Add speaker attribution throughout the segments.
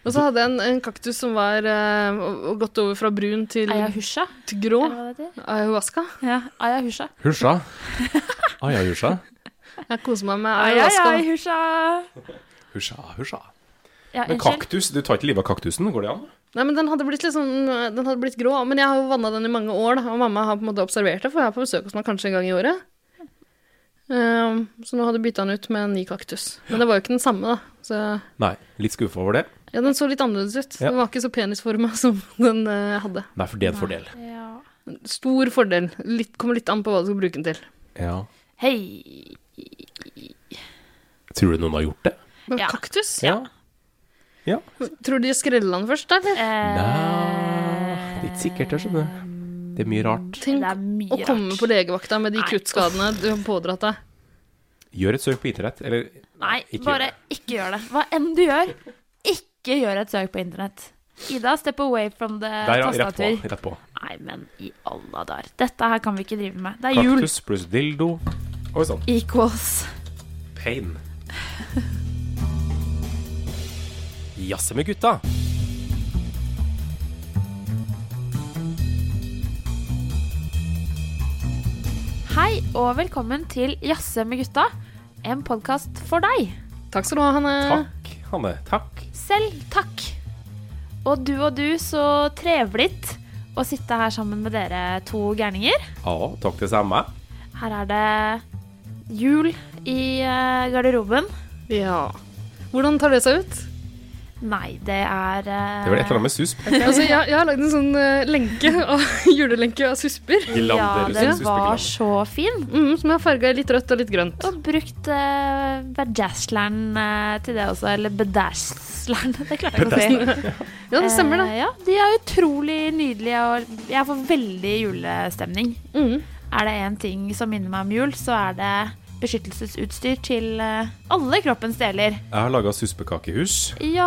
Speaker 1: Og så hadde jeg en, en kaktus som var eh, og- og gått over fra brun til,
Speaker 2: Ayahusha?
Speaker 1: til grå.
Speaker 2: er det hva det heter?
Speaker 1: Ayahuasca.
Speaker 2: Ja, Ayahusha.
Speaker 3: Husja. Aja, husja.
Speaker 1: Jeg koser meg med ayahuasca.
Speaker 2: Ayahusha.
Speaker 3: Husja, husja.
Speaker 2: Ja,
Speaker 3: Men
Speaker 2: unnskyld.
Speaker 3: kaktus, du tar ikke livet av kaktusen, går det an?
Speaker 1: Nei, men den hadde blitt litt sånn, den hadde blitt grå, men jeg har jo vanna den i mange år, da, og mamma har på en måte observert det, for jeg er på besøk hos meg kanskje en gang i året. Ehm, så nå hadde jeg bytta den ut med en ny kaktus. Men det var jo ikke den samme, da. Så
Speaker 3: Nei, litt skuffa over det.
Speaker 1: ja, den så litt annerledes ut.
Speaker 3: Ja.
Speaker 1: Den var ikke så penisforma som den eh, jeg hadde.
Speaker 3: Nei, for det er en fordel.
Speaker 2: Ja.
Speaker 1: Stor fordel. Litt, kommer litt an på hva du skal bruke den til.
Speaker 3: Ja.
Speaker 2: Hei.
Speaker 3: Tror du noen har gjort det?
Speaker 1: Men
Speaker 2: Ja.
Speaker 1: kaktus?
Speaker 3: Ja. Ja.
Speaker 1: Tror du de skreller den først, da, eller?
Speaker 2: Eh,
Speaker 3: Nei, det er ikke sikkert, jeg skjønner. Det er mye rart.
Speaker 1: Tenk
Speaker 2: Det er mye
Speaker 1: å
Speaker 2: rart.
Speaker 1: komme på legevakta med de
Speaker 2: Nei.
Speaker 1: kuttskadene du har pådratt deg.
Speaker 3: Gjør et søk på internett, eller
Speaker 2: Nei,
Speaker 3: Ikke
Speaker 2: bare ikke gjør det. Hva enn du gjør, ikke gjør et søk på internett. Ida, step away from the
Speaker 3: Der, ja, rett på.
Speaker 2: tastatur.
Speaker 3: Rett på.
Speaker 2: Nei, men i alle dager. Dette her kan vi ikke drive med. Det er jul.
Speaker 3: Kaktus pluss dildo. Oi sann.
Speaker 2: Equals.
Speaker 3: Pain. Jazze med gutta.
Speaker 2: Hei og velkommen til Jazze med gutta, en podkast for deg.
Speaker 1: Takk skal du ha, Hanne.
Speaker 3: Takk, Hanne. Takk.
Speaker 2: Selv takk. Og du og du, så trevelig å sitte her sammen med dere to gærninger.
Speaker 3: Ja, takk det samme.
Speaker 2: Her er det jul i eh, garderoben.
Speaker 1: Ja. Hvordan tar det seg ut?
Speaker 2: Nei, det er
Speaker 3: Det er vel et eller annet med susp.
Speaker 1: Altså, jeg, jeg har lagd en sånn eh, lenke av julelenke av susper,
Speaker 2: eh, Ja,
Speaker 3: Gilander,
Speaker 2: den
Speaker 3: susp,
Speaker 2: var
Speaker 3: gilander.
Speaker 2: så fin.
Speaker 1: mm, som jeg har farga i litt rødt og litt grønt.
Speaker 2: Og brukt uh, bedazzleren eh, til det også. Eller bedazzleren, det klarte jeg ikke å si.
Speaker 1: Ja, det stemmer, det.
Speaker 2: Eh, ja, de er utrolig nydelige, og jeg får veldig julestemning.
Speaker 1: Mm.
Speaker 2: Er det én ting som minner meg om jul, så er det beskyttelsesutstyr til eh, alle kroppens deler.
Speaker 3: Jeg har laga suspekakehus.
Speaker 2: Ja!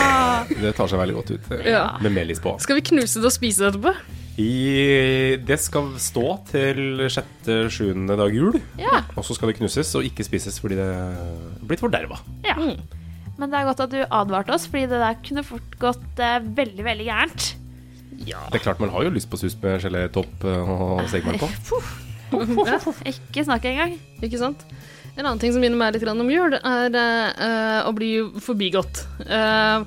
Speaker 3: Det tar seg veldig godt ut. eh,
Speaker 1: Ja.
Speaker 3: Med melis på.
Speaker 1: Skal vi knuse det og spise det etterpå?
Speaker 3: I, det skal stå til sjette-sjuende dag jul.
Speaker 2: ja,
Speaker 3: Og så skal det knuses og ikke spises fordi det er blitt forderva.
Speaker 2: ja. Men det er godt at du advarte oss, fordi det der kunne fort gått eh, veldig, veldig gærent.
Speaker 3: Det er klart man har jo lyst på susp med gelétopp eh, og segment på.
Speaker 2: Ikke snakk engang.
Speaker 1: Ikke sant? En annen ting som minner meg litt grann om jul, er eh, å bli forbigått. Eh,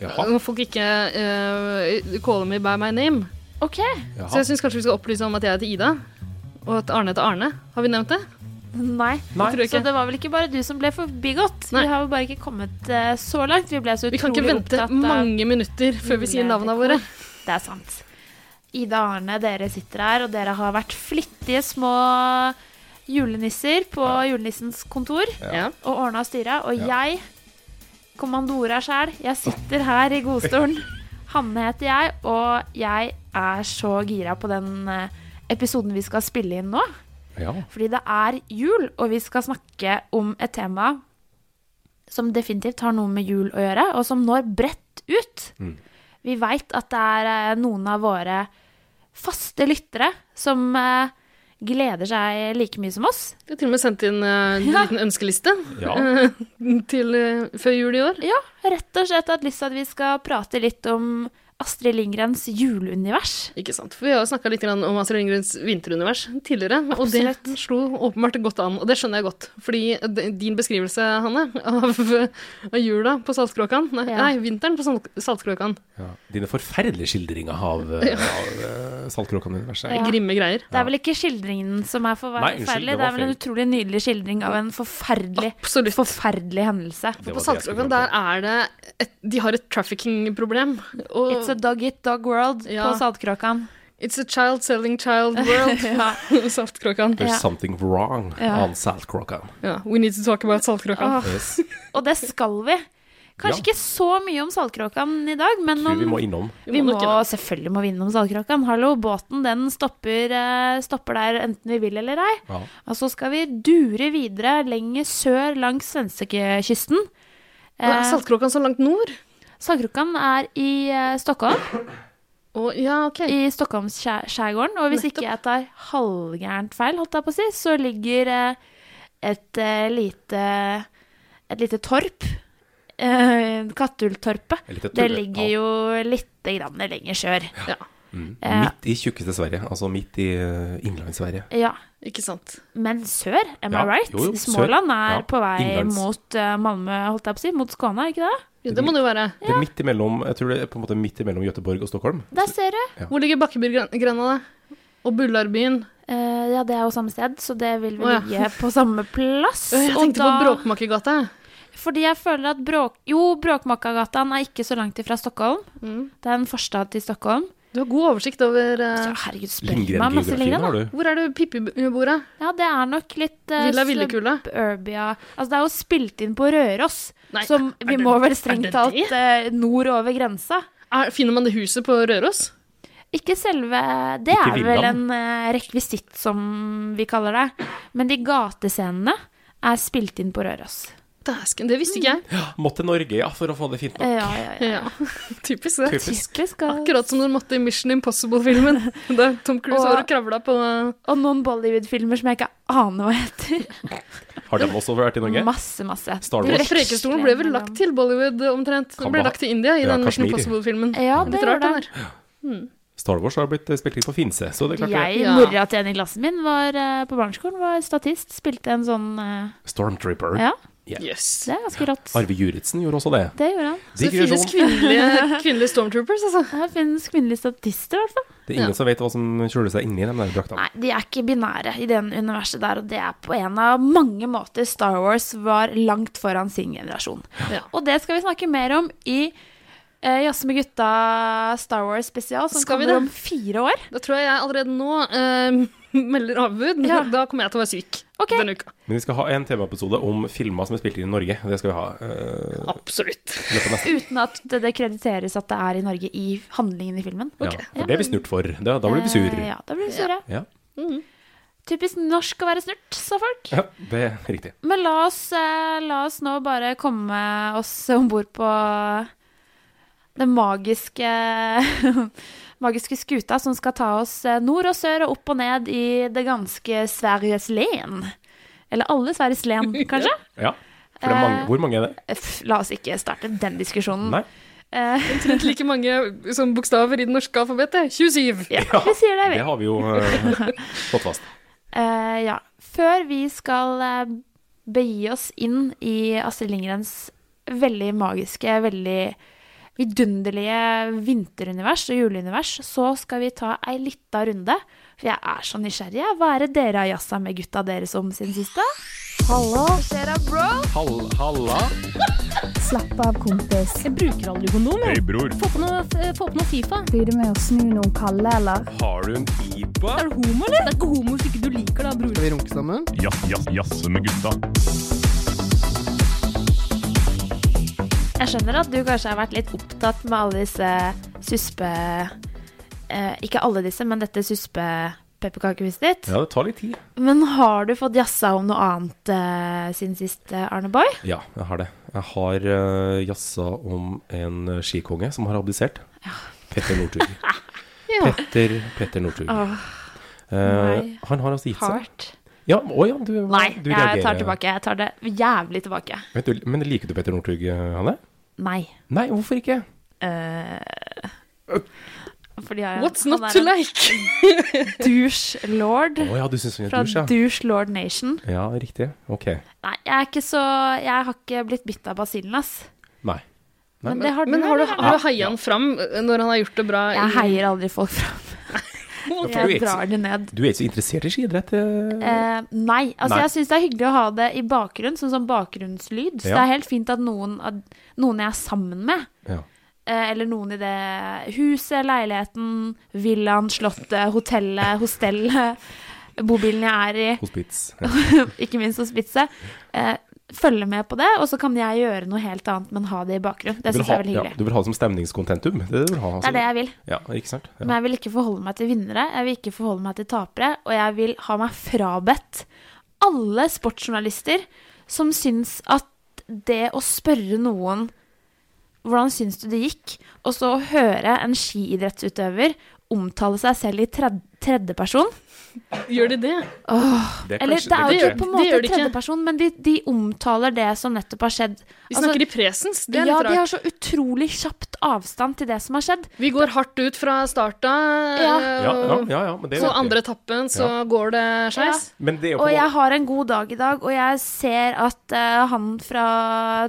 Speaker 3: Jaha.
Speaker 1: Når folk ikke uh, caller me by my name.
Speaker 2: OK.
Speaker 1: Så
Speaker 3: Jaha.
Speaker 1: jeg syns kanskje vi skal opplyse om at jeg heter Ida, og at Arne heter Arne. Har vi nevnt det?
Speaker 2: Nei.
Speaker 3: Nei.
Speaker 1: Tror jeg
Speaker 2: Så
Speaker 1: ikke.
Speaker 2: det var vel ikke bare du som ble forbigått.
Speaker 1: Nei.
Speaker 2: Vi har jo bare ikke kommet eh, så langt. Vi ble så
Speaker 1: Vi kan
Speaker 2: utrolig
Speaker 1: ikke vente
Speaker 2: opptatt av
Speaker 1: mange minutter før vi sier navnene våre.
Speaker 2: Det er sant. Ida og Arne, dere sitter her, og dere har vært flittige små julenisser på julenissens kontor
Speaker 1: Ja.
Speaker 2: og ordna og styra. Og
Speaker 3: Ja.
Speaker 2: jeg, kommandora sjæl, jeg sitter her i godstolen. Hanne heter jeg, og jeg er så gira på den eh, episoden vi skal spille inn nå.
Speaker 3: Ja.
Speaker 2: Fordi det er jul, og vi skal snakke om et tema som definitivt har noe med jul å gjøre, og som når bredt ut.
Speaker 3: Mm.
Speaker 2: Vi veit at det er eh, noen av våre faste lyttere som eh, gleder seg like mye som oss.
Speaker 1: Vi har til og med sendt inn eh, en
Speaker 2: Ja.
Speaker 1: liten ønskeliste
Speaker 3: Ja.
Speaker 1: eh, til eh, før jul i år.
Speaker 2: Ja, rett og slett at lyst til at vi skal prate litt om Astrid Lindgrens juleunivers.
Speaker 1: Ikke sant. For vi har jo snakka litt grann om Astrid Lindgrens vinterunivers tidligere, og det
Speaker 2: Absolutt.
Speaker 1: slo åpenbart godt an. Og det skjønner jeg godt, fordi eh, d- din beskrivelse, Hanne, av, av jula på Saltkråkan nei,
Speaker 2: Ja.
Speaker 1: nei, vinteren på Salt- Saltkråkan.
Speaker 3: Ja. Dine forferdelige skildringer av, eh, av eh, Saltkråkan-universet.
Speaker 2: Ja.
Speaker 1: Grimme greier.
Speaker 2: Det er vel ikke skildringen som er
Speaker 3: Nei, unnskyld,
Speaker 2: forferdelig,
Speaker 3: det
Speaker 2: det
Speaker 3: var
Speaker 2: er vel en
Speaker 3: feil.
Speaker 2: utrolig nydelig skildring av en forferdelig,
Speaker 1: Absolutt.
Speaker 2: forferdelig hendelse.
Speaker 3: Det var
Speaker 1: På
Speaker 3: det jeg skulle
Speaker 1: Saltkråkan
Speaker 3: fram
Speaker 1: der
Speaker 3: til.
Speaker 1: er det et, De har et trafficking-problem. Og
Speaker 2: It's a dog eat dog world
Speaker 1: Ja.
Speaker 2: på Saltkråkan.
Speaker 1: it's a child selling child world.
Speaker 2: Ja.
Speaker 1: Saltkråkan.
Speaker 3: There's
Speaker 2: Ja.
Speaker 3: something wrong
Speaker 2: Ja.
Speaker 3: on Saltkråkan.
Speaker 1: Ja. We need to talk about Saltkråkan.
Speaker 2: Åh,
Speaker 3: Yes.
Speaker 2: og det skal vi. Kanskje
Speaker 3: Ja.
Speaker 2: ikke så mye om Saltkråkan i dag, men
Speaker 3: Tror
Speaker 2: om,
Speaker 3: vi må innom.
Speaker 2: vi må
Speaker 1: nok det.
Speaker 2: selvfølgelig må vi innom Saltkråkan. Hallo, båten den stopper, eh, stopper der enten vi vil eller ei.
Speaker 3: Ja.
Speaker 2: Og så skal vi dure videre lenger sør langs svenskekysten.
Speaker 1: Nå er
Speaker 2: Eh,
Speaker 1: Saltkråkan så langt nord?
Speaker 2: Saltkråkan er i eh, Stockholm,
Speaker 1: Å, ja, ok.
Speaker 2: i Stockholmsskjærgården. Og hvis ikke jeg tar halvgærent feil, holdt jeg på å si, så ligger eh, et eh, lite et lite torp eh, Kattulltorpet.
Speaker 3: Et lite
Speaker 2: Det
Speaker 3: tull-
Speaker 2: ligger
Speaker 3: ja.
Speaker 2: jo litt grann lenger sør.
Speaker 1: Ja,
Speaker 3: Mm.
Speaker 2: eh,
Speaker 3: Midt i tjukkeste Sverige. Altså midt i eh, innlandssverige.
Speaker 2: Ja.
Speaker 1: ikke sant.
Speaker 2: Men sør, am
Speaker 3: Ja,
Speaker 2: I right?
Speaker 3: jo, jo, sør.
Speaker 2: Småland er
Speaker 3: Ja,
Speaker 2: på vei
Speaker 3: innlands.
Speaker 2: mot eh, Malmö, holdt jeg på å si. Småland, Skåne, er ikke det?
Speaker 1: Jo, det må det jo være.
Speaker 3: Det er midt imellom Jeg tror det er på en måte midt imellom Göteborg og Stockholm.
Speaker 2: Der ser du.
Speaker 1: Hvor ligger Bakkebygrenda, da? Og Bullarbyen?
Speaker 2: Eh, ja, det er jo samme sted, så det vil vel
Speaker 1: Å, ja.
Speaker 2: ligge på samme plass.
Speaker 1: Øh, Jeg
Speaker 2: og
Speaker 1: tenkte på
Speaker 2: da-
Speaker 1: Bråkmakergata.
Speaker 2: Fordi jeg føler at bråk... Jo, Bråkmakargatan er ikke så langt ifra Stockholm.
Speaker 1: Mm.
Speaker 2: Det er en forstad til Stockholm.
Speaker 1: Du har god oversikt over eh,
Speaker 2: Så, herregud, spør meg masse
Speaker 3: Lindgren-geografien
Speaker 2: lenger, da.
Speaker 3: har du.
Speaker 1: Hvor er det Pippi bor? da?
Speaker 2: Ja, det er nok litt eh,
Speaker 1: Villa Villekula?
Speaker 2: suburbia Altså, det er jo spilt inn på Røros,
Speaker 1: Nei,
Speaker 2: som
Speaker 1: er
Speaker 2: vi
Speaker 1: det-
Speaker 2: må vel
Speaker 1: er
Speaker 2: strengt
Speaker 1: det
Speaker 2: talt
Speaker 1: det?
Speaker 2: eh, nord over grensa.
Speaker 1: Er, finner man det huset på Røros?
Speaker 2: Ikke selve Det
Speaker 3: Ikke
Speaker 2: er vel en
Speaker 3: villaen.
Speaker 2: eh, rekvisitt, som vi kaller det. Men de gatescenene er spilt inn på Røros.
Speaker 1: Dæsken, det visste ikke jeg.
Speaker 3: Må til Norge, ja, for å få det fint
Speaker 2: Ja,
Speaker 3: nok.
Speaker 2: ja, ja.
Speaker 1: Ja, Typisk det.
Speaker 3: Typisk.
Speaker 2: Typisk. ass.
Speaker 1: Akkurat som de måtte i Mission Impossible-filmen. Da Tom Cruise
Speaker 2: Og-
Speaker 1: var og kravla på
Speaker 2: Og noen Bollywood-filmer som jeg ikke aner hva heter.
Speaker 3: Har de også vært i Norge?
Speaker 2: Masse, masse.
Speaker 3: Star Wars.
Speaker 1: Pre- Preikestolen ble vel lagt til Bollywood omtrent. Den
Speaker 3: Kan
Speaker 1: ble
Speaker 3: det ha-
Speaker 1: lagt til India i
Speaker 3: Ja,
Speaker 1: den Mission
Speaker 3: Kashmir.
Speaker 1: Impossible-filmen.
Speaker 2: Ja, det
Speaker 1: Litt rart, den
Speaker 2: gjorde
Speaker 1: der.
Speaker 3: Star Wars har blitt eh, spilt inn på Finse, så det er klart
Speaker 2: Jeg,
Speaker 1: Ja.
Speaker 2: mora til en i klassen min var eh, på barneskolen, var statist, spilte en sånn eh,
Speaker 3: det. Stormtrooper.
Speaker 2: Ja,
Speaker 1: Yes.
Speaker 2: det er ganske rått.
Speaker 3: Arve Juritzen gjorde også det.
Speaker 2: Det gjorde han.
Speaker 1: Så det finnes
Speaker 3: Digresjon.
Speaker 1: kvinnelige, kvinnelige stormtroopers, altså.
Speaker 2: Her finnes kvinnelige statister, i hvert fall.
Speaker 3: Det er ingen
Speaker 1: Ja.
Speaker 3: som vet hva som skjuler seg inni de der draktene.
Speaker 2: Nei, de er ikke binære i den universet der, og det er på en av mange måter Star Wars var langt foran sin generasjon.
Speaker 1: Ja.
Speaker 2: Og det skal vi snakke mer om i eh, Jazz med gutta Star Wars spesial, som
Speaker 1: Skal vi
Speaker 2: kommer
Speaker 1: det?
Speaker 2: om fire år.
Speaker 1: Da tror jeg jeg allerede nå eh, melder avbud.
Speaker 2: Ja.
Speaker 1: Da kommer jeg til å være syk
Speaker 2: Ok.
Speaker 1: denne uka.
Speaker 3: Men vi skal ha en temaepisode om filmer som er spilt inn i Norge. Det skal vi ha. eh,
Speaker 1: Absolutt.
Speaker 3: i løpet av neste.
Speaker 2: Uten at det det krediteres at det er i Norge i handlingen i filmen.
Speaker 3: Ja, for det er vi snurt for. Da, da blir vi sur.
Speaker 2: Eh, Ja, da blir vi sure.
Speaker 3: Ja.
Speaker 1: Mm.
Speaker 2: Typisk norsk å være snurt, sa folk.
Speaker 3: ja, det er riktig.
Speaker 2: Men la oss, eh, la oss nå bare komme oss om bord på den magiske, magiske skuta som skal ta oss eh, nord og sør og opp og ned i det ganske Sveriges len. Eller alle Sveriges len, kanskje?
Speaker 3: Ja. For det er mange,
Speaker 2: Eh, Mm.
Speaker 3: hvor mange er det?
Speaker 2: F, La oss ikke starte den diskusjonen.
Speaker 3: Nei.
Speaker 2: Eh,
Speaker 1: Omtrent like mange som bokstaver i det norske alfabetet. 27.
Speaker 2: ja, vi sier det, vi.
Speaker 3: Det har vi jo eh, fått fast.
Speaker 2: Eh, ja. Før vi skal eh, begi oss inn i Astrid Lindgrens veldig magiske, veldig vidunderlige vinterunivers og juleunivers, så skal vi ta ei lita runde. For jeg er så nysgjerrig. jeg. Hva er det dere har jazza med gutta deres om siden siste? Hallo, skjer'a, bro?
Speaker 3: Hall, halla.
Speaker 4: Slapp av, kompis.
Speaker 5: Jeg bruker aldri kondom. jeg.
Speaker 3: Hei, bror.
Speaker 5: Få på noe, eh, få på noe Fifa.
Speaker 4: Blir du med å snu noen kalde, eller?
Speaker 3: Har du en pipa?
Speaker 5: Er du homo, eller? Det er ikke homo hvis ikke du liker det, bror.
Speaker 6: Skal vi runke sammen?
Speaker 7: Jazz, jazz, jazz med gutta.
Speaker 2: Jeg skjønner at du kanskje har vært litt opptatt med alle disse suspe... Eh, ikke alle disse, men dette suspe-pepperkakehuset ditt.
Speaker 3: Ja, det tar litt tid.
Speaker 2: Men har du fått jazza om noe annet eh, siden sist, eh, Arne Boy?
Speaker 3: Ja, jeg har det. Jeg har eh, jazza om en eh, skikonge som har abdisert. Petter Northug.
Speaker 1: Ja.
Speaker 3: Petter, Petter Northug. Eh,
Speaker 2: nei.
Speaker 3: han har altså gitt seg.
Speaker 2: Hardt.
Speaker 3: Ja, å ja, du,
Speaker 2: Nei,
Speaker 3: du
Speaker 2: jeg tar
Speaker 3: reagerer.
Speaker 2: tilbake. Jeg tar det jævlig tilbake.
Speaker 3: Vet du, men liker du Petter Northug, eh, Hanne?
Speaker 2: Nei.
Speaker 3: Nei, hvorfor ikke?
Speaker 2: Eh, fordi jeg,
Speaker 1: What's
Speaker 2: han
Speaker 1: not
Speaker 2: er
Speaker 1: to
Speaker 2: en
Speaker 1: like?
Speaker 2: douche lord
Speaker 3: Å ja, du syns hun er
Speaker 2: fra
Speaker 3: douche, ja.
Speaker 2: douche lord nation.
Speaker 3: Ja, riktig. Ok.
Speaker 2: Nei, jeg er ikke så Jeg har ikke blitt bitt av basillen, ass.
Speaker 3: Nei. Nei,
Speaker 2: Men det har du.
Speaker 1: Men har du,
Speaker 2: eller?
Speaker 1: har du heia han fram eh, når han har gjort det bra? i-
Speaker 2: Jeg heier aldri folk fram.
Speaker 3: Ok. Du er
Speaker 2: Jeg
Speaker 3: ikke så-
Speaker 2: drar det ned.
Speaker 3: Du er ikke så interessert i skiidrett? eh?
Speaker 2: Eh, nei. Altså,
Speaker 3: Nei.
Speaker 2: jeg syns det er hyggelig å ha det i bakgrunn, sånn som bakgrunnslyd. Så
Speaker 3: Ja.
Speaker 2: det er helt fint at noen, at noen jeg er sammen med,
Speaker 3: Ja.
Speaker 2: Eh, eller noen i det huset, leiligheten, villaen, slottet, hotellet, hostellet, bobilen jeg er i,
Speaker 3: Hospits. Ja.
Speaker 2: ikke minst hospitset, eh, følge med på det, og så kan jeg gjøre noe helt annet, men ha det i bakgrunnen. Det
Speaker 3: Du vil
Speaker 2: syns jeg
Speaker 3: ha-
Speaker 2: er veldig
Speaker 3: Ja,
Speaker 2: hyggelig.
Speaker 3: du vil ha det som stemningskontentum? Det, er det du vil ha, altså.
Speaker 2: Det er det jeg vil.
Speaker 3: Ja, ikke sant?
Speaker 2: Men
Speaker 3: Ja.
Speaker 2: jeg vil ikke forholde meg til vinnere, jeg vil ikke forholde meg til tapere, og jeg vil ha meg frabedt alle sportsjournalister som syns at det å spørre noen hvordan syns du det gikk, og så høre en skiidrettsutøver omtale seg selv i 30 tredjeperson.
Speaker 1: Gjør de det?
Speaker 3: Det
Speaker 2: Eller det er jo
Speaker 1: det
Speaker 2: ikke på
Speaker 1: gjør- det gjør
Speaker 2: en måte
Speaker 1: de ikke.
Speaker 2: tredjeperson, men de, de omtaler det som nettopp har skjedd.
Speaker 1: De
Speaker 2: Altså,
Speaker 1: snakker i presens. Det er
Speaker 2: ja,
Speaker 1: litt
Speaker 2: de
Speaker 1: rart.
Speaker 2: har så utrolig kjapt avstand til det som har skjedd.
Speaker 1: Vi går hardt ut fra starta,
Speaker 2: Ja.
Speaker 1: eh,
Speaker 3: ja, ja, ja, ja, men det er
Speaker 1: så
Speaker 3: riktig.
Speaker 1: andre etappen så går det skeis.
Speaker 3: Men det er jo på
Speaker 2: Og
Speaker 3: en
Speaker 2: jeg
Speaker 3: måte-
Speaker 2: har en god dag i dag, og jeg ser at eh, han fra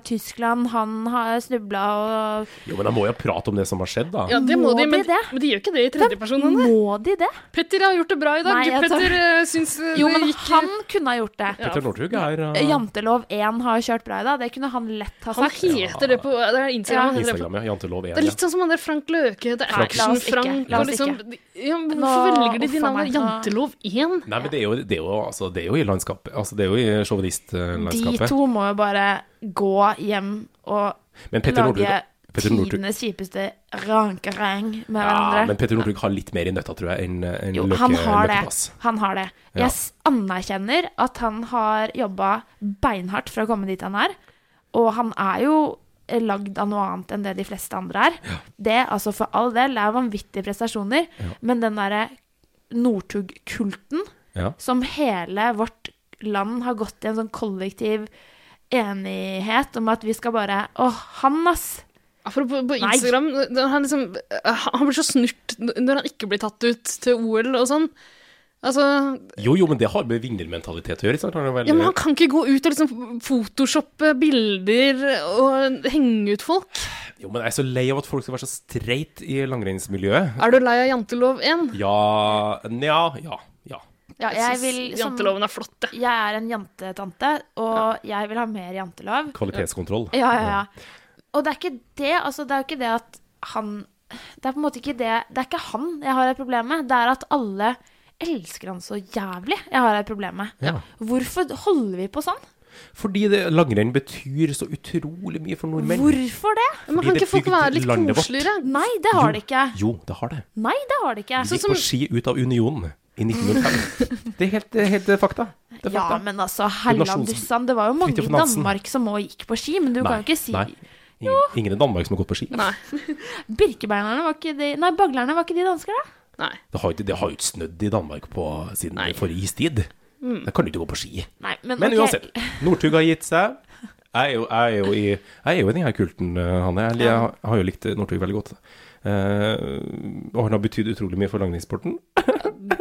Speaker 2: Tyskland, han har snubla og
Speaker 3: Jo, men da må jeg prate om det som har skjedd, da.
Speaker 1: Ja, det må,
Speaker 2: Må
Speaker 1: de,
Speaker 2: de
Speaker 1: men,
Speaker 2: det?
Speaker 1: men de gjør ikke det i tredjeperson. Anne.
Speaker 2: Må de det?
Speaker 1: Petter har gjort det bra i dag.
Speaker 2: Nei, jeg tar-
Speaker 1: Petter eh, syns eh,
Speaker 2: Jo,
Speaker 1: det
Speaker 2: men
Speaker 1: gikk
Speaker 2: han kunne ha gjort det.
Speaker 3: Petter Northug er uh,
Speaker 2: Jantelov 1 har kjørt bra i dag, det kunne han lett ha
Speaker 1: Han
Speaker 2: sagt.
Speaker 1: heter det på det er Instagram. han heter det på-
Speaker 3: Instagram, ja. Jantelov 1.
Speaker 1: Det er litt sånn som han der Frank Løke heter.
Speaker 3: Frank-
Speaker 2: La oss ikke,
Speaker 1: Action-Frank.
Speaker 2: la
Speaker 1: og
Speaker 2: oss
Speaker 1: Liksom, ja, men
Speaker 2: Nå-
Speaker 1: hvorfor velger de de
Speaker 2: uff a meg,
Speaker 1: navnene?
Speaker 2: nå-
Speaker 1: Jantelov 1?
Speaker 2: sånn-
Speaker 3: Nei, men det er jo, det er jo, altså, det er jo i landskapet. Altså, det er jo i
Speaker 2: De
Speaker 3: sjåvinistlandskapet.
Speaker 2: to må jo bare gå hjem og
Speaker 3: Men Petter
Speaker 2: lage
Speaker 3: Northug Petter Northug
Speaker 2: tidenes kjipeste rankerang med
Speaker 3: ja, men
Speaker 2: hverandre.
Speaker 3: Petter Northug har litt mer i nøtta, tror jeg, enn en
Speaker 2: Jo,
Speaker 3: løke,
Speaker 2: han har det.
Speaker 3: løkepass.
Speaker 2: Han har det.
Speaker 3: Ja.
Speaker 2: Jeg s- anerkjenner at han har jobba beinhardt for å komme dit han er. Og han er jo eh, lagd av noe annet enn det de fleste andre er. Det, altså for all del, det er vanvittige prestasjoner. Men den derre Northug-kulten
Speaker 3: Ja.
Speaker 2: som hele vårt land har gått i en sånn kollektiv enighet om at vi skal bare Å, han, ass!
Speaker 1: Apropos på
Speaker 2: Nei.
Speaker 1: Instagram, når han, liksom, eh, han blir så snurt når han ikke blir tatt ut til OL og sånn. Altså,
Speaker 3: Jo, jo, men det har med vinnermentalitet å gjøre. Ikke sant? Han er veldig-
Speaker 1: ja, men han kan ikke gå ut og liksom photoshoppe bilder og henge ut folk.
Speaker 3: Jo, men jeg er så lei av at folk skal være så streit i langrennsmiljøet.
Speaker 1: Er du lei av jantelov 1?
Speaker 3: Ja, nja, ja, ja.
Speaker 2: Ja, jeg vil som
Speaker 1: Janteloven er flott, det.
Speaker 2: Jeg er en jantetante, og jeg vil ha mer jantelov.
Speaker 3: Kvalitetskontroll.
Speaker 2: Ja, ja, ja. Og det er ikke det, altså, det er jo ikke det at han Det er på en måte ikke det Det er ikke han jeg har et problem med. Det er at alle elsker han så jævlig jeg har et problem med.
Speaker 3: Ja.
Speaker 2: Hvorfor holder vi på sånn?
Speaker 3: Fordi det, langrenn betyr så utrolig mye for nordmenn.
Speaker 2: Hvorfor det?
Speaker 1: Men kan
Speaker 3: Fordi det
Speaker 1: ikke folk
Speaker 3: bygde
Speaker 1: være litt
Speaker 3: landet vårt.
Speaker 1: koseligere?
Speaker 2: Nei, det har det ikke.
Speaker 3: Jo, det har det.
Speaker 2: Nei, det sånn har det ikke.
Speaker 3: Vi gikk
Speaker 1: som-
Speaker 3: på ski ut av unionen i 1905. Det er helt, det er helt eh, fakta. Det er
Speaker 2: Ja,
Speaker 3: fakta.
Speaker 2: men altså, Helland
Speaker 3: Nasjons-
Speaker 2: Dussan, det var jo mange i
Speaker 3: Fridtjof Nansen.
Speaker 2: Danmark som òg gikk på ski, men du kan jo ikke si
Speaker 3: Nei. Ingen, ingen i Danmark som har gått på ski.
Speaker 1: Nei.
Speaker 2: Birkebeinerne var ikke de Nei, baglerne var ikke de dansker, da?
Speaker 1: Nei.
Speaker 3: Det har jo ikke- det har jo ikke snødd i Danmark på, siden
Speaker 1: Nei.
Speaker 3: forrige istid.
Speaker 2: Mm.
Speaker 3: Da kan du ikke gå på ski.
Speaker 2: Nei, men,
Speaker 3: Men
Speaker 2: ok.
Speaker 3: uansett, Northug har gitt seg. Jeg er jo, jeg er jo, i, jeg er jo i den her kulten, eh, Hanne. Jeg, jeg, har- har jo likt Northug veldig godt. Eh, og han har betydd utrolig mye for langrennssporten.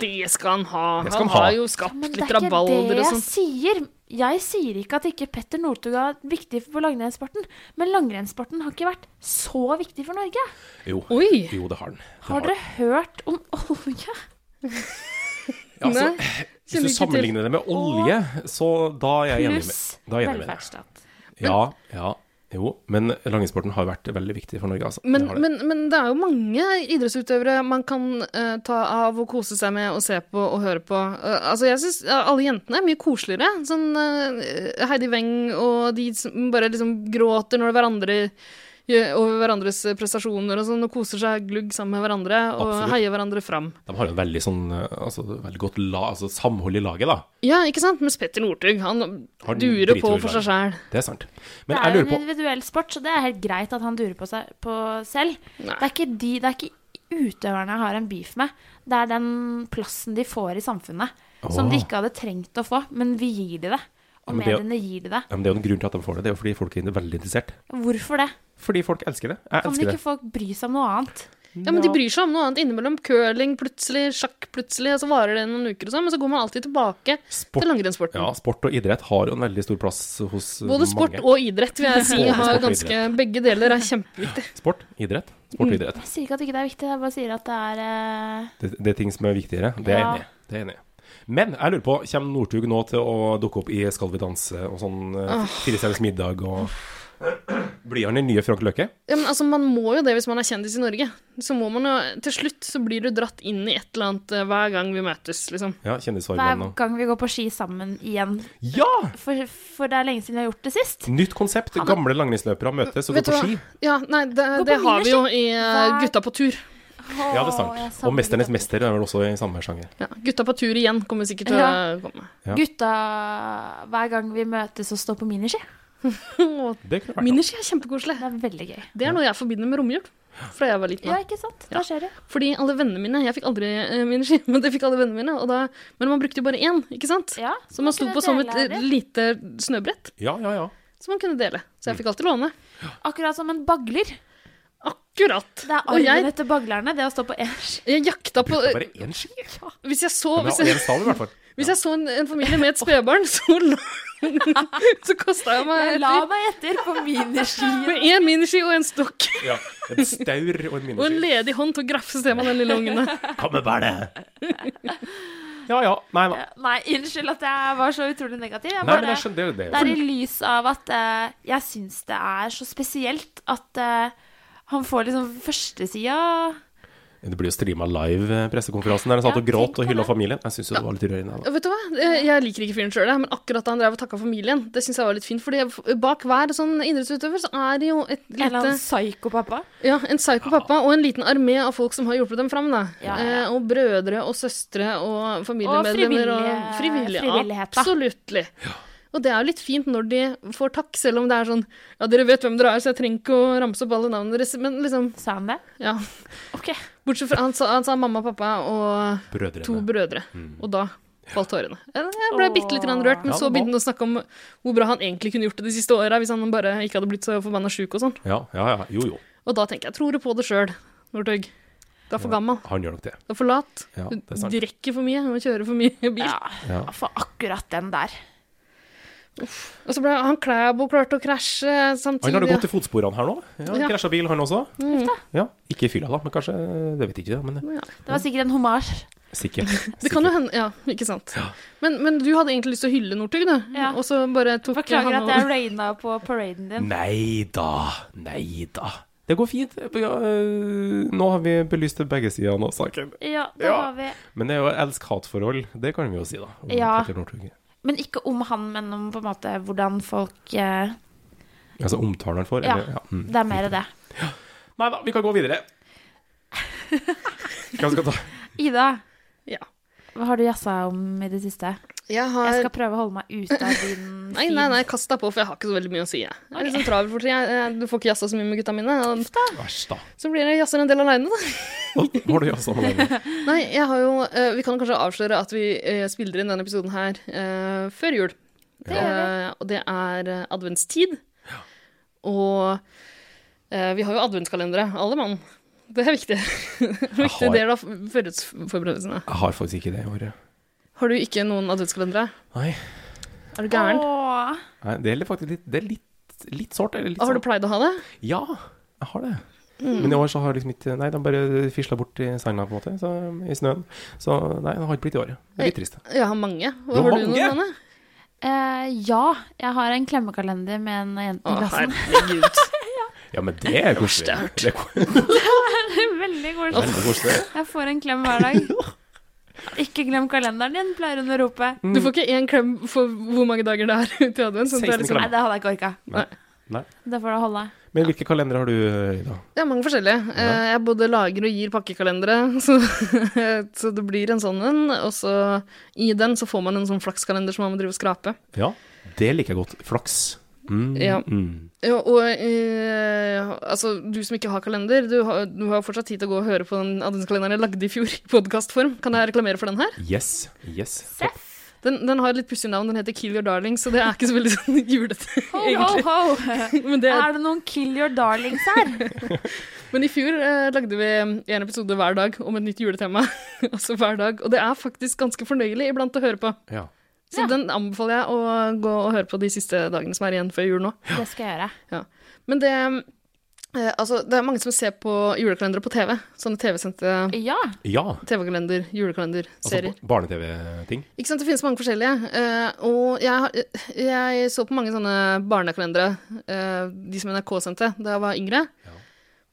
Speaker 1: Det skal han ha.
Speaker 3: Det skal
Speaker 1: Han
Speaker 3: han ha.
Speaker 1: har jo
Speaker 2: Men
Speaker 1: skapt
Speaker 2: det
Speaker 1: litt
Speaker 2: er ikke det
Speaker 1: rabalder og
Speaker 2: jeg
Speaker 1: sånt.
Speaker 2: sier. Jeg sier ikke at ikke Petter Northug har vært viktig for langrennssporten, men langrennssporten har ikke vært så viktig for Norge.
Speaker 3: Jo,
Speaker 1: Oi.
Speaker 3: jo det har han. Det
Speaker 2: Har dere hørt om olje?
Speaker 3: Ja, altså,
Speaker 1: Nei, kjenner ikke
Speaker 3: Hvis du
Speaker 1: til.
Speaker 3: sammenligner det med olje, så da er jeg enig med,
Speaker 2: Pluss
Speaker 3: da er jeg enig med deg.
Speaker 2: velferdsstat.
Speaker 3: Ja, ja, jo. Men langrennssporten har vært veldig viktig for Norge, altså.
Speaker 1: Men,
Speaker 3: Det har det.
Speaker 1: men, men det er jo mange idrettsutøvere man kan eh, ta av og kose seg med og se på og høre på. Eh, altså jeg synes eh, Alle jentene er mye koseligere. Sånn eh, Heidi Weng og de som bare liksom gråter når hverandre gjør- over hverandres prestasjoner og sånn, og koser seg glugg sammen med hverandre og
Speaker 3: Absolutt.
Speaker 1: heier hverandre fram.
Speaker 3: De har jo en veldig sånn eh, altså, veldig godt la, altså, samhold i laget, da.
Speaker 1: Ja, ikke sant? Mens Petter Northug, han
Speaker 3: Han
Speaker 1: durer
Speaker 3: driter
Speaker 1: på
Speaker 3: vel i
Speaker 1: for seg
Speaker 3: laget.
Speaker 1: sjæl.
Speaker 3: Det er sant.
Speaker 2: Det
Speaker 3: Men
Speaker 2: er
Speaker 3: jeg
Speaker 2: jo en
Speaker 3: lurer på
Speaker 2: individuell sport, så det er helt greit at han durer på seg på selv.
Speaker 1: Nei.
Speaker 2: Det er ikke de, det er ikke utøverne jeg har en beef med. Det er den plassen de får i samfunnet, som
Speaker 3: Åh.
Speaker 2: de ikke hadde trengt å få, men vi gir de det. Og
Speaker 3: men det er jo-
Speaker 2: mediene gir de det.
Speaker 3: ja, men Det er jo en grunn til at de får det. Det er jo fordi folk er veldig interessert.
Speaker 2: Hvorfor det?
Speaker 3: Fordi folk elsker det. Jeg
Speaker 2: Kan
Speaker 3: elsker
Speaker 2: ikke
Speaker 3: det.
Speaker 2: folk bry seg om noe annet?
Speaker 1: Ja, men de bryr seg om noe annet innimellom. Curling plutselig, sjakk plutselig, og så varer det noen uker og sånn, men så går man alltid tilbake
Speaker 3: Sport-
Speaker 1: til langrennssporten.
Speaker 3: Ja, sport og idrett har jo en veldig stor plass hos eh,
Speaker 1: Både sport
Speaker 3: mange.
Speaker 1: og idrett, vil jeg si.
Speaker 3: Både sport
Speaker 1: Har
Speaker 3: og
Speaker 1: ganske, begge deler er kjempeviktig.
Speaker 3: Sport, idrett. Sport og
Speaker 1: Mm.
Speaker 3: idrett.
Speaker 2: Jeg sier ikke at ikke det er viktig, jeg bare sier at det er eh,
Speaker 3: Det, det er ting som er viktigere. Det er jeg
Speaker 2: Ja.
Speaker 3: enig i. Det er jeg enig i. Men jeg lurer på, kommer Northug nå til å dukke opp i Skal vi danse og sånn eh, Fire stjerners middag og Blir han den nye Frank Løkke?
Speaker 1: Ja, men altså, man må jo det hvis man er kjendis i Norge. Så må man jo, til slutt så blir du dratt inn i et eller annet eh, hver gang vi møtes, liksom.
Speaker 3: Ja, kjendisfarmen
Speaker 2: hver
Speaker 3: og
Speaker 2: gang vi går på ski sammen igjen.
Speaker 3: Ja!
Speaker 2: For, for det er lenge siden vi har gjort det sist.
Speaker 3: Nytt konsept. Gamle langrennsløpere møtes og går
Speaker 1: Vet du
Speaker 3: på
Speaker 1: hva?
Speaker 3: ski.
Speaker 1: Ja, nei, det,
Speaker 2: på
Speaker 1: det har vi jo i eh,
Speaker 2: Hver-
Speaker 1: Gutta på tur.
Speaker 3: Ja, det er sant. Og 'Mesternes mester' er vel også i samme sjanger.
Speaker 1: Ja, gutta på tur igjen kommer sikkert til
Speaker 2: Ja.
Speaker 1: å komme.
Speaker 3: Ja.
Speaker 2: Gutta hver gang vi møtes og står på miniski.
Speaker 1: Å,
Speaker 3: Det kunne vært noe.
Speaker 1: Miniski er kjempekoselig.
Speaker 2: Det er veldig gøy.
Speaker 1: Det er noe jeg forbinder med romjul. fra jeg var liten.
Speaker 2: Ja,
Speaker 1: av.
Speaker 2: ikke sant?
Speaker 1: Ja.
Speaker 2: Da skjer det.
Speaker 1: Fordi alle vennene mine Jeg fikk aldri eh, mine ski, men det fikk alle vennene mine. Og da, men man brukte jo bare én, ikke sant?
Speaker 2: Ja,
Speaker 1: Så man sto
Speaker 2: kunne
Speaker 1: på som et
Speaker 2: dele
Speaker 1: eh,
Speaker 2: det.
Speaker 1: lite snøbrett
Speaker 3: Ja, ja, ja.
Speaker 1: som man kunne dele.
Speaker 3: Mm.
Speaker 1: Så jeg fikk alltid låne.
Speaker 2: Akkurat som en bagler.
Speaker 1: Akkurat!
Speaker 2: Det er
Speaker 1: Og jeg,
Speaker 2: arven etter baglerne, det å stå på én ski.
Speaker 1: jeg jakta på
Speaker 3: Brukte bare én ski.
Speaker 1: Hvis jeg så,
Speaker 3: Men
Speaker 1: hvis
Speaker 3: det var
Speaker 1: jeg,
Speaker 3: én stav, i hvert fall.
Speaker 1: hvis jeg så en, en familie med et spedbarn, så, lå- så kosta jeg meg
Speaker 2: Jeg
Speaker 1: etter.
Speaker 2: la meg etter på miniski.
Speaker 1: Med én miniski og en stokk.
Speaker 3: Ja. En staur og en
Speaker 1: Og en
Speaker 3: miniski.
Speaker 1: ledig hånd til å grafse til meg den lille ungen. der.
Speaker 3: Kom med bæret! Ja, ja. Nei, nei.
Speaker 2: Nei, unnskyld at jeg var så utrolig negativ. Jeg
Speaker 3: nei men
Speaker 2: bare,
Speaker 3: jeg skjønner det.
Speaker 2: det er i lys av at eh, jeg syns det er så spesielt at eh, han får liksom førstesida
Speaker 3: Det blir jo streama live, eh, pressekonferansen, der han satt
Speaker 2: Ja,
Speaker 3: og
Speaker 2: tenk
Speaker 3: gråt
Speaker 2: på
Speaker 3: og hylla
Speaker 2: det.
Speaker 3: familien. Jeg syns jo det var litt rørende. da.
Speaker 1: Vet du hva? Eh, Jeg liker ikke fyren sjøl, men akkurat da han drev og takka familien, det syns jeg var litt fint. Fordi jeg- bak hver sånn idrettsutøver så er det jo et
Speaker 2: En eller annen
Speaker 1: lite
Speaker 2: psykopappa.
Speaker 1: Ja, en psyko pappa og en liten armé av folk som har hjulpet dem fram, da.
Speaker 2: Ja, ja, ja.
Speaker 1: Eh, Og brødre og søstre og familiemedlemmer
Speaker 2: frivillige-
Speaker 1: og frivillige.
Speaker 2: frivillighet, da.
Speaker 1: Absolutt. Og det er jo litt fint når de får takk, selv om det er sånn Ja, dere vet hvem dere er, så jeg trenger ikke å ramse opp alle navnene deres, men liksom
Speaker 2: Sa han det?
Speaker 1: Ja.
Speaker 2: Ok.
Speaker 1: Bortsett fra han sa, han sa mamma og pappa og
Speaker 3: Brødrene.
Speaker 1: to brødre. Og da falt tårene. Jeg ble bitte litt grann rørt, men
Speaker 3: Mm. Ja,
Speaker 1: så
Speaker 3: det var-
Speaker 1: begynte han å snakke om hvor bra han egentlig kunne gjort det de siste åra hvis han bare ikke hadde blitt så forbanna sjuk og sånn.
Speaker 3: Ja, ja, ja. Jo, jo.
Speaker 1: Og da tenker jeg tror du på det sjøl, Northug. Du er for gammel,
Speaker 3: Han gjør nok det.
Speaker 1: du er for lat,
Speaker 3: Ja,
Speaker 1: du
Speaker 3: det er sant.
Speaker 1: drikker for mye og kjører for mye bil.
Speaker 2: Ja.
Speaker 3: Ja.
Speaker 2: For akkurat den der.
Speaker 1: Og så ble han Klæbo klart å krasje
Speaker 3: Han har
Speaker 1: samtidig.
Speaker 3: det godt i fotsporene her nå. Ja,
Speaker 1: Ja. Mm.
Speaker 3: Krasja bil, han også. Ja, ikke i fylla, da, men kanskje eh, Det vet jeg ikke, men
Speaker 1: Ja.
Speaker 2: Det var sikkert en hommage.
Speaker 3: sikkert.
Speaker 1: Det kan jo hende, ja, ikke sant. Men, men du hadde egentlig lyst til å hylle Northug, du.
Speaker 2: Ja.
Speaker 1: Og så bare tok
Speaker 2: Beklager
Speaker 1: han
Speaker 2: at jeg raina på paraden din.
Speaker 3: Nei da, nei da. Det går fint. Ja, øh, nå har vi belyst begge sider av saken.
Speaker 2: Ja, det
Speaker 3: Ja.
Speaker 2: har vi.
Speaker 3: Men det er jo elsk-hat-forhold, det kan vi jo si, da. om
Speaker 2: Ja.
Speaker 3: Petter Northug.
Speaker 2: Men ikke om han, men om på en måte hvordan folk eh,
Speaker 3: Altså omtalen han får.
Speaker 2: Ja,
Speaker 3: Eller, ja. Mm.
Speaker 2: det er mer det.
Speaker 3: Nei da, vi kan gå videre. Hvem skal ta
Speaker 2: Ida,
Speaker 1: Ja.
Speaker 2: hva har du jazza om i det siste?
Speaker 1: Jeg har
Speaker 2: Jeg skal prøve å holde meg ute av din
Speaker 1: Nei, nei, nei, kast deg på, for jeg har ikke så veldig mye å si. Jeg, jeg er litt sånn travel for tiden. Jeg- jeg- Du får ikke jazza så mye med gutta mine. og
Speaker 3: Æsj, da.
Speaker 1: Så blir jeg jazzer en del aleine, da.
Speaker 3: Å, Har du jazza med deg?
Speaker 1: Nei, jeg har jo eh, Vi kan kanskje avsløre at vi eh, spiller inn denne episoden her eh, før jul. Eh, og det er eh, adventstid. Og eh, vi har jo adventskalendere, alle mann. Det er viktig. viktig
Speaker 3: har-
Speaker 1: del av forberedelsene.
Speaker 3: Jeg har faktisk ikke det i året.
Speaker 1: Har du ikke noen adventskalendere?
Speaker 3: Nei,
Speaker 1: Er du gæren?
Speaker 2: Åh,
Speaker 3: nei det er faktisk litt, det er litt, litt sårt. Eller litt sånn.
Speaker 1: Har du
Speaker 3: sårt.
Speaker 1: pleid å ha det?
Speaker 3: Ja, jeg har det. Men i år så har liksom ikke Nei, de bare fisla bort i sanda, på en måte. Så, I snøen. Så nei, det har ikke blitt i året. Det er litt trist.
Speaker 1: Jeg har mange.
Speaker 3: Du har
Speaker 1: Har du
Speaker 3: mange?
Speaker 1: noen? Anne?
Speaker 2: eh, ja, jeg har en klemmekalender med en jente
Speaker 1: Å,
Speaker 2: i klassen.
Speaker 1: herregud.
Speaker 3: Ja, men det er koselig. Det er ko-
Speaker 2: Veldig koselig.
Speaker 3: veldig koselig.
Speaker 2: Jeg får en klem hver dag. Ikke glem kalenderen din, pleier hun å rope.
Speaker 1: Du får ikke én klem for hvor mange dager det er til advent. Sånn at det er
Speaker 3: 16
Speaker 1: liksom,
Speaker 2: Nei, det hadde jeg ikke orka.
Speaker 1: Nei.
Speaker 3: Nei.
Speaker 2: Det får det holde.
Speaker 3: Men hvilke kalendere har du, Ida?
Speaker 1: det er mange forskjellige. Eh, Jeg både lager og gir pakkekalendere, så, så det blir en sånn en. Og så i den så får man en sånn flakskalender som man må drive og skrape.
Speaker 3: Ja, det liker jeg godt. Flaks. Mm,
Speaker 1: Ja.
Speaker 3: mm.
Speaker 1: Ja, og eh, altså, du som ikke har kalender, du har, du har fortsatt tid til å gå og høre på den adventskalenderen jeg lagde i fjor i podkastform. Kan jeg reklamere for den her?
Speaker 3: Yes. Yes.
Speaker 2: Seff.
Speaker 1: Den, den har et litt pussig navn, den heter Kill Your Darling, så det er ikke så veldig sånn julete,
Speaker 2: Ho, ho, ho.
Speaker 1: Men det,
Speaker 2: Er det noen kill your darlings her?
Speaker 1: Men i fjor eh, lagde vi en episode hver dag om et nytt juletema. altså hver dag. Og det er faktisk ganske fornøyelig iblant å høre på.
Speaker 3: Ja.
Speaker 1: Så den anbefaler jeg å gå og høre på de siste dagene som er igjen før jul nå.
Speaker 2: Det skal jeg gjøre.
Speaker 1: Men det eh, Altså, det er mange som ser på julekalendere på TV. Sånne TV-sendte
Speaker 2: Ja.
Speaker 3: ja.
Speaker 1: TV-kalender, julekalenderserier.
Speaker 3: Altså barne-TV-ting.
Speaker 1: Ikke sant, Det finnes mange forskjellige. eh, og jeg, har- jeg så på mange sånne barnekalendere, eh, de som NRK sendte da jeg var yngre.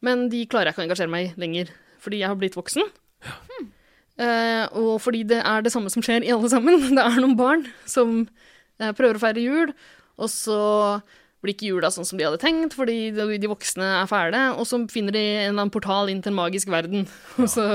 Speaker 1: Men de klarer jeg ikke å engasjere meg i lenger, fordi jeg har blitt voksen. Eh, og fordi det er det samme som skjer i alle sammen. Det er noen barn som eh, prøver å feire jul, og så blir ikke jula sånn som de hadde tenkt, fordi de, de voksne er fæle, og så finner de en eller annen portal inn til en magisk verden. Og så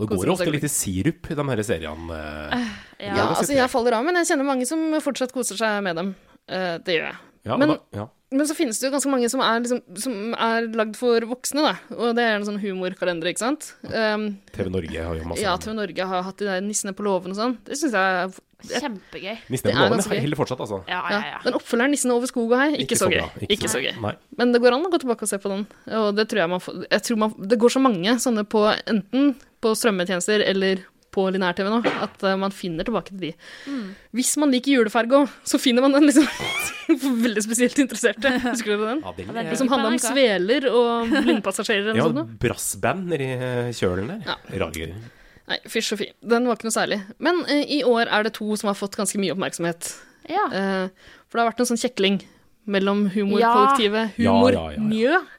Speaker 3: Og det går ofte litt i sirup i de her seriene. eh.
Speaker 1: Ja,
Speaker 2: Ja,
Speaker 3: det
Speaker 1: altså
Speaker 3: setter jeg.
Speaker 1: jeg faller av, men jeg kjenner mange som fortsatt koser seg med dem. Eh, det gjør jeg.
Speaker 3: Ja, og
Speaker 1: men-
Speaker 3: da, ja.
Speaker 1: Men så finnes det jo ganske mange som er, liksom, som er lagd for voksne, da. Og det er en sånn humorkalender, ikke sant. Um,
Speaker 3: TV Norge har jo masse
Speaker 1: ja, TV Norge har hatt de der nissene på låven og sånn. Det syns jeg er
Speaker 2: Kjempegøy.
Speaker 3: Nissen
Speaker 1: Det
Speaker 3: på
Speaker 1: er
Speaker 3: låven
Speaker 1: ganske gøy.
Speaker 3: heller fortsatt, altså.
Speaker 2: Ja,
Speaker 1: ja.
Speaker 2: ja, ja.
Speaker 1: Den oppfølgeren 'Nissen over skog og hei', ikke, så gøy.
Speaker 3: bra,
Speaker 1: Ikke så gøy.
Speaker 3: Nei.
Speaker 1: Men det går an å gå tilbake og se på den. Og det tror jeg man får jeg tror man, Det går så mange sånne på enten på strømmetjenester eller på linær-TV nå, at eh, man finner tilbake til de. Hvis man liker juleferga, så finner man den, liksom. For veldig spesielt interesserte. Husker dere den?
Speaker 3: Ja, den,
Speaker 2: Ja, den
Speaker 3: er-
Speaker 2: er-
Speaker 1: Som handla om sveler og blindpassasjerer
Speaker 3: ja,
Speaker 1: eller noe sånt.
Speaker 3: brassband nedi eh, kjølen der. Rare greier.
Speaker 1: Nei, fysj og fy. Den var ikke noe særlig. Men eh, i år er det to som har fått ganske mye oppmerksomhet.
Speaker 2: ja.
Speaker 1: Eh, for det har vært en sånn kjekling mellom humorkollektivet
Speaker 3: Ja.
Speaker 1: Humor
Speaker 3: Ja, ja, ja, ja.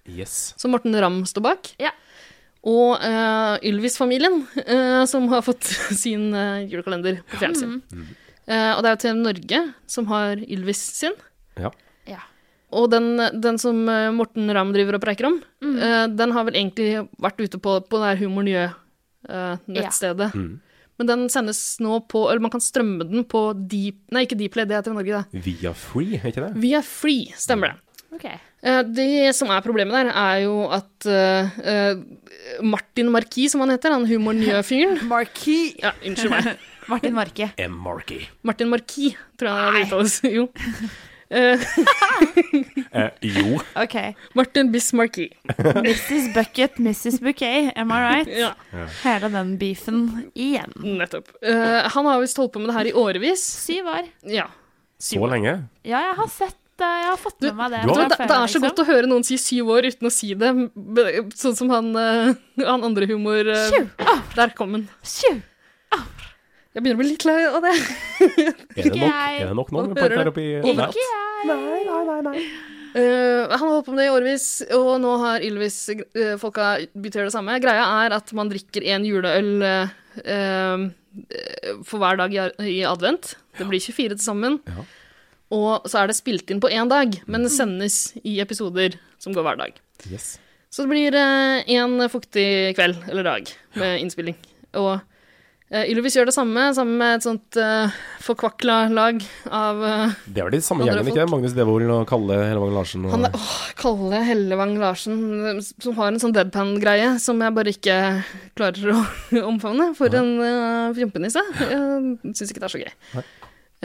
Speaker 1: Njø,
Speaker 3: Yes.
Speaker 1: som Morten Ramm står bak,
Speaker 2: Ja.
Speaker 1: og eh, Ylvis-familien, eh, som har fått sin eh, julekalender på fjernsyn. Eh, og det er jo TV Norge som har Ylvis sin.
Speaker 3: Ja.
Speaker 2: Ja.
Speaker 1: Og den, den som eh, Morten Ramm driver og preiker om, eh, den har vel egentlig vært ute på, på det her Humor Njø-nettstedet.
Speaker 3: Mm.
Speaker 1: Men den sendes nå på Eller man kan strømme den på Deep... Nei, ikke Deepplay, det er TV Norge, det.
Speaker 3: Via Free, er ikke det?
Speaker 1: Via Free, stemmer det.
Speaker 2: Ok.
Speaker 1: Eh, Det som er problemet der, er jo at eh, eh, Martin Marquis, som han heter, han humornjø-fyren
Speaker 2: Marquis.
Speaker 1: Ja, unnskyld meg.
Speaker 2: Martin Marke.
Speaker 3: M. Markey.
Speaker 1: Martin Marquis, tror jeg det uttales. Jo. Eh,
Speaker 3: Eh, jo.
Speaker 2: Ok.
Speaker 1: Martin Biss Marquis.
Speaker 2: Mrs. Bucket, Mrs. Bouquet, am I right?
Speaker 1: Ja,
Speaker 2: Hele den beefen igjen.
Speaker 1: nettopp. Eh, han har visst holdt på med det her i årevis.
Speaker 2: Syv år.
Speaker 1: Ja.
Speaker 3: Så lenge?
Speaker 2: Ja, jeg har sett eh, Jeg har fått
Speaker 1: Du-
Speaker 2: med meg det.
Speaker 3: du har-
Speaker 1: Vet
Speaker 2: fra
Speaker 1: du hva, Det, det
Speaker 2: før,
Speaker 1: er liksom. så godt å høre noen si syv år uten å si det, be- sånn som han, eh, han andre humor... eh,
Speaker 2: liksom. Sju.
Speaker 1: der kom han.
Speaker 2: Sju.
Speaker 1: Jeg begynner å bli litt lei av det.
Speaker 3: Er det
Speaker 2: Ikke
Speaker 3: nok,
Speaker 2: jeg.
Speaker 3: er det nok nå?
Speaker 1: Nå
Speaker 3: med
Speaker 1: hører
Speaker 3: park der
Speaker 1: du.
Speaker 3: oppe i
Speaker 1: Ikke
Speaker 3: Nei.
Speaker 1: Eh, han har holdt på med det i årevis, og nå har Ylvis-folka begynt å gjøre det samme. Greia er at man drikker en juleøl eh, eh, for hver dag i, i advent. Det blir 24 til sammen.
Speaker 3: Ja. Mm.
Speaker 1: Og så er det spilt inn på én dag, men det sendes i episoder som går hver dag.
Speaker 3: Yes.
Speaker 1: Så det blir én fuktig kveld eller dag med innspilling. Og eh, Ylvis gjør det samme, sammen med et sånt eh, forkvakla lag av eh,
Speaker 3: Det er vel de samme
Speaker 1: Andre
Speaker 3: gjengen,
Speaker 1: folk.
Speaker 3: ikke? Magnus Devold og Kalle Hellevang Larsen. Og...
Speaker 1: Han er, åh, Kalle Hellevang Larsen, som har en sånn deadpan-greie som jeg bare ikke klarer å omfavne. For en uh, fjompenisse. Jeg syns ikke det er så gøy.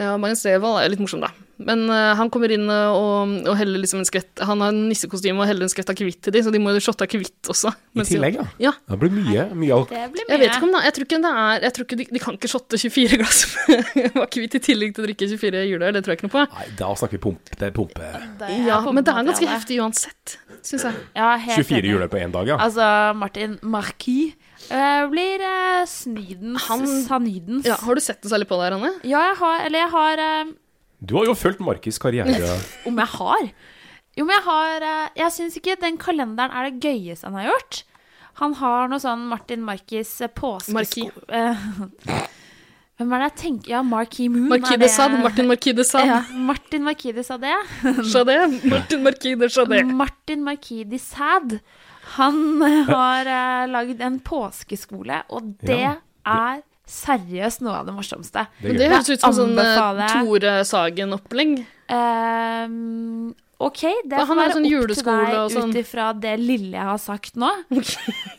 Speaker 1: Ja, Magnus Devold er litt morsom, da. Men eh, han kommer inn eh, og, og heller liksom en skvett Han har en nissekostyme og heller en skvett akevitt til de, så de må jo shotte akevitt også.
Speaker 3: I
Speaker 1: mens de-
Speaker 3: tillegg, ja.
Speaker 1: Ja.
Speaker 3: Det blir mye, mye alk...
Speaker 2: Det blir mye.
Speaker 1: Jeg vet ikke om det er Jeg tror ikke det er Jeg tror ikke de, de kan ikke shotte 24 glass med akevitt i tillegg til å drikke 24 juleøl, det tror jeg ikke noe på.
Speaker 3: Nei, da snakker vi pump. Det er pumpe.
Speaker 1: Ja, men det er ganske heftig uansett, syns jeg.
Speaker 2: Ja, helt
Speaker 3: 24
Speaker 2: enig.
Speaker 3: juler på én dag, ja.
Speaker 2: Altså, Martin Marquis eh, blir uh, snydens
Speaker 1: Han-
Speaker 2: sanydens.
Speaker 1: Ja, har du sett noe særlig på det her, Anne?
Speaker 2: Ja, jeg har Eller jeg har eh,
Speaker 3: Du har jo fulgt Markus' karriere.
Speaker 2: Om jeg har? Jo, men jeg har eh, Jeg syns ikke den kalenderen er det gøyeste han har gjort. Han har noe sånn Martin Markis eh, påskesko...
Speaker 1: Marquis.
Speaker 2: eh, Hvem er det jeg tenker Ja, Marquis Moon.
Speaker 1: Marquis
Speaker 2: er
Speaker 1: de
Speaker 2: det-
Speaker 1: Sade, Martin Marquis de Sade.
Speaker 2: Ja, Martin Marquis de Sade.
Speaker 1: Sade, Martin Marquis de Sade.
Speaker 2: Martin Marquis de Sade. Han eh, har uh, lagd en påskeskole, og det
Speaker 3: Ja,
Speaker 2: er seriøst noe av det morsomste.
Speaker 1: Men det
Speaker 3: gøy.
Speaker 1: høres ut som sånn eh,
Speaker 2: Anbefaler jeg.
Speaker 1: Tore Sagen-opplegg.
Speaker 2: Ehm, OK, det
Speaker 1: For
Speaker 2: får
Speaker 1: han har
Speaker 2: være
Speaker 1: sånn
Speaker 2: opp til
Speaker 1: juleskole og
Speaker 2: deg
Speaker 1: sånn.
Speaker 2: ut ifra det lille jeg har sagt nå. Og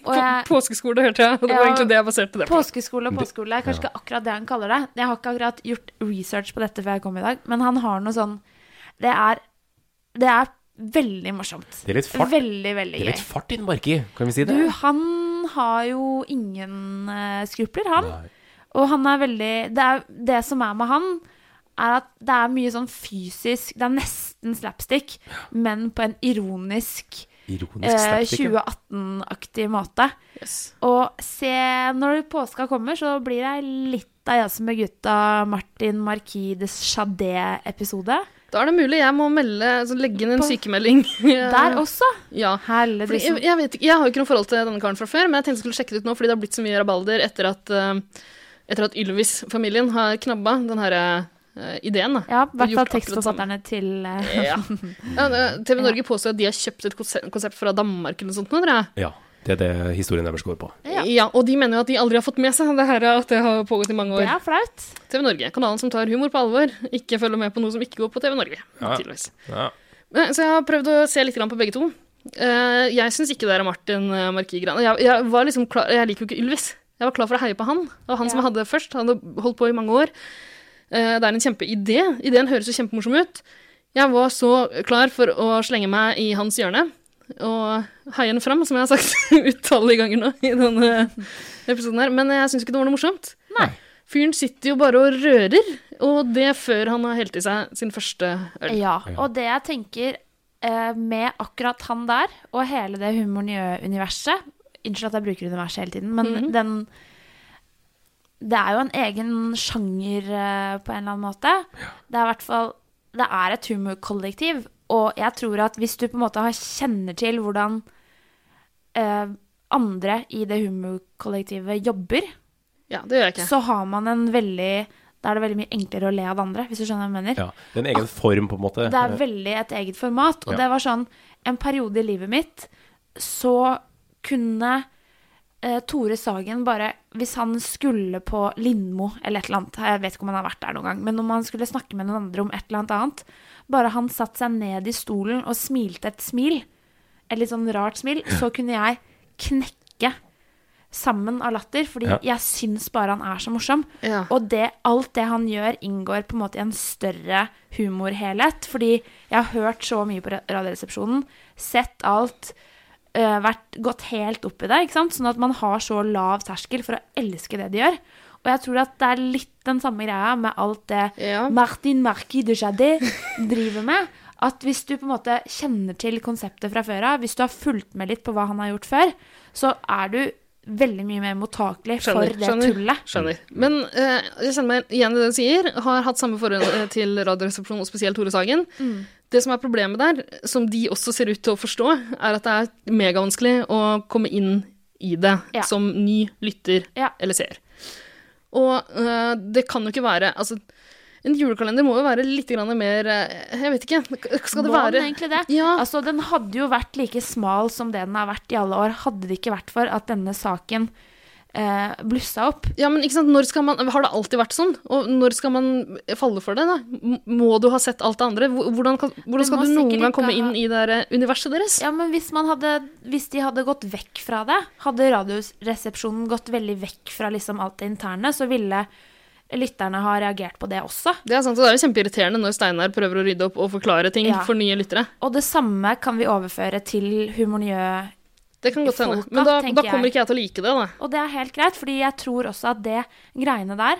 Speaker 1: På-
Speaker 2: jeg,
Speaker 1: Påskeskole, hørte jeg. Og det var
Speaker 2: Ja.
Speaker 1: egentlig det jeg baserte det på.
Speaker 2: påskeskole og påskeskole er kanskje ikke akkurat det han kaller det. Jeg har ikke akkurat gjort research på dette før jeg kom i dag, men han har noe sånn Det er, det er veldig morsomt.
Speaker 3: Det er litt fart.
Speaker 2: Veldig, veldig
Speaker 3: Det er
Speaker 2: gøy.
Speaker 3: litt fart inn, Marki, kan vi si det?
Speaker 2: Du, han har jo ingen eh, skrupler, han.
Speaker 3: Nei.
Speaker 2: Og han er veldig det, er, det som er med han, er at det er mye sånn fysisk Det er nesten slapstick, men på en ironisk
Speaker 3: Ironisk
Speaker 2: eh,
Speaker 3: sterkt, ikke?
Speaker 2: 2018-aktig måte.
Speaker 1: Yes.
Speaker 2: Og se, når påska kommer, så blir det litt av Jazz med gutta Martin Marquis de Chadé-episode.
Speaker 1: Da er det mulig jeg må melde, altså legge inn en
Speaker 2: På-
Speaker 1: sykemelding.
Speaker 2: Der også!
Speaker 1: Ja.
Speaker 2: Herlig,
Speaker 1: Fordi jeg,
Speaker 2: liksom.
Speaker 1: jeg, vet, ikke- jeg har jo ikke noe forhold til denne karen fra før, men jeg tenkte jeg skulle sjekke det ut nå, fordi det har blitt så mye rabalder etter at, eh, etter at Ylvis-familien har knabba den her eh, ideen. Da.
Speaker 2: Ja,
Speaker 1: Gjort
Speaker 2: i hvert fall
Speaker 1: akkurat
Speaker 2: tekstforfatterne til eh,
Speaker 1: Ja. Ja, eh, TV Norge påstår at de har kjøpt et konse- konsept fra Danmark eller noe sånt. nå, tror jeg.
Speaker 3: Ja. Det er det historien deres går på.
Speaker 1: Ja. og de mener jo at de aldri har fått med seg det her, at det har pågått i mange
Speaker 2: Det
Speaker 1: år.
Speaker 2: er flaut.
Speaker 1: TV Norge, kanalen som tar humor på alvor, ikke følger med på noe som ikke går på TV Norge.
Speaker 3: Ja.
Speaker 1: tydeligvis.
Speaker 3: Ja.
Speaker 1: Eh, Så jeg har prøvd å se litt grann på begge to. Eh, Jeg syns ikke det er Martin eh, Marquis Gran. Jeg, jeg, var liksom klar, jeg liker jo ikke Ylvis. Jeg var klar for å heie på han. Det var han som jeg hadde først. Han hadde holdt på i mange år. Eh, Det er en kjempeidé. Ideen høres jo kjempemorsom ut. Jeg var så klar for å slenge meg i hans hjørne og heie han fram, som jeg har sagt utallige ganger nå i denne episoden her. Men jeg syns ikke det var noe morsomt.
Speaker 3: Nei.
Speaker 1: Fyren sitter jo bare og rører, og det før han har helt i seg sin første øl.
Speaker 2: Ja, og det jeg tenker eh, med akkurat han der, og hele det humorniø-universet Unnskyld at jeg bruker universet hele tiden, men den Det er jo en egen sjanger eh, på en eller annen måte. Det er i hvert fall Det er et humorkollektiv, og jeg tror at hvis du på en måte har kjenner til hvordan eh, andre i det humorkollektivet jobber,
Speaker 1: Ja, det gjør jeg ikke.
Speaker 2: så har man en veldig Da er det veldig mye enklere å le av det andre, hvis du skjønner hva jeg mener.
Speaker 3: Ja, det er en egen form, på en måte.
Speaker 2: Det er veldig et eget format. Og
Speaker 3: Ja.
Speaker 2: det var sånn En periode i livet mitt så kunne eh, Tore Sagen bare Hvis han skulle på Lindmo eller et eller annet Jeg vet ikke om han har vært der noen gang, men om han skulle snakke med noen andre om et eller annet annet Bare han satte seg ned i stolen og smilte et smil, et litt sånn rart smil, så kunne jeg knekke sammen av latter, fordi
Speaker 3: Ja.
Speaker 2: jeg syns bare han er så morsom.
Speaker 1: Ja.
Speaker 2: Og det, alt det han gjør, inngår på en måte i en større humorhelhet. Fordi jeg har hørt så mye på ra- Radioresepsjonen, sett alt, øh, vært, gått helt opp i det. ikke sant? Sånn at man har så lav terskel for å elske det de gjør. Og jeg tror at det er litt den samme greia med alt det
Speaker 1: Ja.
Speaker 2: Martin Marquis de Jade driver med. At hvis du på en måte kjenner til konseptet fra før av, hvis du har fulgt med litt på hva han har gjort før, så er du veldig mye mer mottakelig for det tullet.
Speaker 1: Skjønner. Men eh, jeg kjenner meg igjen i det du sier. Har hatt samme forhold eh, til Radioresepsjonen, og spesielt Tore Sagen.
Speaker 2: Mm.
Speaker 1: Det som er problemet der, som de også ser ut til å forstå, er at det er megavanskelig å komme inn i det
Speaker 2: Ja.
Speaker 1: som ny lytter
Speaker 2: Ja.
Speaker 1: eller seer. Og eh, det kan jo ikke være Altså, en julekalender må jo være litt grann mer eh, Jeg vet ikke. Skal det
Speaker 2: Må
Speaker 1: være
Speaker 2: den egentlig det?
Speaker 1: Ja.
Speaker 2: Altså, den hadde jo vært like smal som det den har vært i alle år, hadde det ikke vært for at denne saken eh, blussa opp.
Speaker 1: Ja, men ikke sant, når skal man, Har det alltid vært sånn? Og når skal man falle for det? da? M- Må du ha sett alt det andre? Hvor- Hvordan, kan, hvordan skal
Speaker 2: må
Speaker 1: du noen
Speaker 2: sikkert
Speaker 1: gang
Speaker 2: ikke
Speaker 1: komme
Speaker 2: ha-
Speaker 1: inn i det der universet deres?
Speaker 2: Ja, men hvis, man hadde, hvis de hadde gått vekk fra det, hadde radioresepsjonen gått veldig vekk fra liksom alt det interne, så ville lytterne ha reagert på det også.
Speaker 1: Det er sant, og det er jo kjempeirriterende når Steinar prøver å rydde opp og forklare ting
Speaker 2: Ja.
Speaker 1: for nye lyttere.
Speaker 2: Og det samme kan vi overføre til humorniø.
Speaker 1: Det kan godt
Speaker 2: I
Speaker 1: hende.
Speaker 2: folka,
Speaker 1: Men da,
Speaker 2: tenker
Speaker 1: da kommer
Speaker 2: jeg.
Speaker 1: ikke jeg til å like det, da.
Speaker 2: Og det er helt greit, fordi jeg tror også at det greiene der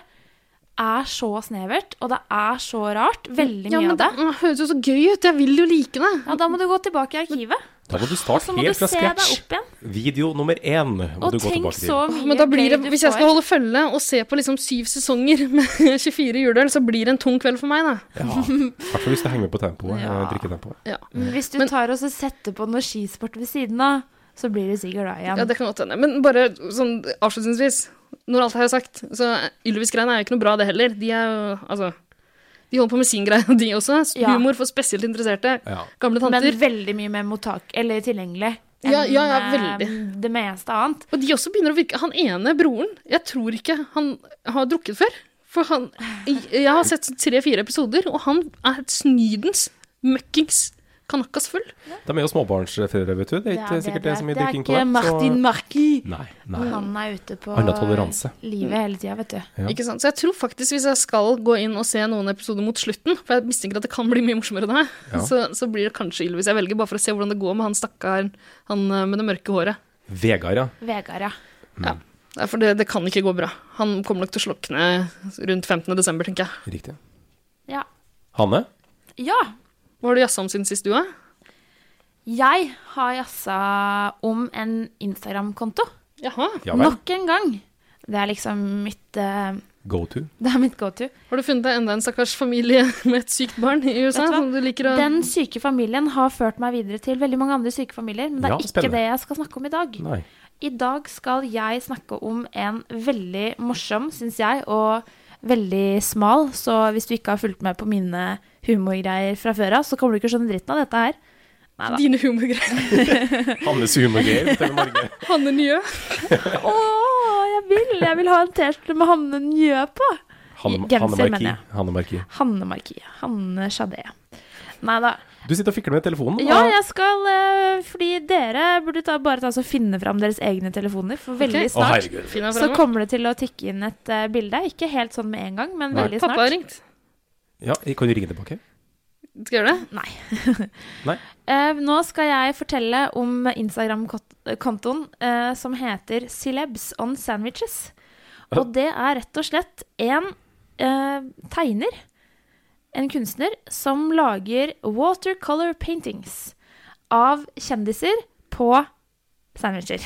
Speaker 2: er så snevert, og det er så rart. Veldig
Speaker 1: Ja,
Speaker 2: mye
Speaker 1: men
Speaker 2: av det.
Speaker 1: det åh, høres jo så gøy ut. Jeg vil jo like det.
Speaker 2: Ja, da må du gå tilbake i arkivet.
Speaker 3: Da må du
Speaker 2: Så
Speaker 3: starte
Speaker 2: Altså, må du
Speaker 3: helt fra
Speaker 2: se deg
Speaker 3: scratch.
Speaker 2: opp igjen.
Speaker 3: Video nummer én må
Speaker 2: Og
Speaker 3: du gå
Speaker 2: tenk
Speaker 3: tilbake
Speaker 2: så
Speaker 3: til.
Speaker 2: mye
Speaker 1: Men da blir det,
Speaker 2: gøy du
Speaker 1: hvis jeg skal
Speaker 2: får.
Speaker 1: holde følge og se på liksom syv sesonger med 24 juleøl, så blir det en tung kveld for meg, da.
Speaker 3: Ja, I hvert fall hvis det henger med på tempoet.
Speaker 2: Ja.
Speaker 3: eh, Drikketempoet.
Speaker 1: Ja,
Speaker 2: Men Hvis du tar og så setter på noe skisport ved siden av, så blir du sikkert glad igjen.
Speaker 1: ja det kan godt hende. Men bare sånn avslutningsvis, når alt er sagt, så Ylvis-greiene er jo ikke noe bra, det heller. De er jo Altså. De holder på med sin greie, de også.
Speaker 2: Ja.
Speaker 1: Humor for spesielt interesserte.
Speaker 3: Ja.
Speaker 1: Gamle
Speaker 2: Men
Speaker 1: tanter.
Speaker 2: veldig mye mer mottak, eller tilgjengelig enn
Speaker 1: Ja, ja, ja,
Speaker 2: eh,
Speaker 1: veldig.
Speaker 2: det meste annet.
Speaker 1: Og de også begynner å virke Han ene broren, jeg tror ikke han har drukket før. For han Jeg har sett tre-fire episoder, og han er et snydens, møkkings kanakkas full.
Speaker 3: De er jo småbarnsfedre, vet du. Det er ikke sikkert det er så mye
Speaker 2: det er
Speaker 3: drikking på
Speaker 2: ikke Martin
Speaker 3: det.
Speaker 2: Marquis.
Speaker 3: Nei, nei.
Speaker 2: Han
Speaker 1: Mm.
Speaker 2: er ute på
Speaker 3: Han har toleranse.
Speaker 2: livet hele tida, vet du.
Speaker 3: Ja.
Speaker 1: Ikke sant? Så jeg tror faktisk hvis jeg skal gå inn og se noen episoder mot slutten, for jeg mistenker at det kan bli mye morsommere enn det her,
Speaker 3: Ja.
Speaker 1: så, så blir det kanskje Ylvis jeg velger, bare for å se hvordan det går med han stakkaren han eh, med det mørke håret.
Speaker 3: Vegard, ja.
Speaker 2: Vegard, ja.
Speaker 3: Mm.
Speaker 1: Nei, For det, det kan ikke gå bra. Han kommer nok til å slokne rundt 15. desember, tenker jeg.
Speaker 3: Riktig.
Speaker 2: ja.
Speaker 3: Hanne?
Speaker 2: Ja,
Speaker 1: Hva har du jazza om siden sist du, da?
Speaker 2: jeg har jassa om en Instagram-konto.
Speaker 1: Jaha.
Speaker 3: Ja vel.
Speaker 2: Nok en gang. Det er liksom mitt eh,
Speaker 3: Go to.
Speaker 2: Det er mitt go to.
Speaker 1: Har du funnet deg enda en stakkars familie med et sykt barn i USA
Speaker 2: Vet du hva?
Speaker 1: som du liker å
Speaker 2: Den syke familien har ført meg videre til veldig mange andre syke familier, men det er
Speaker 3: Ja,
Speaker 2: ikke
Speaker 3: spennende.
Speaker 2: det jeg skal snakke om i dag.
Speaker 3: Nei.
Speaker 2: I dag skal jeg snakke om en veldig morsom, syns jeg, og veldig smal, så hvis du ikke har fulgt med på mine humorgreier fra før av, så kommer du ikke skjønne dritten av dette her. Neida.
Speaker 1: Dine humorgreier.
Speaker 3: Hannes humorgame til Norge.
Speaker 1: Hanne Njø.
Speaker 2: Å, jeg vil! Jeg vil ha en T-skjorte med Hanne Njø på!
Speaker 3: Hanne,
Speaker 2: Genser,
Speaker 3: Hanne Marki.
Speaker 2: mener jeg.
Speaker 3: Hanne Marki.
Speaker 2: Hanne Marquis. Hanne Chadé. Nei da.
Speaker 3: Du sitter og fikler med telefonen.
Speaker 2: Ja, jeg skal eh, Fordi dere burde ta, bare ta og finne fram deres egne telefoner, for veldig
Speaker 3: Å,
Speaker 2: snart
Speaker 3: herregud.
Speaker 1: Finn deg
Speaker 2: så
Speaker 1: fremme.
Speaker 2: kommer det til å tikke inn et eh, bilde. Ikke helt sånn med en gang, men
Speaker 3: Nei.
Speaker 2: veldig
Speaker 1: Pappa har
Speaker 2: snart.
Speaker 1: ringt.
Speaker 3: Ja, kan du ringe tilbake?
Speaker 1: Skal jeg gjøre det?
Speaker 2: Nei.
Speaker 3: Nei.
Speaker 2: Eh, nå skal jeg fortelle om Instagram-kontoen eh, som heter Celebs on Sandwiches. Og det er rett og slett en eh, tegner, en kunstner, som lager watercolor paintings av kjendiser på sandwicher.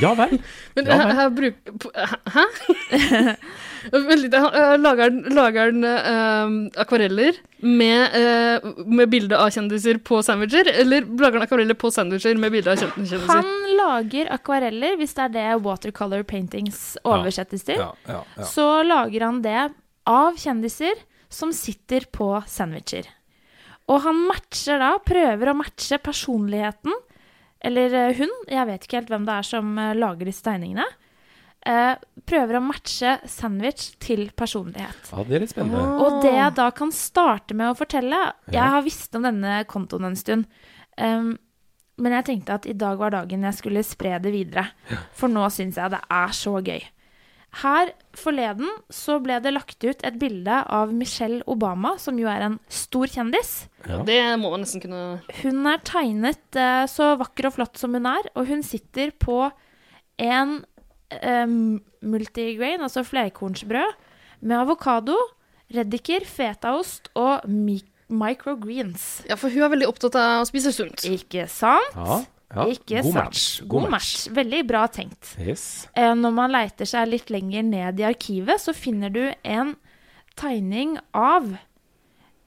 Speaker 3: Ja vel.
Speaker 1: Men
Speaker 3: Ja,
Speaker 1: jeg,
Speaker 3: nei.
Speaker 1: jeg bruker Hæ? Vent litt, jeg- jeg lager den- lager den eh, akvareller med, eh, med bilde av kjendiser på sandwicher? Eller lager den akvareller på sandwicher med bilde av kjen- kjendiser?
Speaker 2: Han lager akvareller, hvis det er det watercolor paintings oversettes til.
Speaker 3: Ja, ja, ja.
Speaker 2: så lager han det av kjendiser som sitter på sandwicher. Og han matcher da, prøver å matche personligheten, eller eh, hun, jeg vet ikke helt hvem det er som eh, lager disse tegningene, eh, prøver å matche sandwich til personlighet.
Speaker 3: ja det er litt spennende.
Speaker 2: Og det jeg da kan starte med å fortelle, jeg har visst om denne kontoen en stund, em, men jeg tenkte at i dag var dagen jeg skulle spre det videre, for nå syns jeg det er så gøy. Her forleden så ble det lagt ut et bilde av Michelle Obama, som jo er en stor kjendis.
Speaker 1: Det må man nesten kunne
Speaker 2: Hun er tegnet eh, så vakker og flott som hun er, og hun sitter på en eh, multigrain, altså flerkornsbrød, med avokado, reddiker, fetaost og mi microgreens.
Speaker 1: Ja, for hun er veldig opptatt av å spise sunt.
Speaker 2: Ikke sant?
Speaker 3: Ja, ja.
Speaker 2: Ikke
Speaker 3: God
Speaker 2: sant?
Speaker 3: match.
Speaker 2: God match. Veldig bra tenkt.
Speaker 3: Yes.
Speaker 2: Eh, Når man leiter seg litt lenger ned i arkivet, så finner du en tegning av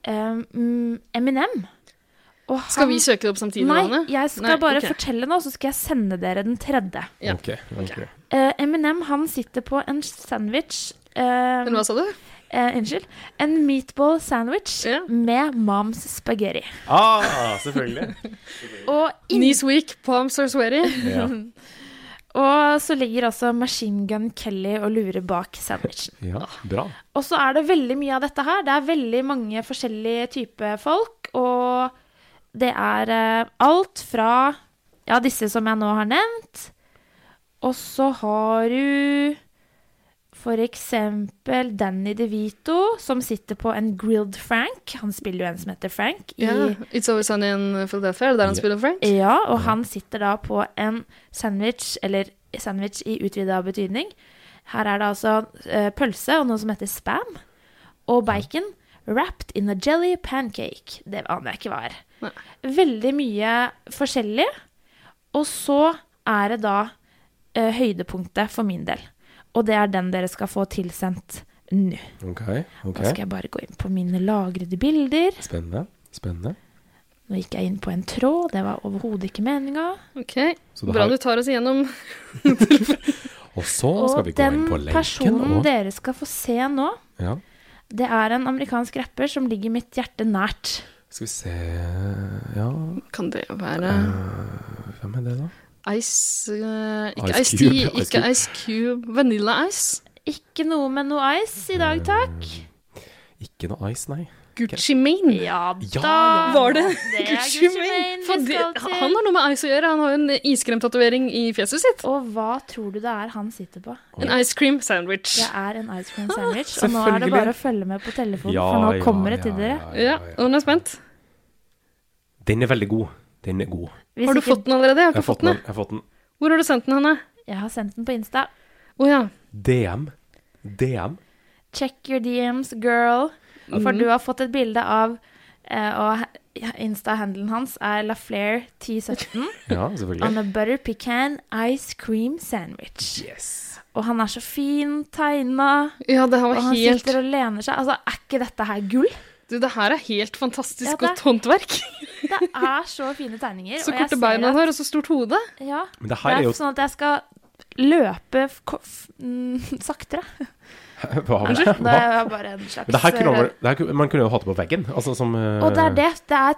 Speaker 2: eh, mm, Eminem. Og
Speaker 1: Skal
Speaker 2: han-
Speaker 1: vi søke det opp samtidig?
Speaker 2: Nei,
Speaker 1: Johanne?
Speaker 2: jeg skal
Speaker 1: Nei,
Speaker 2: bare
Speaker 1: ok.
Speaker 2: fortelle nå, så skal jeg sende dere den tredje.
Speaker 1: Ja.
Speaker 3: Ok. ok.
Speaker 2: Eh, Eminem han sitter på en sandwich eh,
Speaker 1: Men hva sa du?
Speaker 2: eh, Unnskyld. En meatball sandwich
Speaker 1: Ja.
Speaker 2: med moms spaghetti.
Speaker 3: Ah, selvfølgelig.
Speaker 2: Og, inn,
Speaker 1: Knees weak, palms are sweaty.
Speaker 3: Ja.
Speaker 2: og så ligger altså Machine Gun Kelly og lurer bak sandwichen.
Speaker 3: ja, bra.
Speaker 2: Og så er det veldig mye av dette her. Det er veldig mange forskjellige typer folk, og det er eh, alt fra ja, disse som jeg nå har nevnt, og så har du for eksempel Danny DeVito, som sitter på en grilled Frank. Han spiller jo en som heter Frank. I,
Speaker 1: Ja. It's always sunny in Philadelphia. Er det der han spiller Frank?
Speaker 2: ja, og han sitter da på en sandwich, eller sandwich i utvida betydning. Her er det altså eh, pølse og noe som heter spam, og bacon wrapped in a jelly pancake. Det aner jeg ikke hva er.
Speaker 1: Nei.
Speaker 2: Veldig mye forskjellig. Og så er det da eh, høydepunktet for min del. Og det er den dere skal få tilsendt nå.
Speaker 3: Ok, ok.
Speaker 2: Da skal jeg bare gå inn på mine lagrede bilder.
Speaker 3: Spennende. Spennende.
Speaker 2: Nå gikk jeg inn på en tråd, det var overhodet ikke meninga.
Speaker 1: Ok,
Speaker 3: Så det
Speaker 1: Bra
Speaker 3: har-
Speaker 1: du tar oss igjennom.
Speaker 3: Og så skal
Speaker 2: Og
Speaker 3: vi gå
Speaker 2: den
Speaker 3: inn på lenken.
Speaker 2: personen
Speaker 3: Og,
Speaker 2: dere skal få se nå,
Speaker 3: ja.
Speaker 2: det er en amerikansk rapper som ligger mitt hjerte nært.
Speaker 3: Skal vi se Ja,
Speaker 1: Kan det
Speaker 3: Eh.
Speaker 1: være
Speaker 3: hvem er det, da?
Speaker 1: Ice eh, Ikke
Speaker 3: Ice
Speaker 1: Ice
Speaker 3: Cube,
Speaker 1: Tea,
Speaker 3: Ice
Speaker 1: ikke
Speaker 3: Cube.
Speaker 1: Ice Cube. Vanilla Ice.
Speaker 2: Ikke noe med noe ice i dag, takk.
Speaker 3: Ikke noe Ice, nei.
Speaker 1: Gucci Mane.
Speaker 2: Ja
Speaker 3: Ja,
Speaker 2: da.
Speaker 3: ja.
Speaker 1: Var det
Speaker 2: Det er
Speaker 1: Gucci Mane
Speaker 2: Gucci Mane vi
Speaker 1: For det-
Speaker 2: skal til.
Speaker 1: Han har noe med ice å gjøre. Han har jo en iskremtatovering i fjeset sitt.
Speaker 2: Og hva tror du det er han sitter på?
Speaker 1: En ice cream sandwich.
Speaker 2: Det er en ice
Speaker 1: Ah,
Speaker 2: cream sandwich, og nå er det
Speaker 3: Selvfølgelig.
Speaker 2: bare å følge med på telefonen, for nå kommer det til dere.
Speaker 1: Ja, og hun er spent.
Speaker 3: Den er veldig god. Den er god.
Speaker 2: Hvis
Speaker 1: Har du
Speaker 2: ikke-
Speaker 1: fått den allerede? Jeg har
Speaker 3: Jeg har
Speaker 1: ikke
Speaker 3: fått
Speaker 1: fått den.
Speaker 3: den.
Speaker 1: jeg.
Speaker 3: Jeg har fått den.
Speaker 1: Hvor har du sendt den henne?
Speaker 2: Jeg har sendt den på Insta.
Speaker 1: Å ja.
Speaker 3: DM. DM.
Speaker 2: Check your DMs, girl.
Speaker 3: Mm.
Speaker 2: For du har fått et bilde av eh, Og he- Insta-handelen hans er Laflair1017.
Speaker 3: Ja,
Speaker 2: On
Speaker 3: selvfølgelig.
Speaker 2: a butter pecan ice cream sandwich.
Speaker 3: Yes.
Speaker 2: Og han er så fin tegna,
Speaker 1: Ja, det her
Speaker 2: og
Speaker 1: var
Speaker 2: han
Speaker 1: helt
Speaker 2: sitter og lener seg. Altså, er ikke dette her gull?
Speaker 1: Du, det her er helt fantastisk
Speaker 2: Ja, det er-
Speaker 1: godt håndverk.
Speaker 2: Det er så fine tegninger.
Speaker 1: Så
Speaker 2: og jeg
Speaker 1: korte
Speaker 2: ser
Speaker 1: beina
Speaker 2: at-
Speaker 1: han har, og så stort hode.
Speaker 2: Ja.
Speaker 3: Men det
Speaker 2: Det
Speaker 3: her
Speaker 2: er
Speaker 3: er jo
Speaker 2: sånn at jeg skal løpe f ko- f mm, saktere.
Speaker 3: Hva var det?
Speaker 2: Det er bare en slags eh,
Speaker 3: Men det her kunne man, det her, kunne- man kunne jo hatt det på veggen. Altså som eh,
Speaker 2: Og det er det. Det er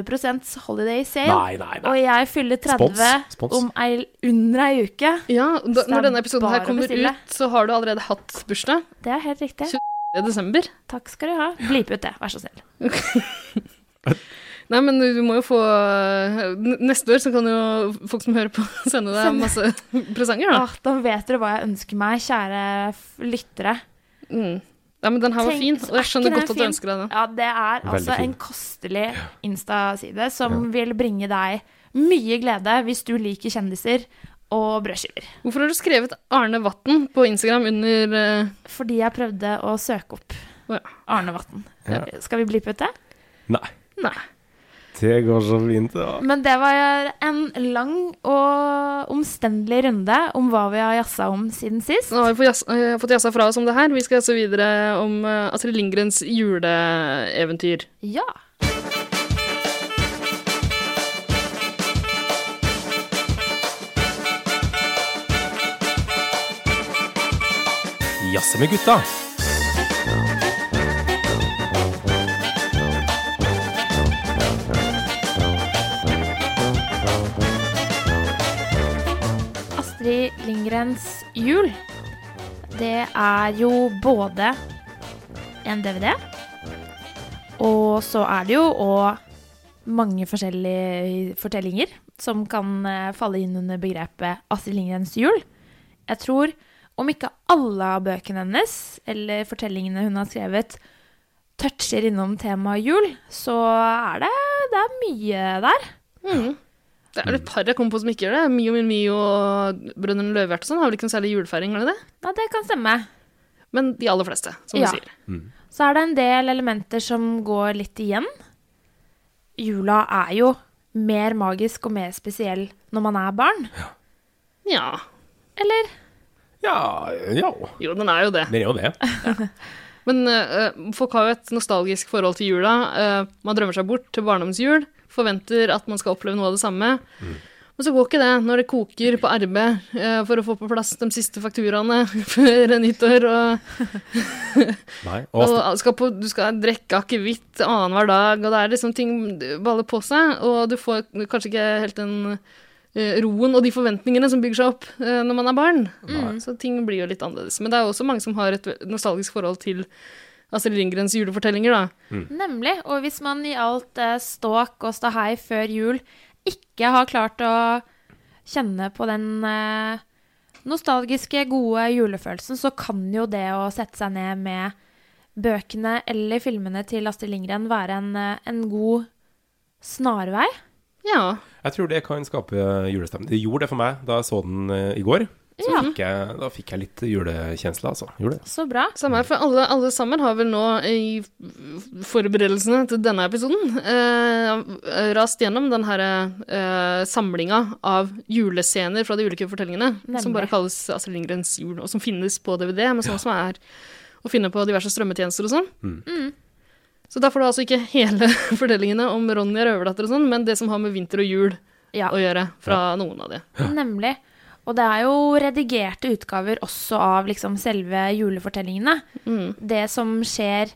Speaker 2: 30 holiday sale.
Speaker 3: Nei, nei, nei.
Speaker 2: Og jeg fyller 30
Speaker 3: Spons, spons.
Speaker 2: om ei, under ei uke.
Speaker 1: Ja, da,
Speaker 2: Så det er
Speaker 1: Når denne episoden
Speaker 2: bare
Speaker 1: her
Speaker 2: å
Speaker 1: kommer
Speaker 2: bestille.
Speaker 1: ut, så har du allerede hatt bursdag.
Speaker 2: Det er helt riktig.
Speaker 1: Det er desember.
Speaker 2: Takk skal du ha. Blip ut det, vær så snill.
Speaker 1: Nei, men du må jo få eh, n- Neste år så kan jo folk som hører på, sende deg
Speaker 2: Sende.
Speaker 1: masse presanger, da.
Speaker 2: Åh, da vet dere hva jeg ønsker meg, kjære f- lyttere.
Speaker 1: Mm. Nei, men den her var
Speaker 2: Tenk,
Speaker 1: fin, og
Speaker 2: er
Speaker 1: jeg
Speaker 2: ikke
Speaker 1: skjønner
Speaker 2: den
Speaker 1: godt at du
Speaker 2: fin?
Speaker 1: ønsker deg den.
Speaker 2: Ja, det er
Speaker 3: Veldig
Speaker 2: altså
Speaker 3: fin.
Speaker 2: en kostelig Insta-side som vil bringe deg mye glede hvis du liker kjendiser og brødskiver.
Speaker 1: Hvorfor har du skrevet Arne Vatten på Instagram under eh,
Speaker 2: Fordi jeg prøvde å søke opp
Speaker 1: Å ja.
Speaker 2: Arne Vatn.
Speaker 3: Ja.
Speaker 2: Skal vi bli på det?
Speaker 3: Nei.
Speaker 1: Nei.
Speaker 3: Det går så fint, da.
Speaker 2: Men det var en lang og omstendelig runde om hva vi har jazza om siden sist.
Speaker 1: Nå har vi fått jazz- eh, fått jazza fra oss om det her. Vi skal jazze videre om eh, Astrid Lindgrens juleeventyr.
Speaker 2: Ja.
Speaker 3: Jazze med gutta.
Speaker 2: Astrid Lindgrens jul, det er jo både en DVD, og så er det jo òg mange forskjellige fortellinger som kan eh, falle inn under begrepet Astrid Lindgrens jul. Jeg tror om ikke alle av bøkene hennes, eller fortellingene hun har skrevet, toucher innom temaet jul, så er det, det er mye der.
Speaker 1: Det er vel et par jeg kom på som ikke gjør det. Mio Min Mio og Brødrene Løvehjerte og sånn har vel ikke noe særlig julefeiring, har de det?
Speaker 2: Nei, det kan stemme.
Speaker 1: Men de aller fleste, som
Speaker 2: Ja.
Speaker 1: du sier.
Speaker 2: Så er det en del elementer som går litt igjen. Jula er jo mer magisk og mer spesiell når man er barn.
Speaker 1: Ja.
Speaker 2: Eller?
Speaker 3: Ja, ja.
Speaker 1: Jo, den er jo det.
Speaker 3: Det er jo det.
Speaker 1: Men eh, folk har jo et nostalgisk forhold til jula. Eh, man drømmer seg bort til barndomsjul, forventer at man skal oppleve noe av det samme. Men så går ikke det når det koker på RB eh, for å få på plass de siste fakturaene før nyttår. Og,
Speaker 3: Nei. Og
Speaker 1: og
Speaker 3: Astrid,
Speaker 1: skal på, du skal drikke akevitt annenhver dag, og det er liksom ting baller på seg. Og du får kanskje ikke helt den eh, roen og de forventningene som bygger seg opp eh, når man er barn. Mm, Så ting blir jo litt annerledes. Men det er jo også mange som har et nostalgisk forhold til Astrid Lindgrens julefortellinger, da.
Speaker 2: Nemlig. Og hvis man i alt eh, ståk og ståhei før jul ikke har klart å kjenne på den eh, nostalgiske, gode julefølelsen, så kan jo det å sette seg ned med bøkene eller filmene til Astrid Lindgren være en, eh, en god snarvei.
Speaker 1: Ja.
Speaker 3: jeg tror det kan skape julestemning. Det gjorde det for meg da jeg så den eh, i går. Så
Speaker 2: Ja.
Speaker 3: fikk jeg, da fikk jeg litt julekjensle, altså. Gjorde det.
Speaker 2: Så bra.
Speaker 1: Samme her, for alle, alle sammen har vel nå i f- forberedelsene til denne episoden eh, rast gjennom den her eh, samlinga av julescener fra de ulike fortellingene,
Speaker 2: Nemlig.
Speaker 1: som bare kalles Astrid Lindgrens jul, og som finnes på DVD, men sånn som er å finne på diverse strømmetjenester og sånn.
Speaker 2: Mm.
Speaker 1: Så der får du altså ikke hele fortellingene om Ronja Røverdatter og sånn, men det som har med vinter og jul
Speaker 2: Ja.
Speaker 1: å gjøre, fra noen av de.
Speaker 2: Nemlig. Og det er jo redigerte utgaver også av liksom selve julefortellingene.
Speaker 1: Mm.
Speaker 2: Det som skjer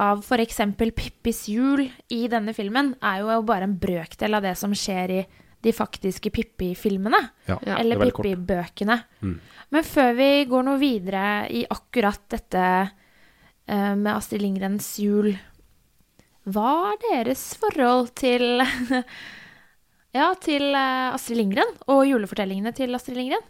Speaker 2: av f.eks. Pippis jul i denne filmen, er jo bare en brøkdel av det som skjer i de faktiske Pippi-filmene.
Speaker 3: Ja.
Speaker 1: Ja.
Speaker 2: eller
Speaker 3: det er veldig kort. Mm.
Speaker 2: Pippi-bøkene. Men før vi går noe videre i akkurat dette eh, med Astrid Lindgrens jul, hva er deres forhold til Ja, til eh, Astrid Lindgren og julefortellingene til Astrid Lindgren?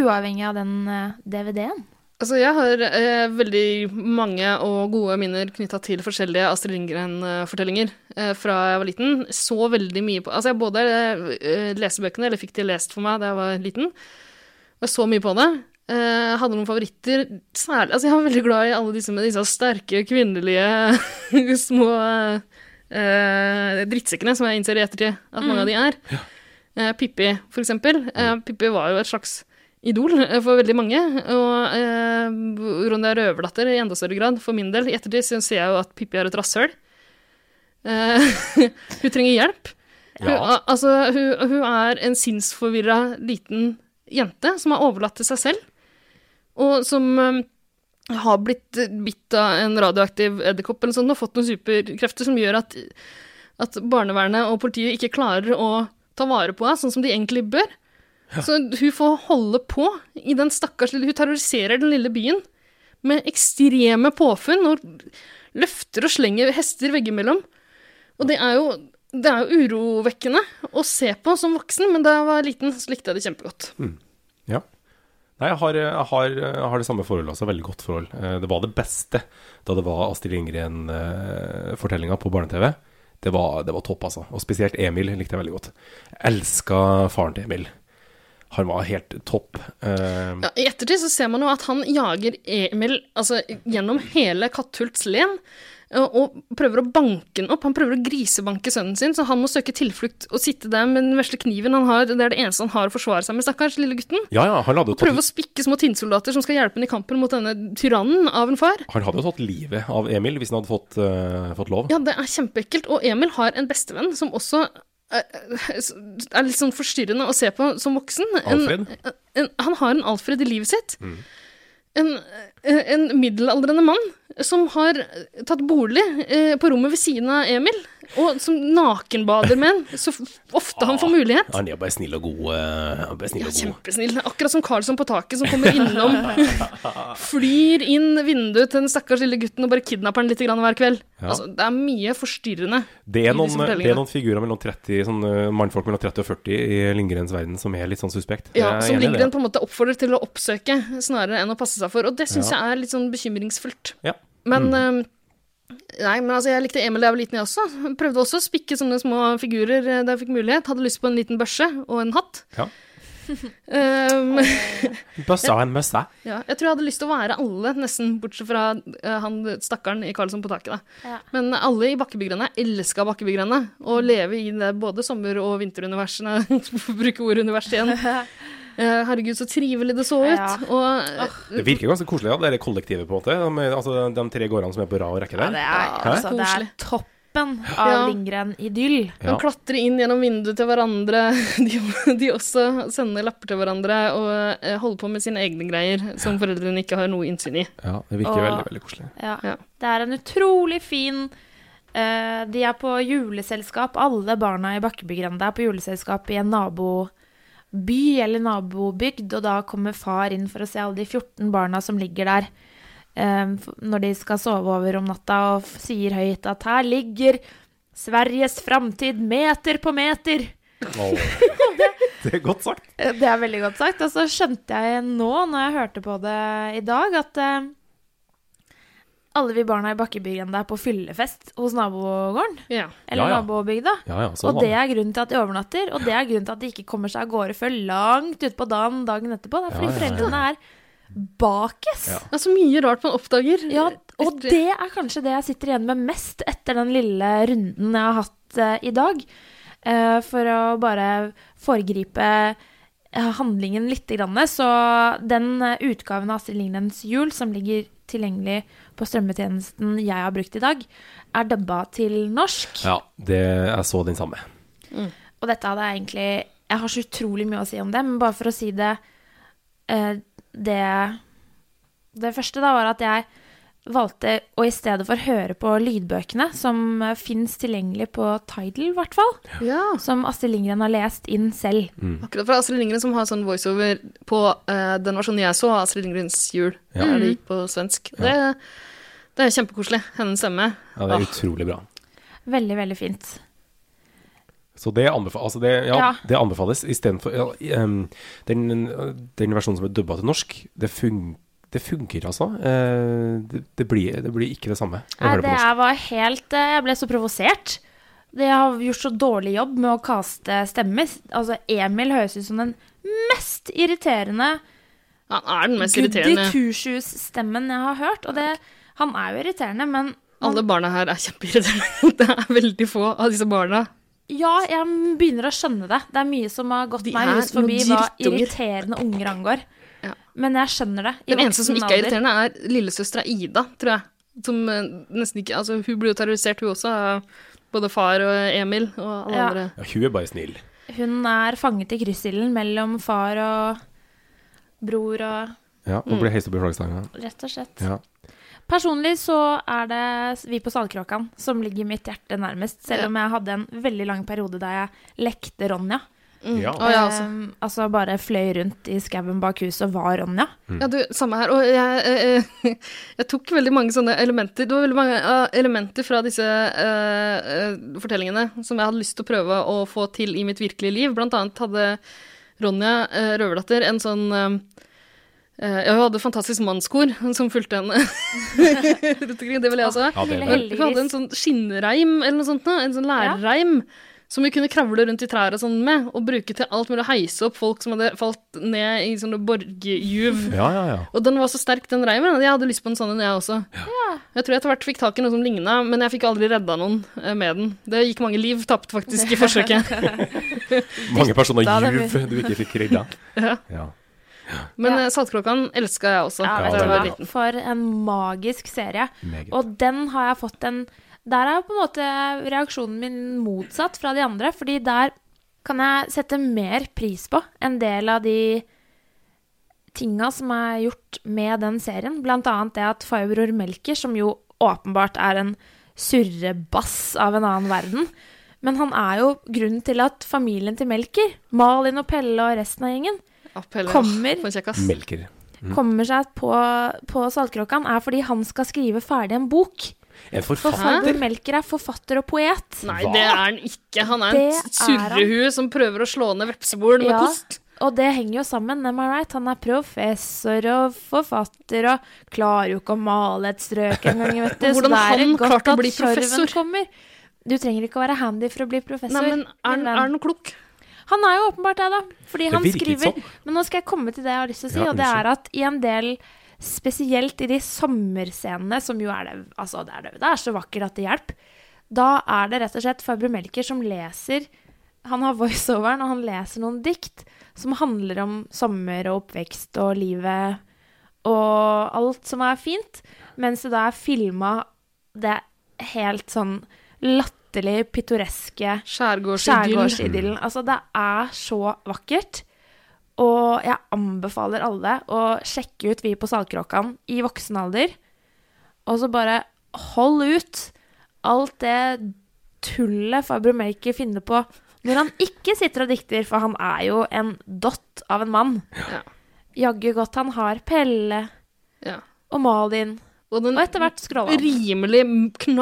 Speaker 2: Uavhengig av den eh, DVD-en.
Speaker 1: Altså, jeg har eh, veldig mange og gode minner knytta til forskjellige Astrid Lindgren-fortellinger eh, fra jeg var liten. Så veldig mye på Altså, jeg både eh, leste bøkene, eller fikk de lest for meg da jeg var liten. Jeg så mye på det. Eh, hadde noen favoritter. Særlig Altså, jeg var veldig glad i alle disse med disse sterke, kvinnelige små eh, drittsekkene, som jeg innser i ettertid at mange av de er. Eh, Pippi, for eksempel. Eh, Pippi var jo et slags idol eh, for veldig mange. Og eh, Ronja Røverdatter i enda større grad, for min del. I ettertid så ser jeg jo at Pippi er et rasshøl. Eh, hun trenger hjelp. Hun,
Speaker 3: Ja.
Speaker 1: al- altså, hun, hun er en sinnsforvirra liten jente som er overlatt til seg selv, og som eh, har blitt eh, bitt av en radioaktiv edderkopp eller sånn, og fått noen superkrefter som gjør at, at barnevernet og politiet ikke klarer å ta vare på henne, sånn som de egentlig bør. Så hun får holde på i den stakkars lille Hun terroriserer den lille byen med ekstreme påfunn og løfter og slenger hester veggimellom. Og det er jo det er jo urovekkende å se på som voksen, men da jeg var liten, så likte jeg det kjempegodt.
Speaker 3: Ja. Nei, jeg har, jeg har, jeg har det samme forholdet, altså. Veldig godt forhold. Eh, Det var det beste da det var Astrid Lindgren-fortellinga på barne-TV. Det var, det var topp, altså. Og spesielt Emil likte jeg veldig godt. Jeg elska faren til Emil. Han var helt topp. Eh,
Speaker 1: Ja, I ettertid så ser man jo at han jager Emil altså, gjennom hele Katthults len. eh, Og prøver å banke den opp. Han prøver å grisebanke sønnen sin, så han må søke tilflukt og sitte der med den vesle kniven han har. Det er det eneste han har å forsvare seg med, stakkars lille gutten.
Speaker 3: Ja, ja, han hadde jo
Speaker 1: Og prøve
Speaker 3: tatt,
Speaker 1: å spikke små tinnsoldater som skal hjelpe ham i kampen mot denne tyrannen av en far.
Speaker 3: han hadde jo tatt livet av Emil hvis han hadde fått, eh, fått lov.
Speaker 1: Ja, det er kjempeekkelt. Og Emil har en bestevenn som også eh, er litt sånn forstyrrende å se på som voksen. En-
Speaker 3: Alfred?
Speaker 1: en, han har en Alfred i livet sitt. En, eh, en middelaldrende mann som har tatt bolig eh, på rommet ved siden av Emil, og som nakenbader med en så f- ofte han får mulighet.
Speaker 3: Han er bare snill og god. eh, han er bare snill
Speaker 1: Ja,
Speaker 3: og god.
Speaker 1: kjempesnill. Akkurat som Karlsson på taket, som kommer innom. flyr inn vinduet til den stakkars lille gutten og bare kidnapper han litt grann hver kveld.
Speaker 3: Ja.
Speaker 1: Altså, det er mye forstyrrende.
Speaker 3: Det
Speaker 1: i
Speaker 3: er,
Speaker 1: disse
Speaker 3: noen, det
Speaker 1: fortellingene.
Speaker 3: er noen figurer mellom 30, sånn, eh, mannfolk mellom 30 og 40 i Lindgrens verden som er litt sånn suspekt.
Speaker 1: Ja,
Speaker 3: Jeg er
Speaker 1: som
Speaker 3: enig i
Speaker 1: Lindgren
Speaker 3: det.
Speaker 1: på en måte oppfordrer til å oppsøke, snarere enn å passe seg for. Og det syns jeg er litt sånn bekymringsfullt.
Speaker 3: Ja. Mm.
Speaker 1: Men eh, Nei, men altså, jeg likte Emil da jeg var liten, jeg også. Prøvde også å spikke sånne små figurer eh, da jeg fikk mulighet. Hadde lyst på en liten børse og en hatt.
Speaker 3: Ja.
Speaker 1: Um,
Speaker 3: Bøssa og en møssa.
Speaker 1: ja, jeg tror jeg hadde lyst til å være alle, nesten, bortsett fra eh, han stakkaren i Karlsson på taket. Da.
Speaker 2: Ja. Mm.
Speaker 1: Men alle i Bakkebygrenda elska Bakkebygrenda, og leve i det både sommer- og vinteruniversene, for å bruke ordet univers igjen. Eh, herregud, så trivelig det så ut.
Speaker 2: Ja.
Speaker 1: Og eh,
Speaker 3: Det
Speaker 2: Mm.
Speaker 3: virker ganske koselig, ja, det er kollektivet, på en måte. De, altså, de tre gårdene som er på rad og rekke
Speaker 2: Ja,
Speaker 3: der.
Speaker 2: det er, altså, det
Speaker 1: ah,
Speaker 2: er
Speaker 1: Koselig.
Speaker 2: toppen av
Speaker 1: Ja.
Speaker 2: Lindgren-idyll.
Speaker 1: de
Speaker 3: Ja.
Speaker 1: klatrer inn gjennom vinduet til hverandre. De, de også sender lapper til hverandre og eh, holder på med sine egne greier som foreldrene ikke har noe innsyn i.
Speaker 3: Ja, det virker
Speaker 2: Og-
Speaker 3: veldig, veldig koselig.
Speaker 2: Ja.
Speaker 1: Ja.
Speaker 2: Det er en utrolig fin eh, De er på juleselskap, alle barna i Bakkebygrenda er på juleselskap i en naboby eller nabobygd, og da kommer far inn for å se alle de 14 barna som ligger der eh, f- når de skal sove over om natta, og f- sier høyt at her ligger Sveriges framtid meter på meter.
Speaker 3: Det er godt sagt.
Speaker 2: Eh, Det er veldig godt sagt. Og så skjønte jeg nå, når jeg hørte på det i dag, at eh, alle vi barna i Bakkebygrenda er på fyllefest hos nabogården.
Speaker 1: Ja.
Speaker 2: Eller
Speaker 3: Ja, ja.
Speaker 2: nabobygda.
Speaker 3: Ja, ja, sånn
Speaker 2: og det
Speaker 3: var
Speaker 2: er grunnen til at de overnatter, og det er grunnen til at de ikke kommer seg av gårde før langt utpå dagen dagen etterpå. Det er fordi
Speaker 3: Ja, ja, ja.
Speaker 2: foreldrene er bakes.
Speaker 3: Ja.
Speaker 1: Det er så mye rart man oppdager.
Speaker 2: Ja, og det er kanskje det jeg sitter igjen med mest etter den lille runden jeg har hatt eh, i dag. Eh, for å bare foregripe eh, handlingen litt. Grann. Så den eh, utgaven av Astrid Lindgrens Jul som ligger tilgjengelig på strømmetjenesten jeg har brukt i dag, er dubba til norsk.
Speaker 3: Ja, det, jeg så den samme.
Speaker 2: Og dette hadde jeg egentlig Jeg har så utrolig mye å si om det, men bare for å si det eh, Det, det første da var at jeg valgte å i stedet for høre på lydbøkene, som uh, fins tilgjengelig på Tidal, i hvert fall,
Speaker 1: Ja.
Speaker 2: som Astrid Lindgren har lest inn selv.
Speaker 1: Akkurat fra Astrid Lindgren, som har sånn voiceover på eh, den versjonen jeg så av Astrid Lindgrens jul,
Speaker 3: Ja. Mm.
Speaker 1: der det gikk på svensk. Det, det er kjempekoselig. Hennes stemme.
Speaker 3: Ja, det er utrolig bra.
Speaker 2: Veldig, veldig fint.
Speaker 3: Så det, anbefales, altså det, ja,
Speaker 2: Ja.
Speaker 3: det anbefales istedenfor ja, i, em, den, den versjonen som er dubba til norsk. Det, fun, det funker, altså. Eh, det, det, blir, det blir ikke det samme. å
Speaker 2: Nei,
Speaker 3: høre på
Speaker 2: det
Speaker 3: norsk.
Speaker 2: jeg var helt eh, Jeg ble så provosert. De har gjort så dårlig jobb med å kaste stemmer. Altså, Emil høres ut som den mest irriterende
Speaker 1: Han er den mest
Speaker 2: Goody
Speaker 1: irriterende.
Speaker 2: Two-Shoes-stemmen jeg har hørt. Og det, han er jo irriterende, men
Speaker 1: Alle barna her er kjempeirriterende. Det er veldig få av disse barna.
Speaker 2: ja, jeg begynner å skjønne det. Det er mye som har gått
Speaker 1: De
Speaker 2: meg
Speaker 1: er
Speaker 2: hus forbi
Speaker 1: noen
Speaker 2: hva
Speaker 1: drittunger.
Speaker 2: irriterende unger angår.
Speaker 1: Ja.
Speaker 2: Men jeg skjønner det. i
Speaker 1: Den eneste som
Speaker 2: voksen
Speaker 1: ikke er
Speaker 2: alder.
Speaker 1: irriterende, er lillesøstera Ida, tror jeg. Som eh, nesten ikke Altså, hun ble jo terrorisert, hun også. av Både far og Emil og alle
Speaker 2: Ja.
Speaker 1: andre.
Speaker 3: Ja, hun er bare snill.
Speaker 2: Hun er fanget i kryssilden mellom far og bror og
Speaker 3: Ja, og ble heist opp i flaggstanga.
Speaker 2: Rett og slett.
Speaker 3: Ja.
Speaker 2: Personlig så er det Vi på Saltkråkan som ligger mitt hjerte nærmest. Selv om jeg hadde en veldig lang periode der jeg lekte Ronja.
Speaker 3: Ja.
Speaker 1: Å, ja, altså.
Speaker 2: Ehm, altså bare fløy rundt i skauen bak huset og var Ronja.
Speaker 1: Ja, du, samme her. Og jeg, eh, eh, jeg tok veldig mange sånne elementer. Det var veldig mange eh, elementer fra disse eh, eh, fortellingene som jeg hadde lyst til å prøve å få til i mitt virkelige liv. Blant annet hadde Ronja, uh, røverdatter, en sånn eh, eh, ja, hun hadde fantastisk mannskor som fulgte henne rundt omkring. Det ville jeg også. ha.
Speaker 3: Ja, det
Speaker 2: Lille
Speaker 3: er det.
Speaker 2: Heldigvis.
Speaker 1: Hun hadde en sånn skinnreim eller noe sånt, nå, en sånn lærreim, som vi kunne kravle rundt i trær og sånn med, og bruke til alt mulig å heise opp folk som hadde falt ned i sånne borgerjuv.
Speaker 3: Ja, ja, ja.
Speaker 1: Og den var så sterk, den reimen. at Jeg hadde lyst på en sånn en, jeg også. Jeg tror jeg etter hvert fikk tak i noe som ligna, men jeg fikk aldri redda noen eh, med den. Det gikk mange liv tapt, faktisk, i forsøket.
Speaker 3: Mange personer
Speaker 2: Da hadde
Speaker 3: juv du ikke fikk redda. Ja.
Speaker 1: Men
Speaker 2: Ja.
Speaker 1: eh, Saltkråkan elska jeg også.
Speaker 2: Ja,
Speaker 1: da
Speaker 2: vet
Speaker 1: jeg
Speaker 2: du
Speaker 1: var
Speaker 2: hva.
Speaker 1: liten.
Speaker 2: For en magisk serie.
Speaker 3: Meget.
Speaker 2: Og den har jeg fått en Der er på en måte reaksjonen min motsatt fra de andre. Fordi der kan jeg sette mer pris på en del av de tinga som er gjort med den serien. Blant annet det at farbror Melker, som jo åpenbart er en surrebass av en annen verden men han er jo grunnen til at familien til Melker, Malin og Pelle og resten av gjengen,
Speaker 1: Ja, Pelle,
Speaker 2: Kommer.
Speaker 1: åh, for en kjekk, ass.
Speaker 3: Melker.
Speaker 2: kommer seg på, på Saltkråkan, er fordi han skal skrive ferdig en bok.
Speaker 3: En
Speaker 2: For
Speaker 3: forfatter.
Speaker 2: Farbror Melker er forfatter og poet.
Speaker 1: Nei,
Speaker 3: Hva?
Speaker 1: det er han ikke. Han er
Speaker 2: Det er
Speaker 1: en surrehue som prøver å slå ned vepsebol med
Speaker 2: Ja.
Speaker 1: kost.
Speaker 2: Og det henger jo sammen. Am I right? Han er professor og forfatter og klarer jo ikke å male et strøk engang, vet du.
Speaker 1: Hvordan
Speaker 2: Så det er
Speaker 1: han
Speaker 2: godt
Speaker 1: klarte å
Speaker 2: at
Speaker 1: bli
Speaker 2: kjørven
Speaker 1: professor?
Speaker 2: Kommer. Du trenger ikke å være handy for å bli professor.
Speaker 1: Nei, men er
Speaker 2: min
Speaker 1: han-
Speaker 2: venn.
Speaker 1: er han noe klok?
Speaker 2: Han er jo åpenbart det, da. Fordi
Speaker 3: Det
Speaker 2: han
Speaker 3: virket
Speaker 2: skriver
Speaker 3: sånn.
Speaker 2: Men nå skal jeg komme til det jeg har lyst til å si,
Speaker 3: Ja,
Speaker 2: og det
Speaker 3: unnskyld.
Speaker 2: er at i en del Spesielt i de sommerscenene, som jo er det Altså, det er, det, det er så vakkert at det hjelper. Da er det rett og slett Fabre Melker som leser Han har voiceoveren, og han leser noen dikt som handler om sommer og oppvekst og livet og alt som er fint, mens det da er filma det helt sånn latterlig pittoreske
Speaker 1: Skjærgårdsidyll.
Speaker 2: Skjærgårdsidyllen. Altså, det er så vakkert. Og jeg anbefaler alle å sjekke ut Vi på Saltkråkan i voksen alder. Og så bare hold ut alt det tullet Fabro Maker finner på når han ikke sitter og dikter, for han er jo en dott av en mann.
Speaker 1: Ja.
Speaker 2: Jaggu godt han har Pelle
Speaker 1: Ja.
Speaker 2: og Malin,
Speaker 1: Og
Speaker 2: og
Speaker 1: den
Speaker 2: etter hvert Skrålan.
Speaker 1: rimelig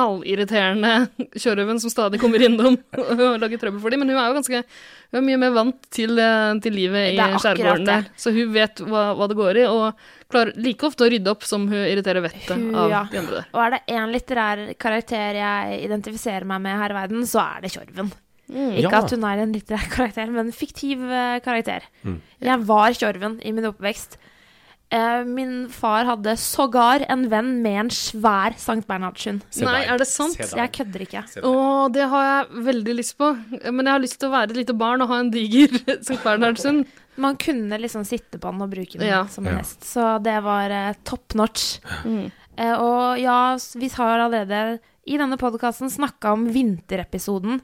Speaker 1: knallirriterende kjørerøven som stadig kommer innom og lager trøbbel for dem. Men hun er jo ganske Hun er mye mer vant til, eh, til livet i
Speaker 2: Det er akkurat
Speaker 1: skjærgården der.
Speaker 2: det.
Speaker 1: Så hun vet hva, hva det går i, og klarer like ofte å rydde opp som hun irriterer vettet
Speaker 2: Hun,
Speaker 1: av
Speaker 2: ja.
Speaker 1: de andre der.
Speaker 2: Og er det én litterær karakter jeg identifiserer meg med her i verden, så er det Tjorven. Ikke
Speaker 3: Ja.
Speaker 2: at hun er en litterær karakter, men en fiktiv eh, karakter. Jeg var Tjorven i min oppvekst. Eh, Min far hadde sågar en venn med en svær Sankt Bernhardshund.
Speaker 3: Se
Speaker 1: Nei,
Speaker 3: der.
Speaker 1: er det sant?
Speaker 3: Se der.
Speaker 2: Jeg kødder ikke.
Speaker 3: Se der.
Speaker 1: Å, det har jeg veldig lyst på. Men jeg har lyst til å være et lite barn og ha en diger Sankt Bernhardshund.
Speaker 2: Man kunne liksom sitte på den og bruke den
Speaker 1: Ja.
Speaker 2: som en
Speaker 3: Ja.
Speaker 2: hest. Så det var eh, top notch.
Speaker 1: Mm.
Speaker 2: Eh, og ja, s- vi har allerede i denne podkasten snakka om vinterepisoden.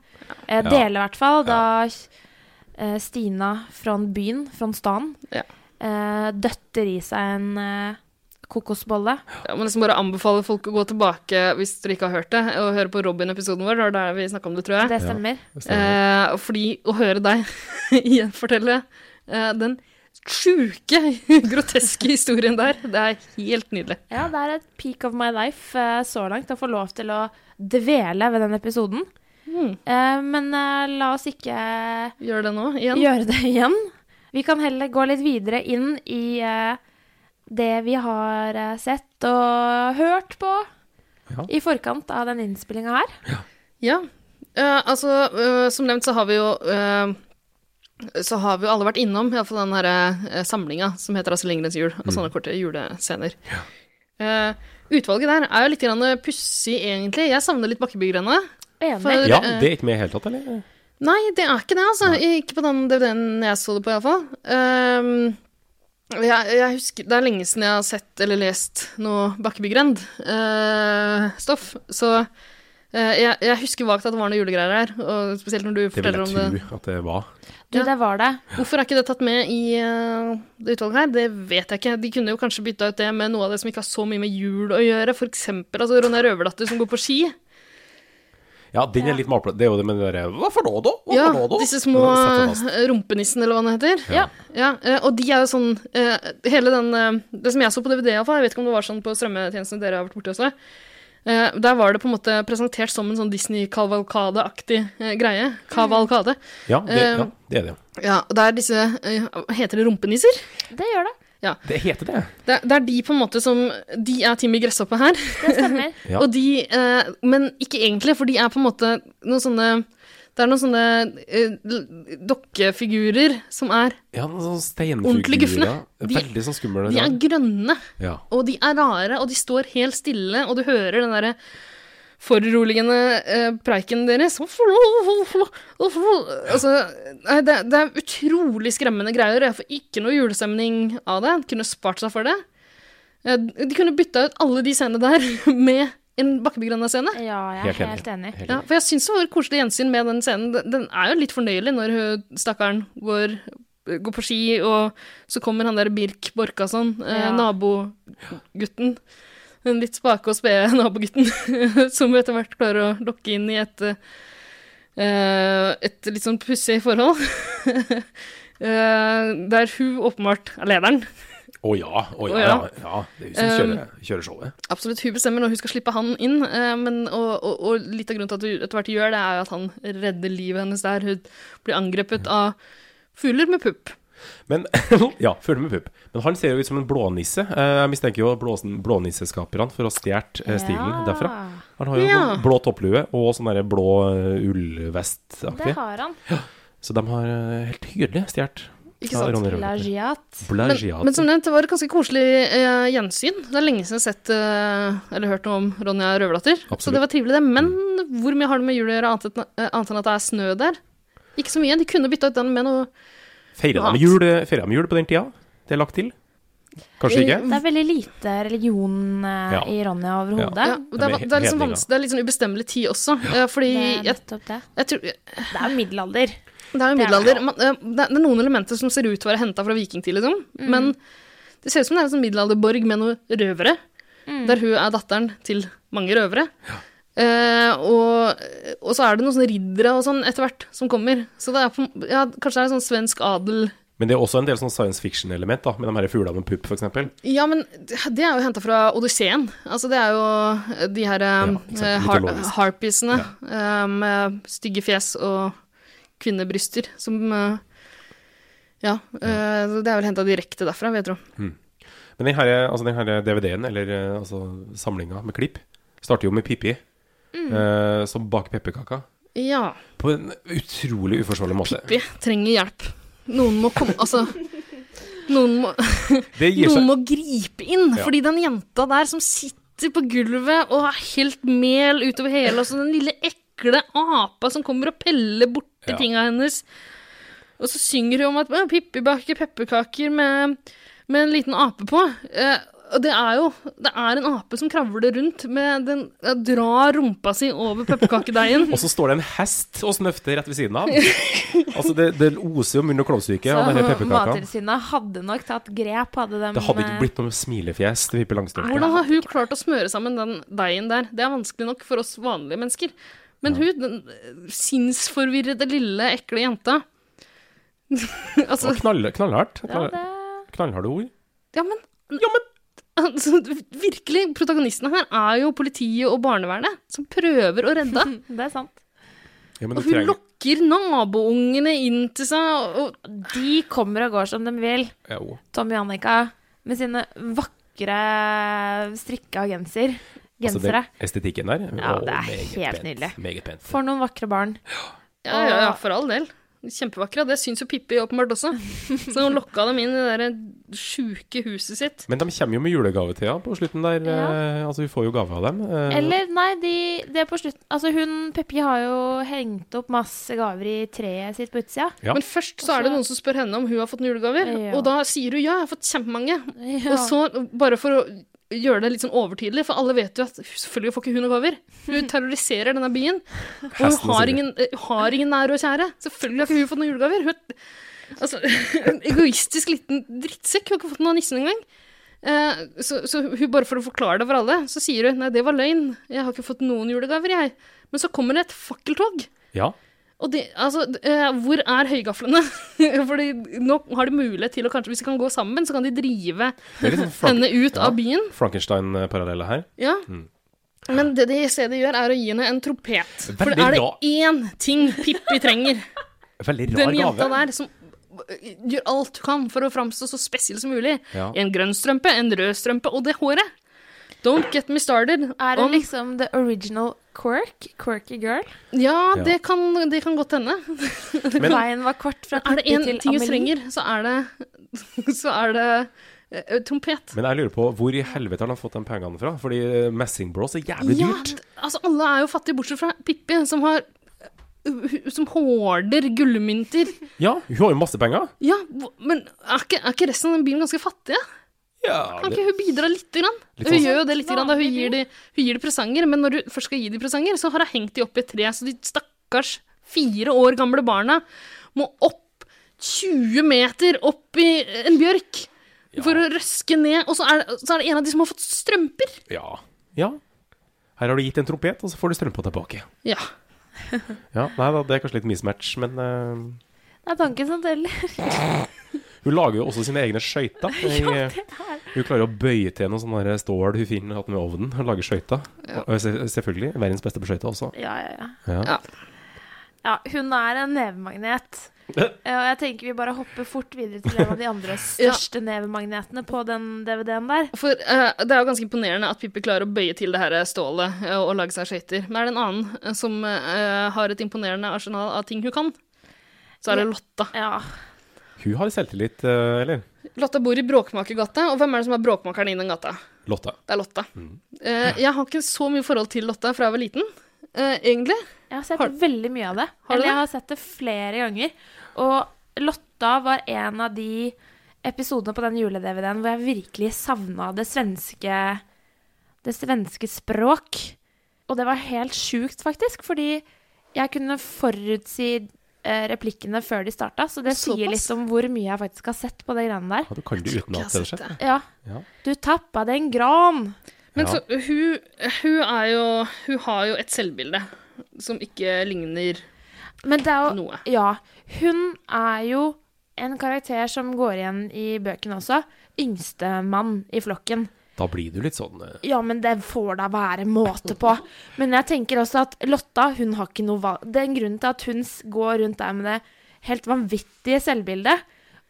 Speaker 2: Eh, Deler i hvert fall. Da eh, Stina fra byen, fra stan,
Speaker 1: Ja.
Speaker 2: eh, døtter i seg en eh, kokosbolle.
Speaker 1: Jeg må nesten bare anbefale folk å gå tilbake hvis dere ikke har hørt det, og høre på Robin-episoden vår. Det var der vi snakka om det, tror jeg.
Speaker 2: Det stemmer.
Speaker 1: Eh, fordi å høre deg igjen fortelle eh, den sjuke, groteske historien der, det er helt nydelig.
Speaker 2: Ja, det er et peak of my life eh, så langt å få lov til å dvele ved den episoden.
Speaker 1: Mm.
Speaker 2: Eh, men eh, la oss ikke
Speaker 1: Gjør det nå, igjen.
Speaker 2: gjøre det igjen. Vi kan heller gå litt videre inn i eh, det vi har eh, sett og hørt på
Speaker 3: Ja.
Speaker 2: i forkant av den innspillinga her.
Speaker 1: Ja. Eh, altså, eh, som nevnt så har vi jo eh, så har vi jo alle vært innom iallfall den her eh, samlinga som heter Astrid Lindgrens jul, og sånne korte julescener. Eh, utvalget der er jo litt grann pussig, egentlig. Jeg savner litt Bakkebygrenda. eh,
Speaker 2: Enig.
Speaker 3: Ja, det er ikke med i det hele tatt, eller?
Speaker 1: Nei, det er ikke det, altså. Ikke på den DVD-en jeg så det på, iallfall. Um, jeg, jeg husker, det er lenge siden jeg har sett eller lest noe Bakkebygrend-stoff. så eh, jeg, jeg husker vagt at det var noe julegreier her. Og spesielt når du
Speaker 3: Det vil
Speaker 1: forteller om det.
Speaker 3: jeg tro at det var.
Speaker 2: Du,
Speaker 1: Ja.
Speaker 2: det var det.
Speaker 1: Hvorfor er ikke det tatt med i eh, det utvalget her? Det vet jeg ikke. De kunne jo kanskje bytta ut det med noe av det som ikke har så mye med jul å gjøre. For eksempel altså, Ronja Røverdatter som går på ski.
Speaker 3: Ja, den er litt malplassert. Det er jo det med det derre Hva for noe, da? Hva
Speaker 1: Ja,
Speaker 3: for noe, da?
Speaker 1: disse små
Speaker 3: Den setter fast.
Speaker 1: eh, rumpenissene, eller hva den heter.
Speaker 3: Ja.
Speaker 1: Ja, eh, og de er jo sånn eh, Hele den eh, Det som jeg så på DVD, iallfall, jeg vet ikke om det var sånn på strømmetjenestene dere har vært borti også, eh, der var det på en måte presentert som en sånn Disney-kavalkade-aktig eh, greie. Kavalkade.
Speaker 3: Ja, det,
Speaker 1: Eh,
Speaker 3: ja, det er det.
Speaker 1: Ja, og det er disse eh, Heter det rumpenisser?
Speaker 2: Det gjør det.
Speaker 3: Det heter det.
Speaker 1: Det er, det er de på en måte som De er Timmy Gresshoppe her.
Speaker 2: Det stemmer.
Speaker 3: Ja.
Speaker 1: Og de, eh, men ikke egentlig, for de er på en måte noen sånne Det er noen sånne eh, l- dokkefigurer som er
Speaker 3: Ja, noen sånne steinfigurer.
Speaker 1: Ordentlig gufne.
Speaker 3: ja.
Speaker 1: De-
Speaker 3: Veldig sånn skumle.
Speaker 1: De er grønne,
Speaker 3: Ja.
Speaker 1: og de er rare, og de står helt stille, og du hører den derre foruroligende eh, preiken deres. Altså, nei, det, det er utrolig skremmende greier. Jeg får ikke noe julestemning av det. Kunne spart seg for det. Eh, De kunne bytta ut alle de scenene der med en bakkebegrønna scene.
Speaker 2: Ja, jeg er helt enig.
Speaker 3: Helt
Speaker 1: Ja, for jeg syns det var et koselig gjensyn med den scenen. Den- Den er jo litt fornøyelig når hun, stakkaren går, går på ski, og så kommer han der Birk Borkason, eh,
Speaker 2: Ja.
Speaker 1: nabogutten. Den litt spake og spede nabogutten, som etter hvert klarer å lokke inn i et eh, et litt sånn pussig forhold. Eh, der hun åpenbart er lederen.
Speaker 3: Å ja, å ja,
Speaker 1: Å
Speaker 3: ja.
Speaker 1: ja.
Speaker 3: ja. Det er jo som kjører, kjører showet.
Speaker 1: Absolutt, hun bestemmer når hun skal slippe han inn, eh, men, og, og, og litt av grunnen til at hun etter hvert gjør det, er jo at han redder livet hennes der. Hun blir angrepet av fugler med pupp.
Speaker 3: Men ja, følg med pupp. Men han ser jo ut som en blånisse. Eh, Jeg mistenker jo blåsen, blånisseskaperne for å ha stjålet eh, stilen
Speaker 2: Ja,
Speaker 3: derfra. Han har jo
Speaker 1: Ja.
Speaker 3: blå topplue og sånn derre blå eh, ullvestaktig.
Speaker 2: Det har han.
Speaker 3: Så de har eh, helt tydelig stjålet.
Speaker 1: Ikke sant?
Speaker 2: Plagiat.
Speaker 1: Men, men som nevnt, det var et ganske koselig eh, gjensyn. Det er lenge siden jeg har sett eh, eller hørt noe om Ronja Røverdatter. Så
Speaker 3: Absolutt.
Speaker 1: det var trivelig, det. Men hvor mye har det med jul å gjøre, annet enn- eh, annet enn at det er snø der? Ikke så mye. De kunne bytta ut den med noe
Speaker 3: Feirer
Speaker 1: Mat.
Speaker 3: de jul, eh, feirer de jul på den tida? Det er lagt til? Kanskje ikke?
Speaker 2: Det er veldig lite religion eh,
Speaker 3: Ja.
Speaker 2: i Ronja overhodet.
Speaker 1: ja, og det,
Speaker 3: men
Speaker 1: er, det, er liksom
Speaker 3: hedninga.
Speaker 1: vans- det er litt sånn ubestemmelig tid også. eh, fordi
Speaker 2: Det er
Speaker 1: jeg,
Speaker 2: nettopp det.
Speaker 1: jeg tror
Speaker 2: Det er jo middelalder.
Speaker 1: Det er jo
Speaker 2: Det er
Speaker 1: middelalder. Man, eh, det er det er noen elementer som ser ut til å være henta fra vikingtid, liksom.
Speaker 2: Mm.
Speaker 1: Men det ser ut som det er en sånn middelalderborg med noen røvere.
Speaker 2: Mm.
Speaker 1: Der hun er datteren til mange røvere. Eh, og, og så er det noen sånne riddere og sånn etter hvert som kommer. Så det er på, ja, kanskje det er sånn svensk adel
Speaker 3: Men det er også en del sånn science fiction-element, da, med de her fuglene med pupp, f.eks.
Speaker 1: Ja, men det er jo henta fra Odysseen. Altså, det er jo de her eh,
Speaker 3: ikke sant,
Speaker 1: eh, har
Speaker 3: mytologisk.
Speaker 1: harpisene eh, med stygge fjes og kvinnebryster som eh, Ja. eh, det er vel henta direkte derfra, vil jeg tro.
Speaker 3: Men den her, altså den her DVD-en, eller eh, altså samlinga med klipp, starter jo med Pippi,
Speaker 2: Mm.
Speaker 3: eh, som baker pepperkaker.
Speaker 1: Ja.
Speaker 3: På en utrolig uforsvarlig måte.
Speaker 1: Vi trenger hjelp. Noen må komme Altså. Noen må,
Speaker 3: Det gir
Speaker 1: noen
Speaker 3: seg
Speaker 1: må gripe inn,
Speaker 3: Ja.
Speaker 1: fordi den jenta der som sitter på gulvet og har helt mel utover hele, og så den lille ekle apa som kommer og peller borti
Speaker 3: Ja.
Speaker 1: tinga hennes. Og så synger hun om at «Å, Pippi baker pepperkaker med, med en liten ape på. Eh, og det er jo det er en ape som kravler rundt med den ja, Drar rumpa si over pepperkakedeigen.
Speaker 3: Og så står det en hest og snøfter rett ved siden av. Altså, det, det oser jo munn- og klovsyke av denne pepperkaka.
Speaker 2: Mattilsynet hadde nok tatt grep, hadde de eh,
Speaker 3: Det hadde ikke blitt noe smilefjes til Pippi Langstrømpe.
Speaker 1: Hvordan har hun klart å smøre sammen den deigen der? Det er vanskelig nok for oss vanlige mennesker. Men hun, den eh, sinnsforvirrede lille, ekle jenta
Speaker 3: Det
Speaker 1: Altså,
Speaker 3: var knall, knallhardt.
Speaker 2: Ja,
Speaker 3: Knall,
Speaker 2: det...
Speaker 3: knallharde ord.
Speaker 1: ja, men altså, Virkelig, protagonistene her er jo politiet og barnevernet, som prøver å redde.
Speaker 2: det er sant.
Speaker 3: Ja, men
Speaker 1: Og
Speaker 3: du
Speaker 1: hun
Speaker 3: trenger
Speaker 1: lokker naboungene inn til seg, og, og
Speaker 2: De kommer og går som de vil.
Speaker 3: Jo.
Speaker 2: Tommy og Annika med sine vakre strikka genser.
Speaker 3: Altså, den
Speaker 2: gensere.
Speaker 3: estetikken der.
Speaker 2: Ja,
Speaker 3: å,
Speaker 2: det er
Speaker 3: meget
Speaker 2: helt
Speaker 3: pent,
Speaker 2: nydelig.
Speaker 3: Meget pent.
Speaker 2: For noen vakre barn.
Speaker 1: ja, ja, ja, for all del. Kjempevakre. og Det syns jo Pippi åpenbart også. Så hun lokka dem inn i det der sjuke huset sitt.
Speaker 3: Men de kommer jo med julegave til henne på slutten der. eh, Altså, hun får jo gave av dem. eh,
Speaker 2: Eller, nei, de, det er på slutten Altså, hun Peppi har jo hengt opp masse gaver i treet sitt på utsida.
Speaker 3: Ja.
Speaker 1: Men først så er det noen som spør henne om hun har fått noen julegaver,
Speaker 2: Ja.
Speaker 1: og da sier hun ja, jeg har fått kjempemange.
Speaker 2: Ja.
Speaker 1: Og så, bare for å gjøre det litt sånn overtydelig, for alle vet jo at selvfølgelig får ikke hun noen gaver. Hun terroriserer denne byen, og hun
Speaker 3: Hesten og
Speaker 1: har
Speaker 3: Sigurd.
Speaker 1: ingen, eh, har ingen nære og kjære. Selvfølgelig har ikke hun fått noen julegaver. Hun er altså, en egoistisk liten drittsekk. Hun har ikke fått noen av nissen engang. Eh, så, så hun bare for å forklare det for alle, så sier hun nei, det var løgn. Jeg har ikke fått noen julegaver, jeg. Men så kommer det et fakkeltog.
Speaker 3: Ja.
Speaker 1: Og det, altså, d- eh, hvor er høygaflene? Fordi nå har de mulighet til å kanskje, hvis de kan gå sammen, så kan de drive
Speaker 3: Det er litt sånn Frank
Speaker 1: henne ut
Speaker 3: Ja. Mm.
Speaker 1: av byen.
Speaker 3: Frankenstein-parallelle her.
Speaker 1: Ja. Men det de i stedet gjør, er å gi henne en trompet. For
Speaker 3: Veldig
Speaker 1: er det
Speaker 3: bra.
Speaker 1: én ting Pippi trenger,
Speaker 3: Veldig rar
Speaker 1: den jenta
Speaker 3: gave.
Speaker 1: der som eh, gjør alt du kan for å framstå så spesiell som mulig
Speaker 3: Ja.
Speaker 1: En grønn strømpe, en rød strømpe og det håret. Don't get me started.
Speaker 2: Er hun
Speaker 1: om-
Speaker 2: liksom the original quirk? Quirky girl?
Speaker 1: Ja,
Speaker 3: Ja.
Speaker 1: det kan, det kan godt hende.
Speaker 3: Men-
Speaker 2: Veien var kort fra
Speaker 1: Er det
Speaker 2: Pippi
Speaker 1: én
Speaker 2: til
Speaker 1: ting hun
Speaker 2: Amelie.
Speaker 1: trenger, så er det, så er det eh, trompet.
Speaker 3: Men jeg lurer på hvor i helvete har han fått de pengene fra? Fordi eh, Messing Bros er jævlig
Speaker 1: Ja,
Speaker 3: dyrt.
Speaker 1: d- altså alle er jo fattige, bortsett fra Pippi, som har hu- som hårder gullmynter.
Speaker 3: Ja, hun har jo masse penger.
Speaker 1: Ja, hvo- men er ikke, er ikke resten av den byen ganske fattige?
Speaker 3: Ja,
Speaker 1: Kan
Speaker 3: det,
Speaker 1: ikke hun bidra lite grann?
Speaker 3: Litt
Speaker 1: hun
Speaker 3: sånn-
Speaker 1: gjør jo det lite grann da hun gir, de, hun gir de presanger, men når du først skal gi de presanger, så har hun hengt de opp i et tre, så de stakkars fire år gamle barna må opp 20 meter opp i en bjørk for å røske ned, og så er, det, så er det en av de som har fått strømper.
Speaker 3: ja. ja. Her har du gitt en trompet, og så får du strømpa tilbake.
Speaker 1: Ja.
Speaker 3: Ja, nei da, det er kanskje litt mismatch, men eh,
Speaker 2: Det er tanken som teller.
Speaker 3: hun lager jo også sine egne skøyter. Eh,
Speaker 2: Ja,
Speaker 3: I-
Speaker 2: det er.
Speaker 3: Hun klarer å bøye til noe sånn der stål hun finner hatt med ovnen, og lager skøyter. Og se- Selvfølgelig. Verdens beste på skøyter også.
Speaker 2: Ja, ja, ja.
Speaker 3: Ja.
Speaker 1: Ja.
Speaker 2: Ja, hun er en nevemagnet. Eh, Og jeg tenker vi bare hopper fort videre til en av de andre største nevemagnetene på den DVD-en der.
Speaker 1: For eh, det er jo ganske imponerende at Pippi klarer å bøye til det her stålet eh, og lage seg skøyter. Men er det en annen eh, som eh, har et imponerende arsenal av ting hun kan, så er det Lotta.
Speaker 2: Ja,
Speaker 3: Hun har selvtillit, eh, eller?
Speaker 1: Lotta bor i Bråkmakergata, og hvem er det som er bråkmakeren i den gata?
Speaker 3: Lotta.
Speaker 1: Det er Lotta. Eh, jeg har ikke så mye forhold til Lotta fra jeg var liten, eh, egentlig.
Speaker 2: jeg har sett
Speaker 1: Har-
Speaker 2: veldig mye av det.
Speaker 1: Har du
Speaker 2: Eller jeg
Speaker 1: det?
Speaker 2: har sett det flere ganger. Og Lotta var en av de episodene på den jule-DVD-en hvor jeg virkelig savna det svenske det svenske språk. Og det var helt sjukt, faktisk, fordi jeg kunne forutsi eh, replikkene før de starta, så det
Speaker 1: Såpass?
Speaker 2: sier litt om hvor mye jeg faktisk har sett på de greiene der.
Speaker 3: Ja, du kan det
Speaker 1: Jeg tror ikke
Speaker 3: utenat,
Speaker 1: jeg har
Speaker 3: rett og slett.
Speaker 1: sett det.
Speaker 2: Ja.
Speaker 3: Ja.
Speaker 2: Du tappa den gran.
Speaker 1: Men
Speaker 3: Ja.
Speaker 1: så, hun, hun er jo Hun har jo et selvbilde som ikke ligner
Speaker 2: Men det er jo
Speaker 1: Noe.
Speaker 2: Ja. Hun er jo en karakter som går igjen i bøkene også. Yngstemann i flokken.
Speaker 3: Da blir du litt sånn eh,
Speaker 2: Ja, men det får da være måte på. Men jeg tenker også at Lotta, hun har ikke noe valg. Det er en grunn til at hun s- går rundt der med det helt vanvittige selvbildet.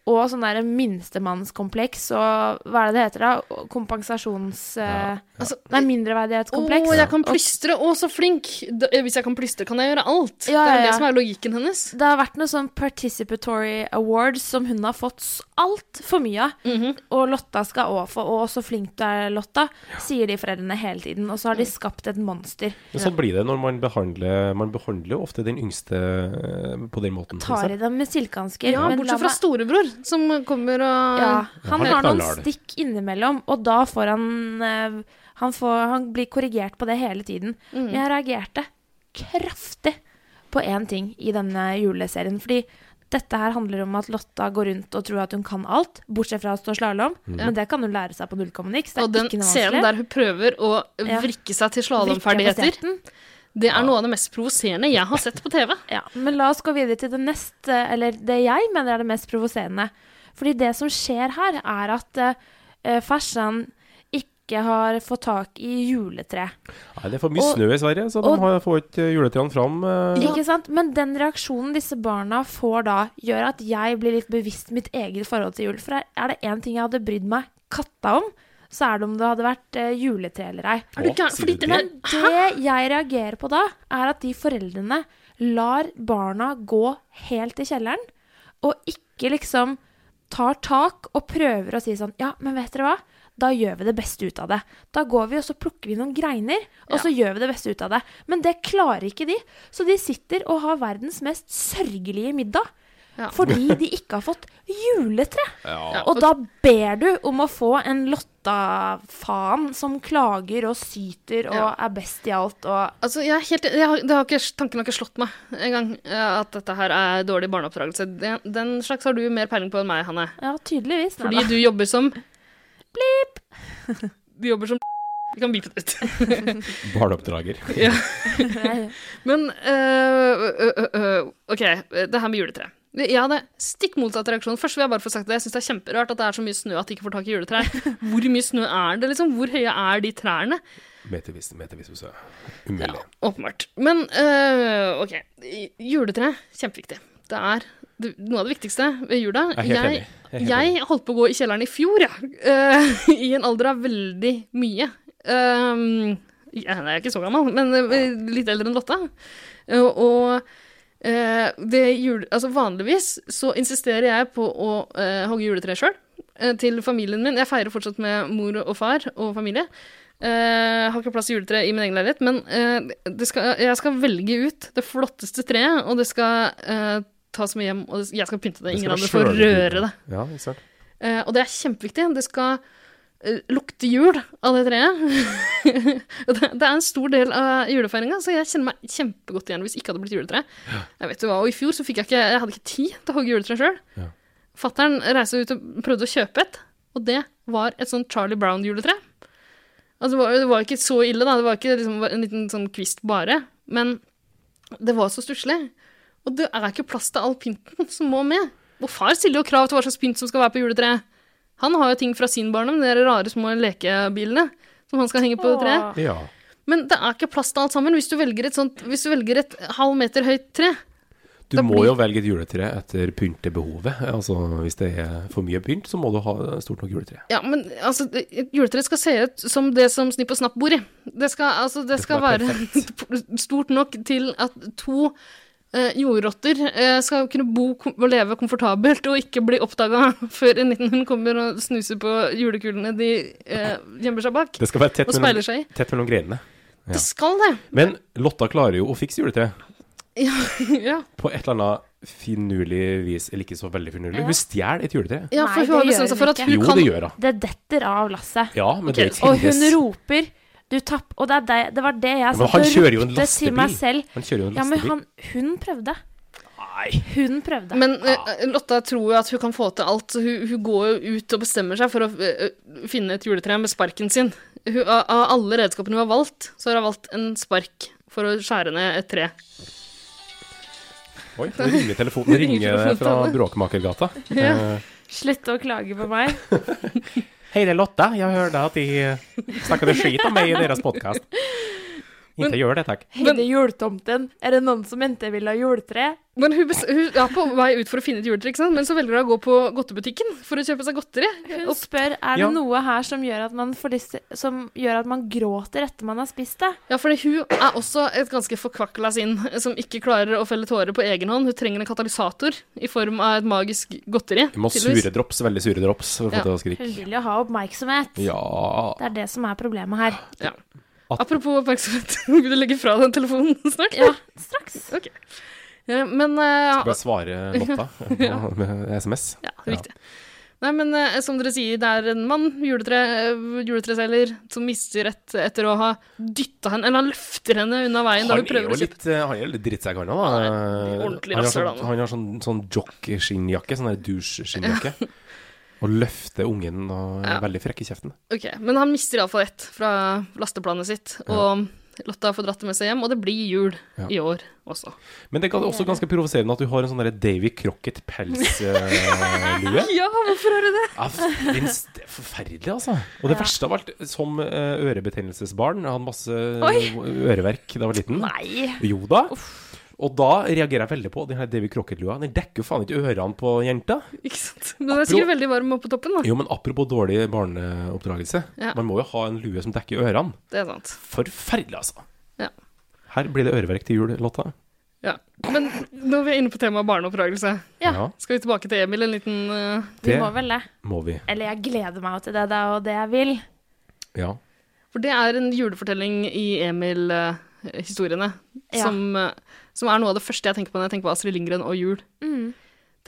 Speaker 2: Og sånn der minstemannskompleks og hva er det det heter da? Kompensasjons...
Speaker 3: Ja.
Speaker 2: eh,
Speaker 1: Altså,
Speaker 2: Nei,
Speaker 1: å,
Speaker 2: mindreverdighetskompleks.
Speaker 1: jeg kan
Speaker 2: Og
Speaker 1: plystre! Å, så flink! Da, eh, hvis jeg kan plystre, kan jeg gjøre alt. det
Speaker 2: Ja, ja,
Speaker 1: er
Speaker 2: ja.
Speaker 1: det som er logikken hennes.
Speaker 2: det har vært noen sånn participatory awards som hun har fått altfor mye av.
Speaker 1: Mhm.
Speaker 2: Og Lotta skal òg få. Å, så flink du er, Lotta, sier de foreldrene hele tiden. Og så har de
Speaker 1: Mm.
Speaker 2: skapt et monster.
Speaker 3: Men sånn blir det når man behandler Man behandler jo ofte den yngste eh, på den måten.
Speaker 2: Tar i
Speaker 3: synes jeg.
Speaker 2: dem med silkehansker.
Speaker 1: Ja,
Speaker 2: men la
Speaker 1: bortsett fra
Speaker 2: meg-
Speaker 1: storebror, som kommer og
Speaker 2: Ja, han
Speaker 3: han er
Speaker 2: har noen
Speaker 3: knallhard.
Speaker 2: stikk innimellom, og da får han eh, han, får, han blir korrigert på det hele tiden.
Speaker 1: Mm.
Speaker 2: Men jeg reagerte kraftig på én ting i denne juleserien. Fordi dette her handler om at Lotta går rundt og tror at hun kan alt, bortsett fra å stå slalåm. Men det kan hun lære seg på null komma niks. Det
Speaker 1: Og
Speaker 2: er
Speaker 1: den
Speaker 2: ikke noe
Speaker 1: scenen
Speaker 2: vanskelig.
Speaker 1: der hun prøver å
Speaker 2: Ja.
Speaker 1: vrikke seg til
Speaker 2: Virker
Speaker 1: slalåmferdigheter,
Speaker 2: på setten.
Speaker 1: det er noe av det mest provoserende jeg har sett på TV.
Speaker 2: Ja, men la oss gå videre til det neste, eller det jeg mener er det mest provoserende. Fordi det som skjer her, er at uh, farsan ikke har fått tak i juletre.
Speaker 3: Nei, det er for mye
Speaker 2: Og-
Speaker 3: snø i Sverige, så
Speaker 2: og-
Speaker 3: de har, får ikke juletrærne fram. eh.
Speaker 2: Ikke sant? Men den reaksjonen disse barna får da, gjør at jeg blir litt bevisst mitt eget forhold til jul. For er- er det én ting jeg hadde brydd meg katta om, så er det om det hadde vært eh, juletre eller ei.
Speaker 1: Er du
Speaker 3: Å,
Speaker 1: gæren?
Speaker 3: sier
Speaker 1: Fordi
Speaker 3: du
Speaker 1: den
Speaker 3: det?
Speaker 1: er
Speaker 2: Det jeg reagerer på da, er at de foreldrene lar barna gå helt til kjelleren, og ikke liksom tar tak og prøver å si sånn Ja, men vet dere hva? Da gjør vi det beste ut av det. Da går vi og så plukker vi noen greiner, og så gjør vi det beste ut av det. Men det klarer ikke de. Så de sitter og har verdens mest sørgelige middag.
Speaker 1: Ja.
Speaker 2: Fordi de ikke har fått juletre.
Speaker 1: Ja, altså,
Speaker 2: Og da ber du om å få en Lotta-faen som klager og syter og
Speaker 1: Ja.
Speaker 2: er best i alt og
Speaker 1: Altså, jeg er helt, jeg har, det har ikke, tanken har ikke slått meg engang, eh, at dette her er dårlig barneoppdragelse. Den, den slags har du mer peiling på enn meg, Hanne.
Speaker 2: Ja, tydeligvis.
Speaker 1: Fordi du jobber som
Speaker 2: Blip!
Speaker 1: De jobber som Vi kan beepe det ut.
Speaker 3: Barneoppdrager.
Speaker 1: Ja.
Speaker 2: Nei.
Speaker 1: Men øh, øh, øh, øh, OK, det her med juletre. Jeg hadde stikk motsatt reaksjon. Først vil jeg bare få sagt det. Jeg syns det er kjemperart at det er så mye snø at de ikke får tak i juletrær. Hvor mye snø er det, liksom? Hvor høye er de trærne?
Speaker 3: Metervis, metervis med sø. Umulig.
Speaker 1: Åpenbart. Men øh, OK. Juletre, kjempeviktig. Det er det- noe av det viktigste ved jula.
Speaker 3: Jeg er helt enig. Jeg er helt enig.
Speaker 1: Jeg holdt på å gå i kjelleren i fjor, jeg. Eh, I en alder av veldig mye. Um, ja, jeg er ikke så gammel, men eh, litt eldre enn Lotta. Eh, og eh, det jul... Altså, vanligvis så insisterer jeg på å eh, hogge juletre sjøl. eh, Til familien min. Jeg feirer fortsatt med mor og far og familie. Eh, har ikke plass til juletre i min egen leilighet, men eh, det skal, jeg skal velge ut det flotteste treet, og det skal eh, tas med hjem, og det, jeg skal pynte det.
Speaker 3: Det skal
Speaker 1: Ingen
Speaker 3: være
Speaker 1: andre får
Speaker 3: sjølbildet.
Speaker 1: røre det.
Speaker 3: Ja, ikke sant.
Speaker 1: Eh, og det er kjempeviktig. Det skal eh, lukte jul av det treet. Og det, det er en stor del av julefeiringa, så jeg kjenner meg kjempegodt igjen hvis ikke hadde blitt juletre. Jeg vet jo hva, Og i fjor så fikk jeg ikke Jeg hadde ikke tid til å hogge juletre sjøl.
Speaker 3: Ja.
Speaker 1: Fattern reiste ut og prøvde å kjøpe et, og det var et sånn Charlie Brown-juletre. Altså, det, var, det var ikke så ille, da. Det var ikke liksom en liten sånn kvist bare. Men det var så stusslig. Og det er ikke plass til all pynten som må med. Og far stiller jo krav til hva slags pynt som skal være på juletreet. Han har jo ting fra sin barndom, de der rare små lekebilene som han skal henge på treet.
Speaker 3: Ja.
Speaker 1: Men det er ikke plass til alt sammen hvis du velger et sånt Hvis du velger et halv meter høyt tre.
Speaker 3: Du
Speaker 1: Da
Speaker 3: må
Speaker 1: blir-
Speaker 3: jo velge et juletre etter pyntebehovet. Altså, hvis det er for mye pynt, så må du ha et stort nok juletre.
Speaker 1: Ja, men altså, det- et juletre skal se ut som det som Snipp og Snapp bor i. Det skal, altså, det skal
Speaker 3: være
Speaker 1: være stort nok til at to eh, jordrotter eh, skal kunne bo kom- og leve komfortabelt og ikke bli oppdaga før en liten hund kommer og snuser på julekulene de eh, gjemmer seg bak.
Speaker 3: Det skal være tett
Speaker 1: Og speiler
Speaker 3: mellom,
Speaker 1: seg i.
Speaker 3: tett mellom grenene. Ja.
Speaker 1: Det skal det!
Speaker 3: Men Lotta klarer jo å fikse juletreet.
Speaker 1: Ja,
Speaker 3: På et eller annet finurlig vis, eller ikke så veldig finurlig. Hun stjeler et juletre.
Speaker 1: ja
Speaker 2: Nei,
Speaker 1: for
Speaker 2: det
Speaker 1: hun har
Speaker 2: gjør
Speaker 1: bestemt seg for
Speaker 2: hun
Speaker 1: at hun
Speaker 3: Jo,
Speaker 1: kan
Speaker 3: det gjør hun.
Speaker 2: Det detter av lasset.
Speaker 3: Ja, men det
Speaker 1: Ok,
Speaker 2: Og hun
Speaker 3: telles.
Speaker 2: roper du tapp, Og det, er deg, det var det jeg
Speaker 3: men
Speaker 2: satt
Speaker 3: han
Speaker 2: og
Speaker 3: kjører jo en
Speaker 2: ropte til meg
Speaker 3: lastebil.
Speaker 2: selv.
Speaker 3: Han kjører jo en
Speaker 2: Ja, men
Speaker 3: lastebil.
Speaker 2: han, hun prøvde. Hun prøvde.
Speaker 1: Men eh, Lotta tror jo at hun kan få til alt, så hun, hun går jo ut og bestemmer seg for å eh, finne et juletre med sparken sin. Hun, av, av alle redskapene hun har valgt, så har hun valgt en spark for å skjære ned et tre.
Speaker 3: Oi, nå ringer telefonen. Nå ringer det fra Bråkmakergata. Eh,
Speaker 2: Slutt å klage på meg.
Speaker 3: Hei, det er Lotta. Jeg hørte at de snakket skit om meg i deres podkast. Ikke gjør det, takk.
Speaker 2: Hele juletomten. Er det noen som ikke vil ha juletre?
Speaker 1: Men hun, bes hun er på vei ut for å finne et juletre, ikke sant? men så velger hun å gå på godtebutikken for å kjøpe seg godteri.
Speaker 2: Hun spør er det
Speaker 3: Ja.
Speaker 2: noe her som gjør, at man får lyst til, som gjør at man gråter etter man har spist det.
Speaker 1: Ja, for hun er også et ganske forkvakla sinn, som ikke klarer å felle tårer på egen hånd. Hun trenger en katalysator i form av et magisk godteri.
Speaker 3: Vi må ha
Speaker 1: tydeligvis.
Speaker 3: sure drops, veldig sure drops, for å få
Speaker 1: Ja.
Speaker 3: til å skrike.
Speaker 2: Hun vil jo ha oppmerksomhet.
Speaker 3: Ja
Speaker 2: Det er det som er problemet her.
Speaker 1: Ja. Apropos oppmerksomhet, vil du legge fra den telefonen snart?
Speaker 2: Ja, straks.
Speaker 1: Ja, men eh,
Speaker 3: Bare svare Lotta på- med SMS.
Speaker 1: ja, riktig. Nei, men eh, som dere sier, det er en mann, juletre, eh, juletreselger, som mister et etter å ha dytta henne, eller han løfter henne unna veien da hun
Speaker 3: Han er
Speaker 1: prøver
Speaker 3: jo
Speaker 1: å slippe.
Speaker 3: litt, eh, han er jo litt drittsekk, han òg.
Speaker 1: er
Speaker 3: Han,
Speaker 1: ordentlig
Speaker 3: har
Speaker 1: rasshøl,
Speaker 3: sånn-
Speaker 1: han.
Speaker 3: han har sånn, sånn jock-skinnjakke, sånn der douche-skinnjakke. Og løfter ungen og er
Speaker 1: Ja.
Speaker 3: veldig frekk i kjeften.
Speaker 1: Ok, men han mister iallfall ett fra lasteplanet sitt, og Lotta får dratt det med seg hjem, og det blir jul
Speaker 3: Ja.
Speaker 1: i år også.
Speaker 3: Men det er også ganske provoserende at du har en sånn der Davy Crocket-pelslue.
Speaker 1: Ja, hvorfor er det det?
Speaker 3: Ja, f- din s- det er forferdelig, altså. Og det verste av alt, som eh, ørebetennelsesbarn, jeg hadde masse øreverk da jeg var liten.
Speaker 2: Nei.
Speaker 3: Jo da. Og da reagerer jeg veldig på den her Davy Crocket-lua. Den dekker jo faen ikke ørene på jenta.
Speaker 1: Ikke sant? Men det er sikkert veldig varm oppe på toppen, da.
Speaker 3: Jo, men apropos dårlig barneoppdragelse.
Speaker 1: Ja.
Speaker 3: Man må jo ha en lue som dekker ørene.
Speaker 1: Det er sant.
Speaker 3: Forferdelig, altså.
Speaker 1: Ja.
Speaker 3: Her blir det øreverk til jul, Lotta.
Speaker 1: Ja. Men når vi er inne på temaet barneoppdragelse,
Speaker 2: Ja.
Speaker 1: skal vi tilbake til Emil en liten eh,
Speaker 2: Vi
Speaker 3: Det
Speaker 2: må vel det.
Speaker 3: må vi.
Speaker 2: Eller jeg gleder meg jo til det. Det er jo det jeg vil.
Speaker 3: Ja.
Speaker 1: For det er en julefortelling i Emil-historiene
Speaker 2: Ja.
Speaker 1: som, eh, som er noe av det første jeg tenker på når jeg tenker på Astrid Lindgren og jul.
Speaker 3: Mm.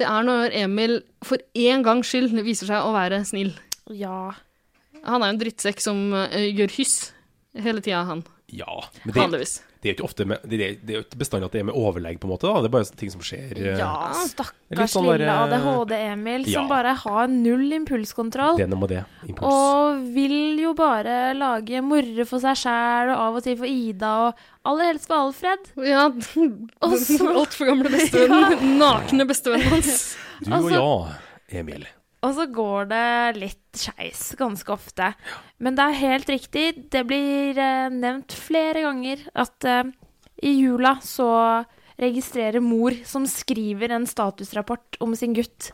Speaker 1: Det er når Emil for én gangs skyld viser seg å være snill.
Speaker 2: Ja.
Speaker 1: Han er jo en drittsekk som eh, gjør hyss hele tida, han.
Speaker 3: ja. Men det,
Speaker 1: Vanligvis.
Speaker 3: Det er jo ikke ofte med, det er, det er jo ikke bestandig at det er med overlegg, på en måte. da Det er bare sånne ting som skjer. eh,
Speaker 2: Ja,
Speaker 3: Litt
Speaker 2: stakkars
Speaker 3: sånn der,
Speaker 2: lille ADHD-Emil som
Speaker 3: ja.
Speaker 2: bare har null impulskontroll.
Speaker 3: Det er noe med det. Impuls.
Speaker 2: Og vil jo bare lage morre for seg sjæl, og av og til for Ida, og aller helst for Alfred.
Speaker 1: Ja,
Speaker 2: Og så-
Speaker 1: altfor gamle bestevennen. Nakne bestevennen hans.
Speaker 3: du
Speaker 2: altså-
Speaker 3: og jeg, Emil.
Speaker 2: Og så går det litt skeis ganske ofte. Men det er helt riktig, det blir eh, nevnt flere ganger at eh, i jula så registrerer mor som skriver en statusrapport om sin gutt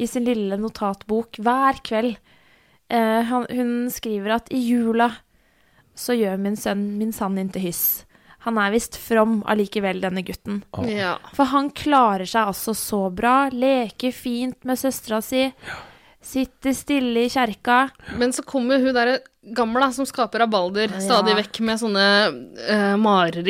Speaker 2: i sin lille notatbok hver kveld. Eh, han, hun skriver at i jula så gjør min sønn min sann ikke hyss. Han er visst from allikevel, denne gutten.
Speaker 3: Ah.
Speaker 1: Ja.
Speaker 2: For han klarer seg altså så bra, leker fint med søstera si, sitter stille i kjerka.
Speaker 1: Men så kommer hun derre gamla som skaper rabalder stadig vekk med sånne eh,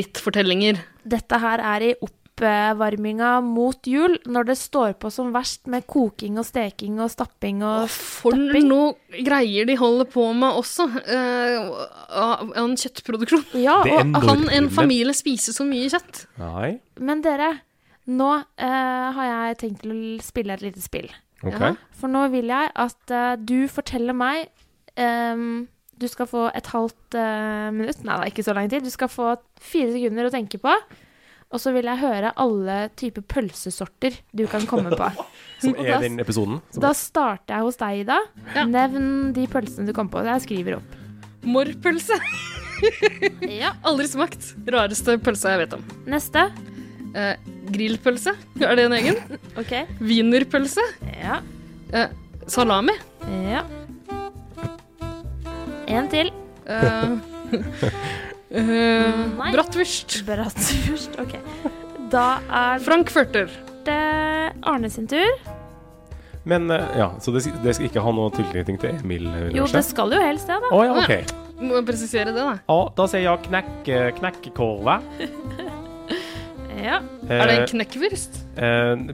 Speaker 1: marerittfortellinger.
Speaker 2: Dette her er i oppvarminga mot jul, når det står på som verst med koking og steking og stapping og
Speaker 1: For noe greier de holder på med også. eh, av en kjøttproduksjon.
Speaker 2: Ja,
Speaker 3: Det
Speaker 2: og,
Speaker 3: enorme-
Speaker 1: Kan en familie spise så mye kjøtt?
Speaker 3: Nei.
Speaker 2: men dere, nå eh, har jeg tenkt til å spille et lite spill.
Speaker 3: Ok.
Speaker 1: Ja.
Speaker 2: For nå vil jeg at eh, du forteller meg ehm, Du skal få et halvt eh, minutt, nei da, ikke så lang tid. Du skal få fire sekunder å tenke på. Og så vil jeg høre alle typer pølsesorter du kan komme på.
Speaker 3: Som
Speaker 2: Og
Speaker 3: er
Speaker 2: da-
Speaker 3: den episoden. Som
Speaker 2: Da starter jeg hos deg, Ida.
Speaker 1: Ja.
Speaker 2: Nevn de pølsene du kom på. Jeg skriver opp.
Speaker 1: Morrpølse. Aldri smakt. Rareste pølse jeg vet om.
Speaker 2: Neste.
Speaker 1: Eh, grillpølse. Er det en egen?
Speaker 2: OK.
Speaker 1: Wienerpølse.
Speaker 2: Ja.
Speaker 1: Eh, salami.
Speaker 2: ja. En til.
Speaker 1: Eh, eh,
Speaker 2: Nei.
Speaker 1: Bratwurst.
Speaker 2: Bratwurst. OK. Da er
Speaker 1: Frankfurter.
Speaker 2: det Arne sin tur.
Speaker 3: Men eh, ja, så det, sk- det skal ikke ha noe tilknytning til Emil? eh,
Speaker 2: Jo, det
Speaker 3: kanskje?
Speaker 2: skal jo helst det, da.
Speaker 3: Å ja, ok.
Speaker 1: Må jeg presisere det, da.
Speaker 3: Ja, da sier jeg knekk, eh, knekkekorve.
Speaker 2: Ja.
Speaker 1: Er det en
Speaker 3: Eh,
Speaker 1: knekkvurst?
Speaker 3: eh,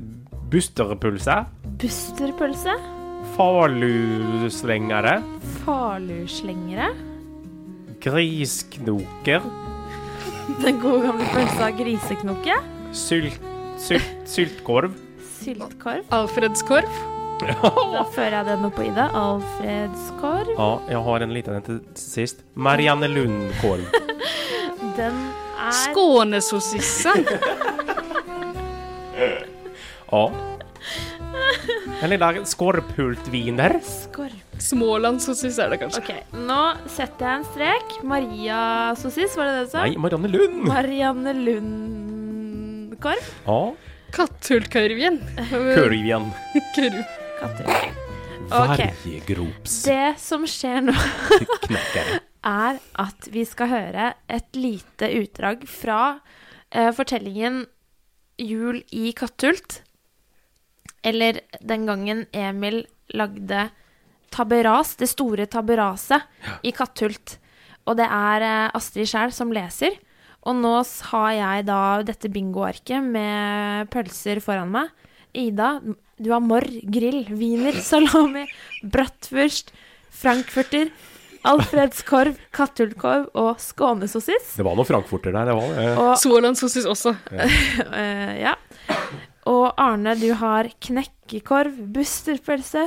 Speaker 3: Busterpølse.
Speaker 2: Busterpølse.
Speaker 3: Faluslengere.
Speaker 2: Faluslengere.
Speaker 3: Grisknoker.
Speaker 2: Den gode gamle pølsa griseknoke.
Speaker 3: Sylt, sylt, syltkorv.
Speaker 2: Syltkorv.
Speaker 1: Alfredskorv?
Speaker 2: Da fører jeg den opp på Ida. Alfredskorv.
Speaker 3: Ja, jeg har en liten en til sist. Marianne Lund-korv.
Speaker 2: Den er
Speaker 1: Skånesossisse?
Speaker 3: Ja. En liten skorphultviner.
Speaker 2: skorp.
Speaker 1: Smålandssossisse er det kanskje.
Speaker 2: OK, nå setter jeg en strek. Maria sossis, var det det du sa?
Speaker 3: Nei, Marianne Lund!
Speaker 2: Marianne Lund-korv.
Speaker 3: Ja.
Speaker 1: Katthullkurven.
Speaker 3: Kurv igjen.
Speaker 1: Kurv.
Speaker 2: Katter. Ok.
Speaker 3: Varjegrops
Speaker 2: Det som skjer nå
Speaker 3: knekkere.
Speaker 2: er at vi skal høre et lite utdrag fra eh, fortellingen Jul i Kattult. Eller den gangen Emil lagde Taberas, det store tabberaset i Kattult. Og det er eh, Astrid sjæl som leser. Og nå s- har jeg da dette bingoarket med pølser foran meg. Ida, du har morr, grill, wiener, salami, bratwurst, frankfurter, alfredskorv, kattullkorv og skånesossis.
Speaker 3: Det var noen frankfurter der, det var det.
Speaker 2: Og
Speaker 1: Smålandssosis også.
Speaker 2: Eh, ja. Og Arne, du har knekkekorv, busterpølse,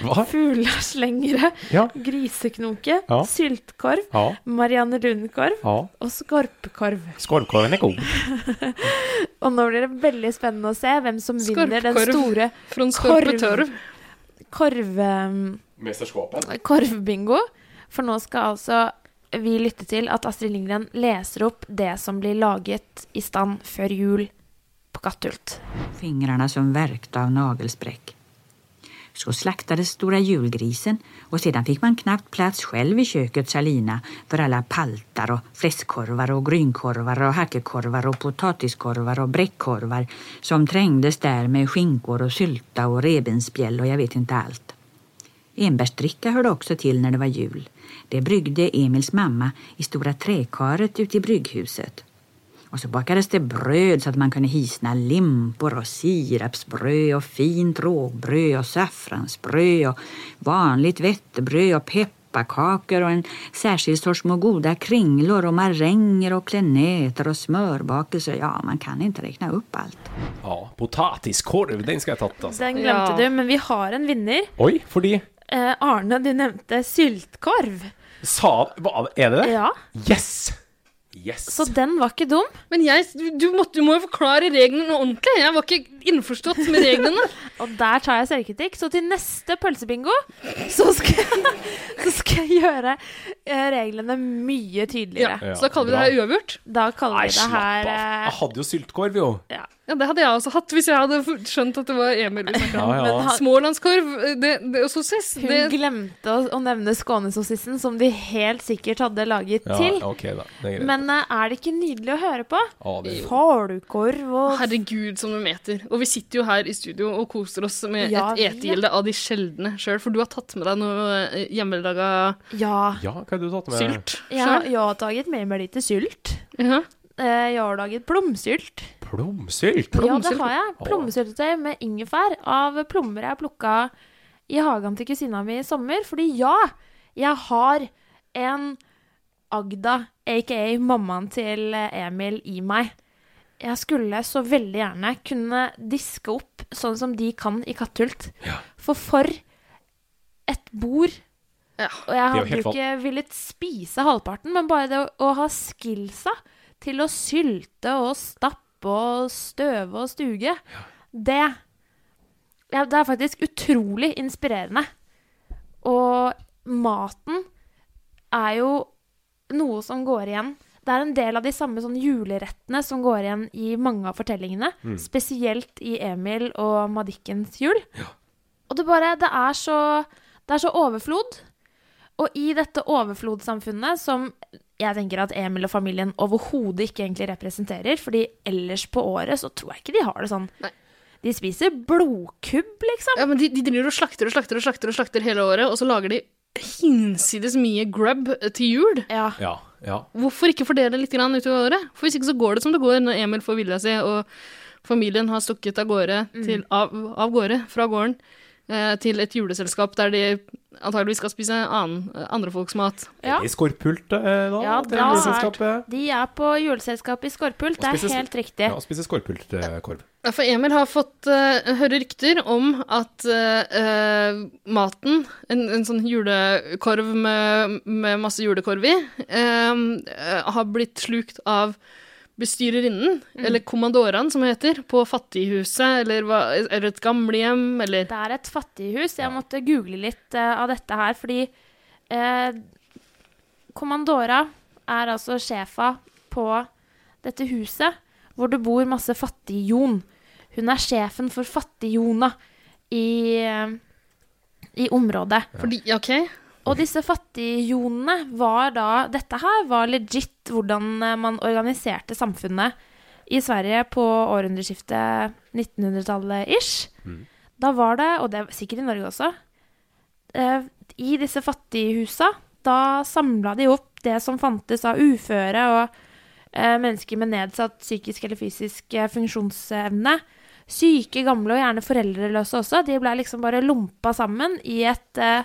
Speaker 3: Hva?
Speaker 2: fugleslengere,
Speaker 3: Ja.
Speaker 2: griseknoke,
Speaker 3: Ja.
Speaker 2: syltkorv,
Speaker 3: Ja.
Speaker 2: Marianne Lundkorv
Speaker 3: ja.
Speaker 2: og skorpekorv.
Speaker 3: Skorvkorven er god.
Speaker 2: Og nå blir det veldig spennende å se hvem som vinner den
Speaker 1: Skorpkorv.
Speaker 2: store
Speaker 1: Fra
Speaker 2: Korv.
Speaker 1: Skorpetørv.
Speaker 2: korv, eh,
Speaker 3: Mesterskapet.
Speaker 2: korvbingo. For nå skal altså vi lytte til at Astrid Lindgren leser opp det som blir laget i stand før jul på Katthult.
Speaker 6: fingrarna som värkte av nagelspräck. Så slaktades stora julgrisen och sedan fick man knappt plats själv i kökets alina för alla paltar och fläskkorvar och grynkorvar och hackekorvar och potatiskorvar och bräckkorvar som trängdes där med skinkor och sylta och revbensspjäll och jag vet inte allt. Enbärsdricka hörde också till när det var jul. Det bryggde Emils mamma i stora träkaret ute i brygghuset. Och så bakades det bröd så att man kunde hisna limpor och sirapsbröd och fint rågbröd och saffransbröd och vanligt vettebröd och peppar pepparkakor och en särskild sorts små goda kringlor och maränger och planeter och smörbakelser. Ja, man kan inte räkna upp allt.
Speaker 3: Ja, potatiskorv, den skal jeg tatt, altså.
Speaker 2: Den
Speaker 1: Ja.
Speaker 2: glemte du, men vi har en vinner.
Speaker 3: Oi, fordi
Speaker 2: Eh, Arne, du nevnte syltkorv.
Speaker 3: Sa hva, Er det det?
Speaker 2: Ja,
Speaker 3: Yes! Yes.
Speaker 2: så den var ikke dum.
Speaker 1: Men jeg, du- du, måtte, du må jo forklare reglene ordentlig. Jeg var ikke innforstått med reglene.
Speaker 2: Og der tar jeg selvkritikk. Så til neste pølsebingo så skal jeg, så skal jeg gjøre eh, reglene mye
Speaker 1: Ja,
Speaker 2: tydeligere.
Speaker 3: Ja,
Speaker 1: så da kaller vi det her uavgjort.
Speaker 2: Da kaller
Speaker 3: Nei,
Speaker 2: vi det
Speaker 3: slapp
Speaker 2: her
Speaker 3: av.
Speaker 2: eh,
Speaker 3: Jeg hadde jo syltkorv, jo.
Speaker 2: ja.
Speaker 1: Ja, det hadde jeg også hatt hvis jeg hadde skjønt at det var Emil. vi snakket om.
Speaker 3: Ja, ja.
Speaker 2: Men han,
Speaker 1: Smålandskorv det, det, og sossis.
Speaker 2: hun
Speaker 1: Det,
Speaker 2: glemte å, å nevne skånesossisen, som de helt sikkert hadde laget
Speaker 3: Ja,
Speaker 2: til.
Speaker 3: ok, da. Det er greit.
Speaker 2: Men eh, er det ikke nydelig å høre på?
Speaker 3: Ja, det er-
Speaker 2: Falukorv og
Speaker 1: herregud, som de meter. Og vi sitter jo her i studio og koser oss med
Speaker 2: Ja,
Speaker 1: et
Speaker 2: vi-
Speaker 1: etegilde av de sjeldne sjøl, for du har tatt med deg noe eh, hjemmelaga
Speaker 2: Ja.
Speaker 3: ja, hva har du tatt med?
Speaker 1: sylt
Speaker 2: Jeg har,
Speaker 1: sjøl.
Speaker 2: jeg har taget med meg litt sylt.
Speaker 1: Ja.
Speaker 2: Eh, Jeg har laget plomsylt.
Speaker 3: Plomsylt?
Speaker 2: Ja, det
Speaker 1: Plomsylt?
Speaker 2: har jeg. Plommesyltetøy med ingefær av plommer jeg plukka i hagen til kusina mi i sommer. Fordi ja, jeg har en Agda, aka mammaen til Emil, i meg. Jeg skulle så veldig gjerne kunne diske opp sånn som de kan i Katthult.
Speaker 3: Ja.
Speaker 2: For for et bord
Speaker 1: Ja.
Speaker 2: Og jeg
Speaker 3: jo
Speaker 2: hadde
Speaker 3: helt
Speaker 2: jo ikke villet spise halvparten, men bare det å, å ha skillsa til å sylte og stappe og støve og stuge, det, ja, det er faktisk utrolig inspirerende. Og maten er jo noe som går igjen. Det er en del av de samme sånn julerettene som går igjen i mange av fortellingene.
Speaker 3: Mm.
Speaker 2: Spesielt i Emil og Madikkens jul. Og det bare Det er så, det er så overflod. Og i dette overflodssamfunnet, som jeg tenker at Emil og familien overhodet ikke egentlig representerer, fordi ellers på året så tror jeg ikke de har det sånn.
Speaker 1: Nei.
Speaker 2: De spiser blodkubb, liksom.
Speaker 1: ja, men de, de driver og slakter og slakter og slakter og slakter hele året, og så lager de hinsides mye grub til jul.
Speaker 2: Ja.
Speaker 3: Ja, ja.
Speaker 1: Hvorfor ikke fordele litt grann utover året? For hvis ikke så går det som det går når Emil får vilja si, og familien har stukket av gårde, til, av, av gårde fra gården, eh, til et juleselskap der de antageligvis skal spise annen, andre folks mat.
Speaker 2: Ja.
Speaker 3: I skorpult, eh, da?
Speaker 2: Ja,
Speaker 3: til
Speaker 2: da er-
Speaker 3: juleselskapet?
Speaker 2: De er på juleselskap i Skorpult, det
Speaker 3: spiser-
Speaker 2: er helt riktig.
Speaker 3: Ja, spise skorpultkorv.
Speaker 1: Ja, For Emil har fått eh, høre rykter om at eh, eh, maten, en, en sånn julekorv med, med masse julekorv i, eh, eh, har blitt slukt av bestyrerinnen,
Speaker 2: Mm.
Speaker 1: eller kommandoraen som hun heter, på fattighuset, eller, hva, eller et gamlehjem, eller
Speaker 2: Det er et fattighus. Jeg måtte google litt eh, av dette her, fordi eh, Kommandora er altså sjefa på dette huset, hvor det bor masse fattig-Jon. Hun er sjefen for Fattig-Jona i, eh, i området.
Speaker 1: fordi, ja, ok,
Speaker 2: Og disse fattigjonene var da Dette her var legit hvordan eh, man organiserte samfunnet i Sverige på århundreskiftet 1900-tallet-ish. Da var det, og det er sikkert i Norge også eh, I disse fattighusa, da samla de opp det som fantes av uføre og eh, mennesker med nedsatt psykisk eller fysisk eh, funksjonsevne. Syke, gamle og gjerne foreldreløse også. De ble liksom bare lompa sammen i et eh,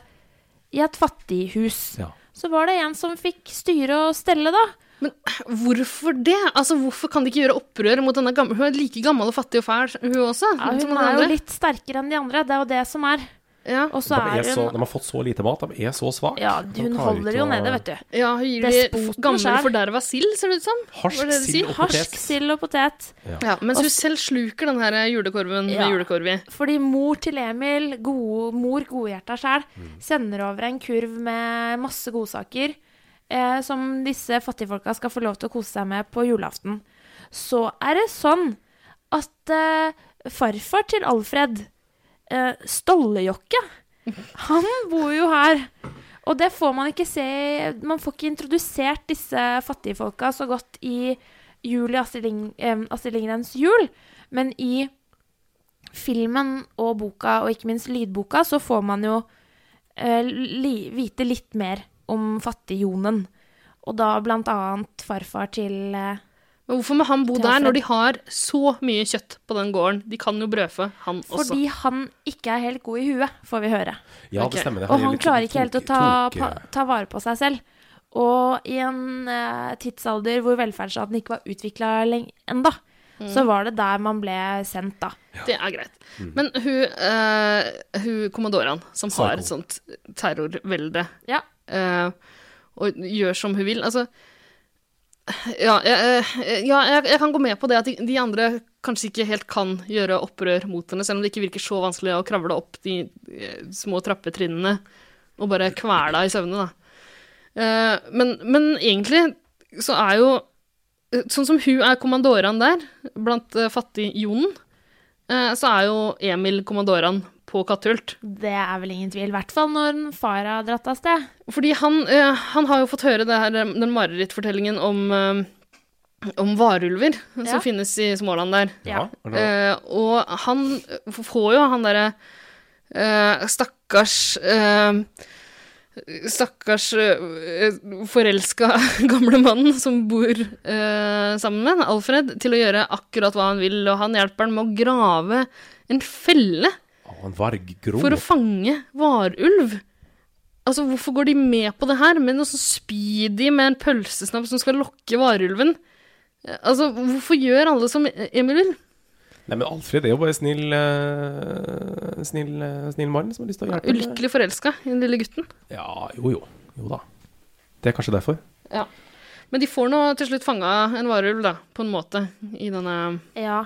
Speaker 2: i et fattighus.
Speaker 3: Ja.
Speaker 2: Så var det en som fikk styre og stelle, da.
Speaker 1: hvorfor det? Altså, hvorfor kan de ikke gjøre opprør mot denne gamle? Hun er like gammel og fattig og fæl, hun også.
Speaker 2: Ja,
Speaker 1: som
Speaker 2: hun
Speaker 1: alle
Speaker 2: er jo
Speaker 1: andre.
Speaker 2: litt sterkere enn de andre, det er jo det som er.
Speaker 1: Ja,
Speaker 2: Og så
Speaker 3: De, er
Speaker 2: er
Speaker 3: så, de
Speaker 2: hun
Speaker 3: har fått så lite mat, de er så svake.
Speaker 2: Ja, hun holder jo nede, vet du.
Speaker 1: ja hun gir de
Speaker 2: Despoten
Speaker 1: gammel
Speaker 2: selv.
Speaker 1: forderva sild, ser det ut som. Hva er
Speaker 3: Harsk
Speaker 1: det de sier?
Speaker 3: sild og
Speaker 2: Harsk
Speaker 3: potet.
Speaker 2: sild og potet.
Speaker 1: Ja, mens hun selv sluker den her julekorven
Speaker 2: Ja.
Speaker 1: med julekorv i.
Speaker 2: Fordi mor til Emil, gode, mor godhjerta sjæl, sender over en kurv med masse godsaker eh, som disse fattigfolka skal få lov til å kose seg med på julaften. Så er det sånn at eh, farfar til Alfred, eh, Stollejokke, han bor jo her. Og det får man ikke se Man får ikke introdusert disse fattigfolka så godt i jul i Astrid, Ling, eh, Astrid Lindgrens jul, men i filmen og boka, og ikke minst lydboka, så får man jo eh, li, vite litt mer om fattigjonen. Og da blant annet farfar til eh,
Speaker 1: Men hvorfor må han bo
Speaker 2: Til
Speaker 1: der
Speaker 2: Alfred.
Speaker 1: når de har så mye kjøtt på den gården? De kan jo brødfø han også.
Speaker 2: Fordi han ikke er helt god i huet, får vi høre.
Speaker 3: Ja,
Speaker 1: Ok.
Speaker 3: det stemmer. Det sånn
Speaker 2: Og han klarer ikke helt å ta, pa,
Speaker 3: på
Speaker 2: ta vare på seg selv. Og i en eh, tidsalder hvor velferdsstaten ikke var utvikla ennå, så var det der man ble sendt, da.
Speaker 1: Det er greit. Men hun, uh, hun kommandoraen som har et
Speaker 3: Psycho.
Speaker 1: sånt terrorvelde
Speaker 2: Ja.
Speaker 1: eh, og gjør som hun vil. Altså Ja, jeg, eh, ja jeg, jeg kan gå med på det at de, de andre kanskje ikke helt kan gjøre opprør mot henne, selv om det ikke virker så vanskelig å kravle opp de eh, små trappetrinnene og bare kvele i søvne, da. Eh, men, men egentlig så er jo eh, Sånn som hun er kommandoraen der, blant eh, fattig-jonen, eh, så er jo Emil kommandoraen på Katthult.
Speaker 2: Det er vel ingen tvil. I hvert fall når en far har dratt av sted.
Speaker 1: Fordi han, eh, han har jo fått høre det her, eh, den marerittfortellingen om, eh, om varulver
Speaker 2: Ja.
Speaker 1: som finnes i Småland der.
Speaker 3: Ja. er det-
Speaker 1: Eh, og han f- får jo han derre eh, stakkars eh, Stakkars eh, forelska gamle mannen som bor eh, sammen med Alfred, til å gjøre akkurat hva han vil, og han hjelper han med å grave en felle
Speaker 3: Å, han varggro.
Speaker 1: for å fange varulv. Altså, hvorfor går de med på det her, med noe sånn speedy med en pølsesnapp som skal lokke varulven? Eh, Altså, hvorfor gjør alle som Emil vil?
Speaker 3: Nei, men Alfred er jo bare snill eh, Snill, eh, snill mann som har lyst til å hjelpe.
Speaker 1: Ulykkelig forelska i den lille gutten.
Speaker 3: Ja, jo jo. Jo da. Det er kanskje derfor.
Speaker 1: Men de får nå til slutt fanga en varulv, da, på en måte, i denne
Speaker 2: Ja.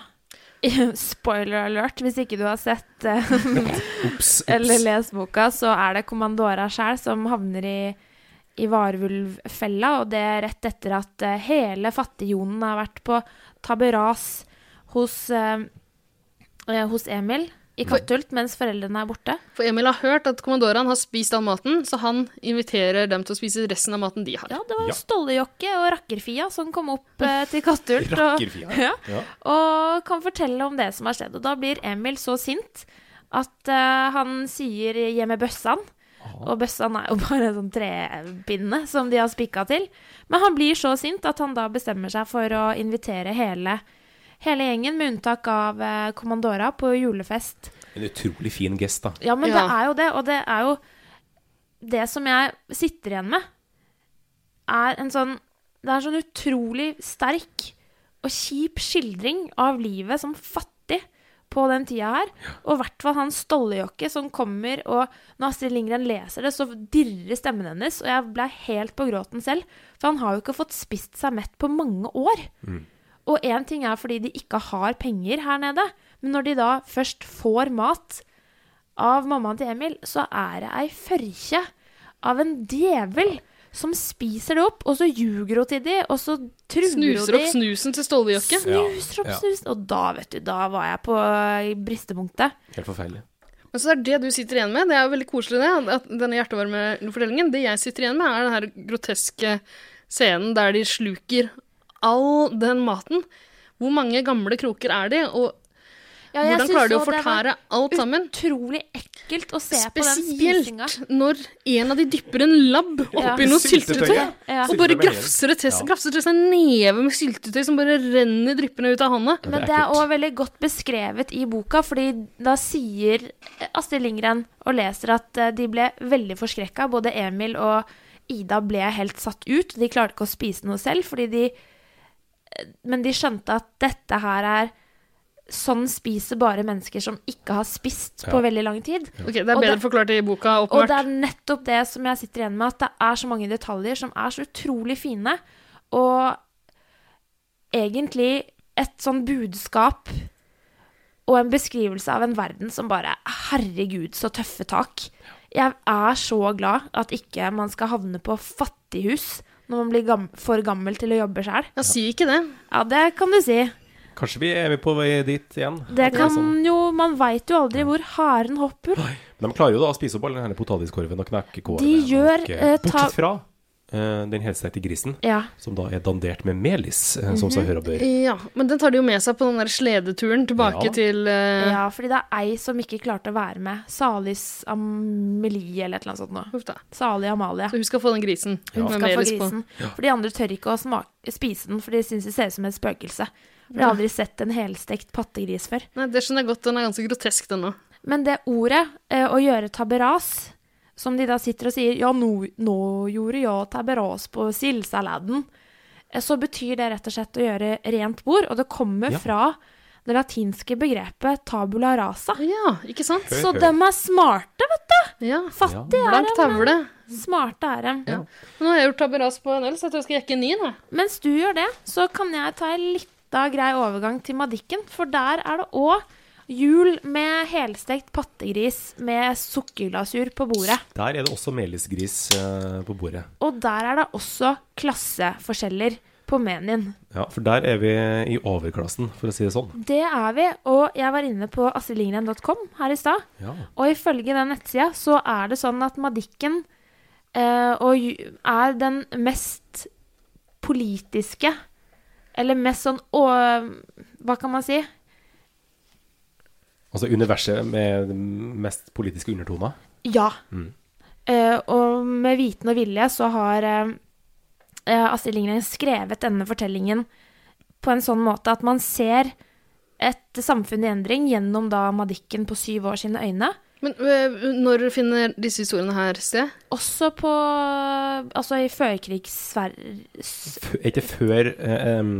Speaker 2: Spoiler alert, hvis ikke du har sett eh,
Speaker 3: Ops, ops.
Speaker 2: eller lest boka, så er det Kommandora sjæl som havner i, i varvulvfella, og det er rett etter at eh, hele fattigjonen har vært på taberas hos, eh, eh, hos Emil i Katthult mens foreldrene er borte.
Speaker 1: For Emil har hørt at kommandoraen har spist all maten, så han inviterer dem til å spise resten av maten de har.
Speaker 2: Ja, det var
Speaker 3: Ja.
Speaker 2: Stollejokke og Rakkerfia som kom opp eh, til Katthult og,
Speaker 3: Rakkerfia.
Speaker 2: ja,
Speaker 3: Ja.
Speaker 2: og kan fortelle om det som har skjedd. Og da blir Emil så sint at eh, han sier 'gi meg bøssan'.
Speaker 3: Ah.
Speaker 2: Og bøssan er jo bare en sånn trebinne som de har spikka til. Men han blir så sint at han da bestemmer seg for å invitere hele, hele gjengen, med unntak av eh, Kommandora, på julefest.
Speaker 3: En utrolig fin gest, da.
Speaker 2: Ja, men
Speaker 1: Ja.
Speaker 2: det er jo det, og det er jo Det som jeg sitter igjen med, er en sånn Det er en sånn utrolig sterk og kjip skildring av livet som fattig på den tida her. Og i hvert fall han stollejokke som kommer, og når Astrid Lindgren leser det, så dirrer stemmen hennes, og jeg ble helt på gråten selv. For han har jo ikke fått spist seg mett på mange år. Og én ting er fordi de ikke har penger her nede, men når de da først får mat, av mammaen til Emil, så er det ei førkje av en djevel som spiser det opp, og så ljuger hun til de, og så truer hun de.
Speaker 1: Snuser opp snusen til Stollejakke.
Speaker 2: Snuser opp
Speaker 3: Ja.
Speaker 2: snusen. Og da, vet du, da var jeg på i bristepunktet.
Speaker 3: Helt forferdelig.
Speaker 1: Men så det er det du sitter igjen med. Det er jo veldig koselig, det. At denne hjertevarme fortellingen. Det jeg sitter igjen med, er den her groteske scenen der de sluker all den maten. Hvor mange gamle kroker er de, og
Speaker 2: Ja, jeg
Speaker 1: hvordan
Speaker 2: synes
Speaker 1: klarer de å
Speaker 2: også det var
Speaker 1: fortære alt sammen?
Speaker 2: Utrolig ekkelt å se på den spisinga.
Speaker 1: Spesielt når en av de dypper en labb
Speaker 2: Ja.
Speaker 1: oppi noe syltetøy.
Speaker 3: Syltetøy,
Speaker 2: Ja.
Speaker 1: Og bare
Speaker 3: Syltetøy med
Speaker 1: grafser det til,
Speaker 3: Ja.
Speaker 1: grafser til seg en neve med syltetøy som bare renner dryppende ut av hånda.
Speaker 2: Men
Speaker 3: Det er
Speaker 2: det er
Speaker 3: ekkelt.
Speaker 2: òg veldig godt beskrevet i boka, fordi da sier Astrid Lindgren og leser at eh, de ble veldig forskrekka. Både Emil og Ida ble helt satt ut. De klarte ikke å spise noe selv, fordi de eh, Men de skjønte at dette her er Sånn spiser bare mennesker som ikke har spist på
Speaker 3: Ja.
Speaker 2: veldig lang tid.
Speaker 1: Ok, Det er
Speaker 2: Og
Speaker 1: bedre
Speaker 2: det-
Speaker 1: forklart i boka,
Speaker 2: Og det
Speaker 1: åpenbart.
Speaker 2: er nettopp det som jeg sitter igjen med, at det er så mange detaljer som er så utrolig fine, og egentlig et sånn budskap og en beskrivelse av en verden som bare Herregud, så tøffe tak. Jeg er så glad at ikke man skal havne på fattighus når man blir gam for gammel til å jobbe sjøl.
Speaker 1: Ja, si ikke det.
Speaker 2: Ja, det kan du si.
Speaker 3: Kanskje vi er på vei dit igjen.
Speaker 2: Det
Speaker 3: At er
Speaker 2: kan
Speaker 3: sånn.
Speaker 2: jo Man veit jo aldri hvor haren hopper.
Speaker 3: Men de klarer jo da å spise opp all den her potetkorven og knekkekorven.
Speaker 2: De gjør,
Speaker 3: og,
Speaker 2: eh, ta-
Speaker 3: Bortsett fra eh, den helseite grisen,
Speaker 2: Ja. Mhm.
Speaker 3: som da er dandert med melis, eh, som seg hør og bør.
Speaker 1: Ja, men den tar de jo med seg på den der sledeturen tilbake
Speaker 3: Ja.
Speaker 1: til eh,
Speaker 2: Ja, fordi det er ei som ikke klarte å være med. Salis Amelie eller et eller annet sånt noe.
Speaker 1: Uff da.
Speaker 2: Sali Amalie.
Speaker 1: Så hun skal få den grisen.
Speaker 2: Hun
Speaker 1: med
Speaker 2: skal få
Speaker 1: melis på.
Speaker 2: grisen. For de andre tør ikke å smake, spise den, for de syns det ser ut som et spøkelse. For de har aldri sett en helstekt pattegris før.
Speaker 1: Nei, det skjønner jeg godt. Den er ganske grotesk, den òg.
Speaker 2: Men det ordet, eh, å gjøre tabberas, som de da sitter og sier Ja, nå, nå gjorde jeg tabberas på sildsaladen. Eh, Så betyr det rett og slett å gjøre rent bord, og det kommer
Speaker 3: Ja.
Speaker 2: fra det latinske begrepet tabula rasa.
Speaker 1: Ja, ikke sant?
Speaker 3: Høy,
Speaker 2: Så
Speaker 3: høy.
Speaker 2: de er smarte, vet du!
Speaker 1: Ja.
Speaker 2: Fattige er
Speaker 1: Blank
Speaker 2: de, men
Speaker 1: tavle.
Speaker 2: smarte er de.
Speaker 1: Ja. Nå har jeg gjort tabberas på en øl, så jeg tror jeg skal jekke en ny. Da.
Speaker 2: Mens du gjør det, så kan jeg ta en lita grei overgang til Madikken, for der er det òg jul med helstekt pattegris med sukkerglasur på bordet.
Speaker 3: Der er det også melisgris eh, på bordet.
Speaker 2: Og der er det også klasseforskjeller på menyen.
Speaker 3: Ja, for der er vi i overklassen, for å si det sånn.
Speaker 2: Det er vi, og jeg var inne på astridlindgren.com her i stad.
Speaker 3: Ja.
Speaker 2: Og ifølge den nettsida så er det sånn at Madikken eh, og, ju- er den mest politiske Eller mest sånn å, Hva kan man si?
Speaker 3: Altså universet med den mest politiske undertoner.
Speaker 2: Ja. Eh, og med viten og vilje så har eh, eh, Astrid Lindgren skrevet denne fortellingen på en sånn måte at man ser et samfunn i endring gjennom da Madikken på syv år sine øyne.
Speaker 1: Men øh, når finner disse historiene her sted?
Speaker 2: Også på Altså i førkrigssverige
Speaker 3: F- Er ikke før eh, em,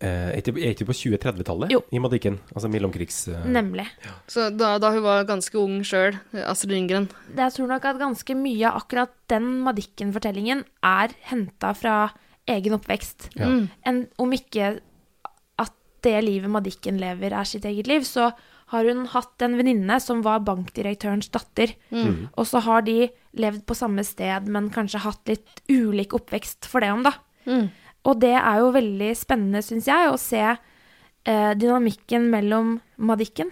Speaker 3: eh, er ikke- Er ikke på 2030-tallet
Speaker 2: Jo.
Speaker 3: i Madikken? Altså mellomkrigs... eh,
Speaker 2: Nemlig.
Speaker 1: Så da, da hun var ganske ung sjøl, Astrid Lindgren.
Speaker 2: Det- Jeg tror nok at ganske mye av akkurat den Madikken-fortellingen er henta fra egen oppvekst.
Speaker 3: Ja.
Speaker 2: En, om ikke at det livet Madikken lever, er sitt eget liv, så har hun hatt en venninne som var bankdirektørens datter. Og så har de levd på samme sted, men kanskje hatt litt ulik oppvekst for det om, da. Og det er jo veldig spennende, syns jeg, å se eh, dynamikken mellom Madikken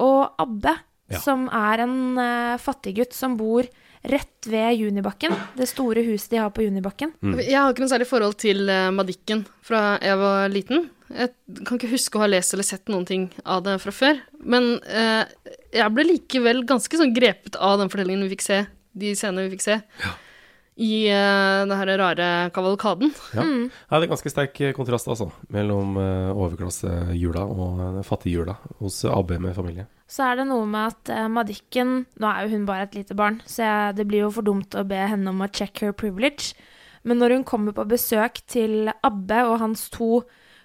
Speaker 2: og Abbe,
Speaker 3: Ja.
Speaker 2: som er en eh, fattiggutt som bor rett ved Junibakken, det store huset de har på Junibakken.
Speaker 1: Jeg har ikke noe særlig forhold til eh, Madikken fra jeg var liten. Jeg kan ikke huske å ha lest eller sett noen ting av det fra før. Men eh, jeg ble likevel ganske sånn grepet av den fortellingen vi fikk se, de scenene vi fikk se, i uh, den her rare kavalkaden.
Speaker 3: Ja.
Speaker 1: Mm.
Speaker 3: ja, det er ganske sterk eh, kontrast altså, mellom eh, overklassejula og eh, fattigjula hos eh, AB med familie.
Speaker 2: Så er det noe med at eh, Madikken Nå er jo hun bare et lite barn, så jeg, det blir jo for dumt å be henne om å check her privilege. Men når hun kommer på besøk til Abbe og hans to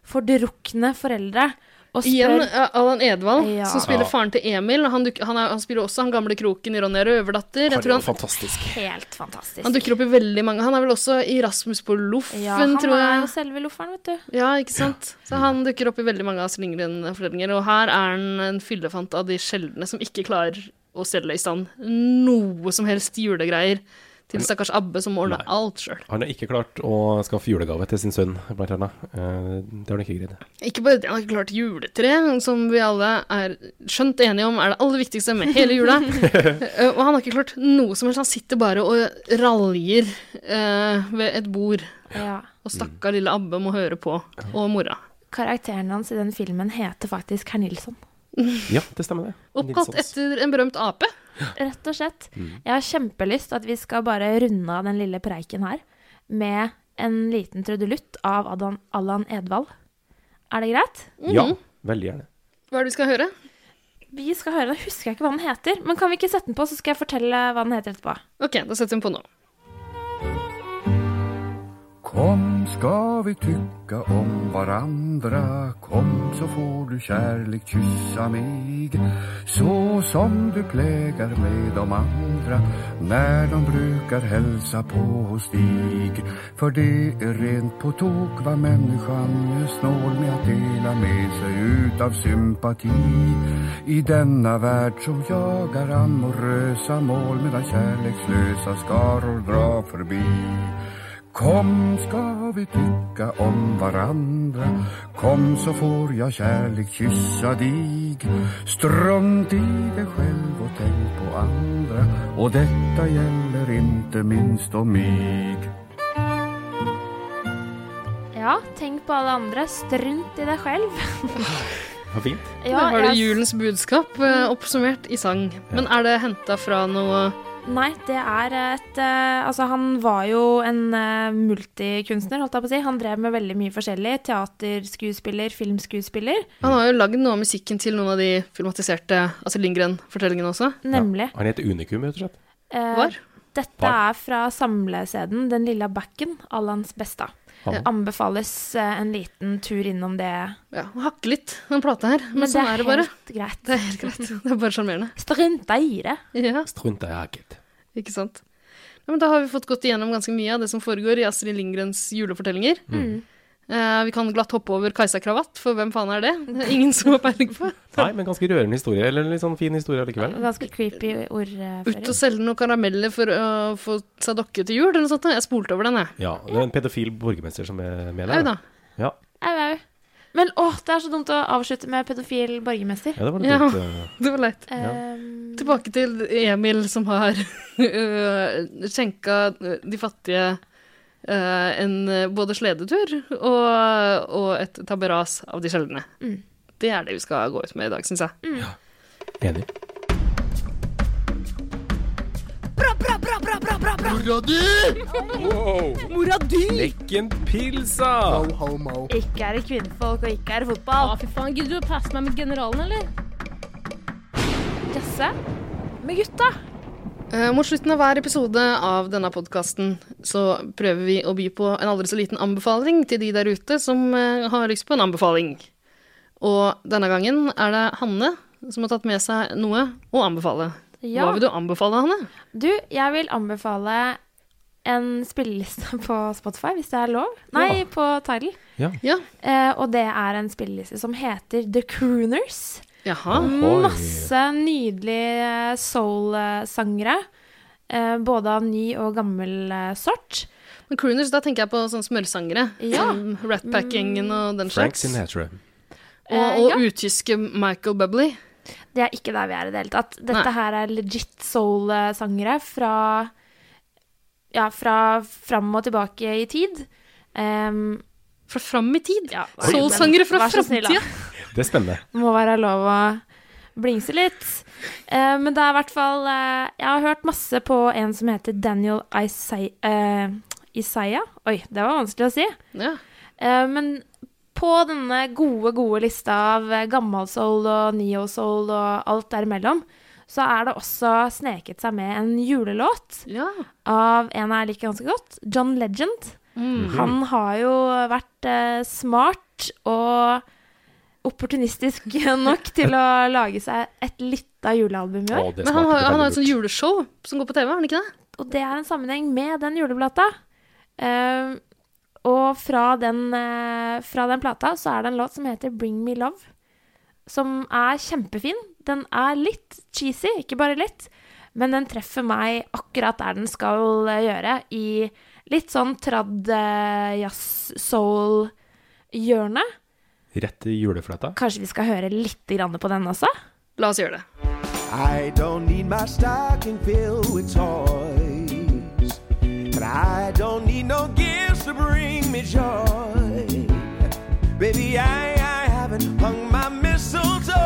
Speaker 2: fordrukne foreldre og spør
Speaker 1: Igjen eh, Allan Edvald,
Speaker 2: Ja.
Speaker 1: som spiller
Speaker 3: Ja.
Speaker 1: faren til Emil. og Han, duk- han, er, han spiller også han gamle kroken i Ronja Røverdatter. Jeg tror han,
Speaker 3: fantastisk.
Speaker 2: Helt fantastisk.
Speaker 1: han dukker opp i veldig mange. Han er vel også i Rasmus på Loffen,
Speaker 2: ja, han
Speaker 1: tror jeg.
Speaker 2: er jo selve lofferen, vet du.
Speaker 1: Ja, ikke sant? Så han dukker opp i veldig mange av Astrid Lindgren-fortellinger, og her er han en fyllefant av de sjeldne som ikke klarer å stelle i stand noe som helst julegreier til stakkars Abbe som må ordne
Speaker 3: Nei.
Speaker 1: alt sjøl.
Speaker 3: Han har ikke klart å skaffe julegave til sin sønn, blant annet. Eh, det har han ikke greid.
Speaker 1: Ikke bare det, han har ikke klart juletre, som vi alle er skjønt enige om er det aller viktigste med hele jula. Eh, og han har ikke klart noe som helst, han sitter bare og raljer eh, ved et bord.
Speaker 2: Ja.
Speaker 1: Og stakkar lille Abbe må høre på, og mora.
Speaker 2: Karakteren hans i den filmen heter faktisk Herr Nilsson.
Speaker 3: Ja, det stemmer det.
Speaker 1: Oppkalt
Speaker 3: Nilssons.
Speaker 1: etter en berømt ape.
Speaker 2: Rett og slett. Jeg har kjempelyst at vi skal bare runde av den lille preiken her med en liten trudelutt av Adan, Allan Edvald. Er det greit?
Speaker 3: Ja,
Speaker 1: Mhm.
Speaker 3: veldig gjerne.
Speaker 1: Hva er det vi skal høre?
Speaker 2: Vi skal høre den. Husker jeg ikke hva den heter, men kan vi ikke sette den på, så skal jeg fortelle hva den heter etterpå.
Speaker 1: Ok, da setter vi den på nå.
Speaker 8: Kom ska vi tycka om varandra Kom så får du kärlek kyssa mig Så som du plägar med de andra När de brukar hälsa på hos dig För det är rent på tok vad människan är snål med att dela med sig utav sympati I denna värld som jagar amorösa mål Medan kärlekslösa skaror drar förbi Kom ska vi tycka om varandra Kom så får jag kärlek kyssa dig Strunt i dig själv och tänk på andra Och detta gäller inte minst om mig
Speaker 2: Ja, tenk på alle andre. Strunt i deg selv.
Speaker 3: Det var fint.
Speaker 2: Ja,
Speaker 1: Der var det
Speaker 2: jeg-
Speaker 1: julens budskap eh, oppsummert i sang. Men er det henta fra noe
Speaker 2: Nei, det er et eh, Altså, han var jo en eh, multikunstner, holdt jeg på å si. Han drev med veldig mye forskjellig. Teaterskuespiller, filmskuespiller.
Speaker 1: Han har jo lagd noe av musikken til noen av de filmatiserte Astrid Lindgren-fortellingene også.
Speaker 2: Nemlig.
Speaker 3: Han heter Unikum, rett og slett.
Speaker 2: Eh,
Speaker 1: Var.
Speaker 2: Dette
Speaker 3: Var.
Speaker 2: er fra samleseden Den lilla backen, Allans besta.
Speaker 3: Han.
Speaker 2: Anbefales eh, en liten tur innom det.
Speaker 1: Ja, han hakker litt, den plata her. Men, sånn er det bare.
Speaker 2: helt greit.
Speaker 1: Det er helt greit. Det er bare sjarmerende.
Speaker 2: Strunta i det.
Speaker 1: Ja,
Speaker 3: Strunt i hakket.
Speaker 1: ikke sant. Ja, men da har vi fått gått igjennom ganske mye av det som foregår i Astrid Lindgrens julefortellinger. Eh, vi kan glatt hoppe over Kajsa Kravatt, for hvem faen er det? Det er ingen som har peiling på.
Speaker 3: Nei, men ganske rørende historie. Eller en litt sånn fin historie likevel.
Speaker 2: Ganske creepy eh,
Speaker 1: Ut og
Speaker 2: ordfører.
Speaker 1: selge noen karameller for å få seg dokke til jul, eller noe sånt. Jeg spolte over den, jeg.
Speaker 3: Ja, det er en pedofil borgermester som er med
Speaker 1: Au
Speaker 3: der.
Speaker 1: da.
Speaker 3: Ja,
Speaker 2: Au, au. Men åh, det er så dumt å avslutte med pedofil borgermester.
Speaker 3: ja, det var
Speaker 1: Ja.
Speaker 3: litt dumt. eh.
Speaker 1: Det var leit.
Speaker 2: Ehm,
Speaker 1: Tilbake til Emil som har øh, skjenka de fattige øh, en øh, både sledetur og, og et tabberas av de sjeldne. Det er det vi skal gå ut med i dag, syns jeg.
Speaker 3: Enig.
Speaker 5: Mora di!
Speaker 3: Lekken pilsa!
Speaker 2: ikke er det kvinnfolk, og ikke er det fotball.
Speaker 5: Ja, fy faen. Gidder du å passe meg med generalen, eller?
Speaker 2: Jazze med gutta.
Speaker 1: Eh, Mot slutten av hver episode av denne podkasten så prøver vi å by på en aldri så liten anbefaling til de der ute som eh, har lyst på en anbefaling. Og denne gangen er det Hanne som har tatt med seg noe å anbefale. Hva
Speaker 2: Ja.
Speaker 1: vil du anbefale, Hanne?
Speaker 2: Du, jeg vil anbefale en spilleliste på Spotify, hvis det er lov. Nei, på Tidal.
Speaker 1: Ja.
Speaker 2: Eh, og det er en spilleliste som heter The Crooners.
Speaker 1: Jaha.
Speaker 3: Oi.
Speaker 2: Masse nydelige eh, soul-sangere. Eh, både av ny og gammel eh, sort.
Speaker 1: Men crooners, da tenker jeg på sånne smørsangere.
Speaker 2: Ja.
Speaker 1: Som Ratpack-gjengen og den
Speaker 3: Frank
Speaker 1: slags.
Speaker 3: Sinatra.
Speaker 1: Og,
Speaker 2: Eh,
Speaker 1: og
Speaker 2: ja.
Speaker 1: utyske Michael Bubley.
Speaker 2: Det er ikke der vi er i det hele tatt. Dette
Speaker 1: Nei.
Speaker 2: her er legit soul-sangere fra Ja, fra fram og tilbake i tid. Em,
Speaker 1: Fra fram i tid.
Speaker 2: ja,
Speaker 1: Oi. Soul-sangere fra
Speaker 2: Vær så snill, da.
Speaker 1: fremtiden.
Speaker 3: Det er spennende.
Speaker 2: Må være lov å blingse litt. Eh, men det er i hvert fall eh, Jeg har hørt masse på en som heter Daniel Isai- eh, Isaiah. Oi, det var vanskelig å si.
Speaker 1: Ja.
Speaker 2: Eh, men på denne gode, gode lista av eh, gammalsoul og neosoul og alt derimellom, så er det også sneket seg med en julelåt
Speaker 1: ja.
Speaker 2: av en jeg liker ganske godt, John Legend. Han har jo vært eh, smart og opportunistisk nok til å lage seg et lite julealbum i år.
Speaker 3: Å, det
Speaker 1: Men han har,
Speaker 3: smakte
Speaker 1: han har sånn-
Speaker 3: veldig
Speaker 1: et sånt
Speaker 3: lurt.
Speaker 1: juleshow som går på TV, har han ikke det?
Speaker 2: Og det er en sammenheng med den juleplata. Eh, og fra den, eh, fra den plata så er det en låt som heter 'Bring Me Love', som er kjempefin. Den er litt cheesy, ikke bare litt, men den treffer meg akkurat der den skal eh, gjøre, i litt sånn trad, eh, jazz, soul hjørne.
Speaker 3: Rett i julefløyta.
Speaker 2: Kanskje vi skal høre litt grann på den også?
Speaker 1: La oss gjøre det.
Speaker 9: I don't need my stocking filled with toys. But I don't need no gifts to bring me joy. Baby, I, I haven't hung my mistletoe.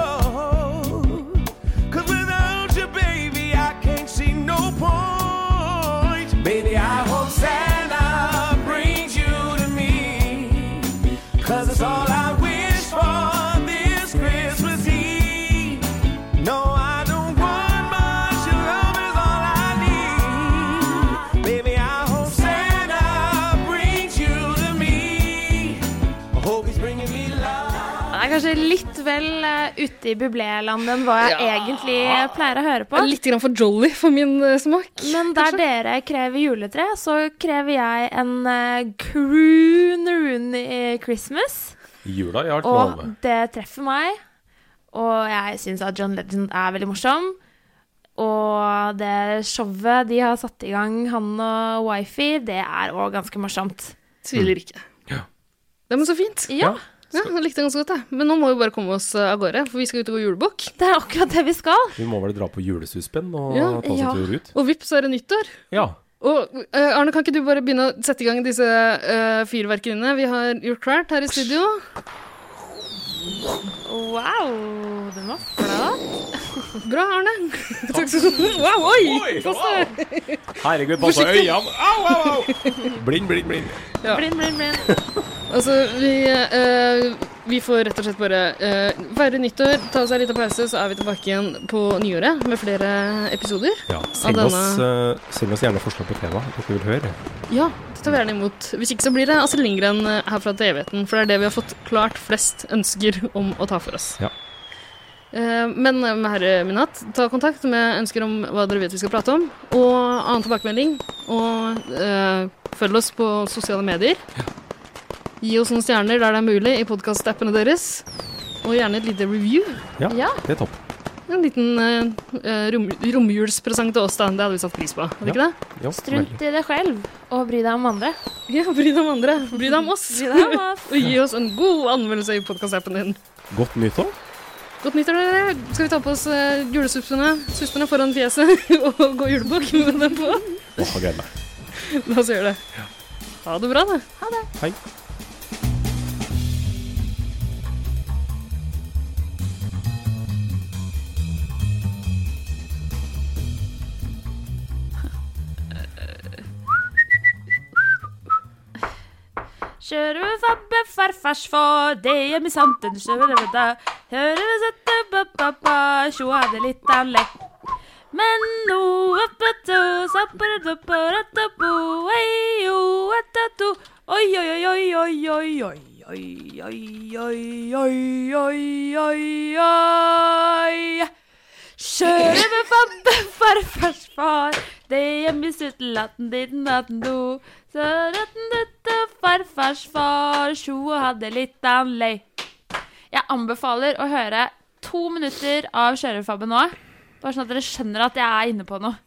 Speaker 9: Cause without you, baby, I can't see no point. Baby, I hope Santa brings you to me. Cause it's all I wish for this Christmas Eve. No, I don't want much. Your love is all I need. Baby, I hope Santa brings you to me. I hope he's bringing me love.
Speaker 2: Det er kanskje litt vel eh, ute i bubléland enn hva jeg egentlig pleier å høre på.
Speaker 1: Litt grann for jolly for min eh, smak.
Speaker 2: Men der dere krever juletre, så krever jeg en uh, crooneroony Christmas.
Speaker 3: I jula, jeg har vært
Speaker 2: Og
Speaker 3: med.
Speaker 2: det treffer meg. Og jeg syns at John Legend er veldig morsom. Og det showet de har satt i gang, han og wifi, det er òg ganske morsomt.
Speaker 1: Tviler ikke.
Speaker 3: Ja.
Speaker 1: Det var så fint.
Speaker 2: Ja,
Speaker 1: Ja, jeg likte den ganske godt, jeg. Men nå må vi bare komme oss eh, av gårde, for vi skal ut og gå julebukk.
Speaker 2: det er akkurat det vi skal.
Speaker 3: Vi må vel dra på julesuspenn og
Speaker 1: Ja,
Speaker 3: ta oss
Speaker 2: ja.
Speaker 3: en tur ut?
Speaker 1: Og vips, så er det nyttår.
Speaker 3: Ja.
Speaker 1: Og eh, Arne, kan ikke du bare begynne å sette i gang disse uh, fyrverkeriene vi har gjort klart her i studio?
Speaker 2: Wow, den var flott.
Speaker 1: Bra, Arne. Takk skal du ha. Wow, oi! Koste.
Speaker 3: Herregud, passa øynene! Au, au, au! Blind, blind, blind.
Speaker 2: Blind, blind, blind.
Speaker 1: Altså, vi, eh, vi får rett og slett bare eh, feire nyttår, ta oss en liten pause, så er vi tilbake igjen på nyåret med flere episoder.
Speaker 3: Ja, send,
Speaker 1: denne-
Speaker 3: oss, eh, send oss gjerne forslag på tema hvis dere vil høre.
Speaker 1: Ja, det tar vi gjerne imot. Hvis ikke så blir det Astrid Lindgren eh, her fra til evigheten, for det er det vi har fått klart flest ønsker om å ta for oss.
Speaker 3: Ja.
Speaker 1: Eh, Men eh, med herre Minat, ta kontakt med ønsker om hva dere vet vi skal prate om, og annen tilbakemelding, og eh, følg oss på sosiale medier. Gi oss noen stjerner der det er mulig i podkastappene deres, og gjerne et lite review.
Speaker 3: Ja,
Speaker 2: Ja.
Speaker 3: det er topp.
Speaker 1: En liten eh, eh, rom, romjulspresang til oss, da. Det hadde vi satt pris på, hadde
Speaker 3: Ja.
Speaker 1: ikke det?
Speaker 3: Ja, veldig.
Speaker 2: Strunt i deg selv, og bry deg om andre.
Speaker 1: Ja, bry deg om andre. Bry deg om oss.
Speaker 2: Bry deg om oss.
Speaker 1: og gi oss en god anmeldelse i podkastappen din.
Speaker 3: Godt nyttår.
Speaker 1: Godt nyttår, dere. Skal vi ta på oss uh, julesuspene suspene foran fjeset og gå julebukk med dem på?
Speaker 3: Åh, jeg gleder meg.
Speaker 1: La oss gjøre det. Ha det bra, da.
Speaker 3: Hei.
Speaker 2: Kjører vi fabbe farfars for, det er mi sant, den kjører vi da. Hører vi sette pappa, sjo hadde litt av lekk. Men nå oppe to, sappere doppe, rette bo, ei jo, ette to. Oi, oi, oi, oi, oi, oi, oi. Oi, oi, oi, oi, oi, oi, oi. Kjører med fabbe farfars far. Det gjemmes uten latten ditten datten do. Så ratten dette farfars far. Tjo og hadde litt av en lei. Jeg anbefaler å høre to minutter av kjørefabben nå. Bare sånn at dere skjønner at jeg er inne på noe.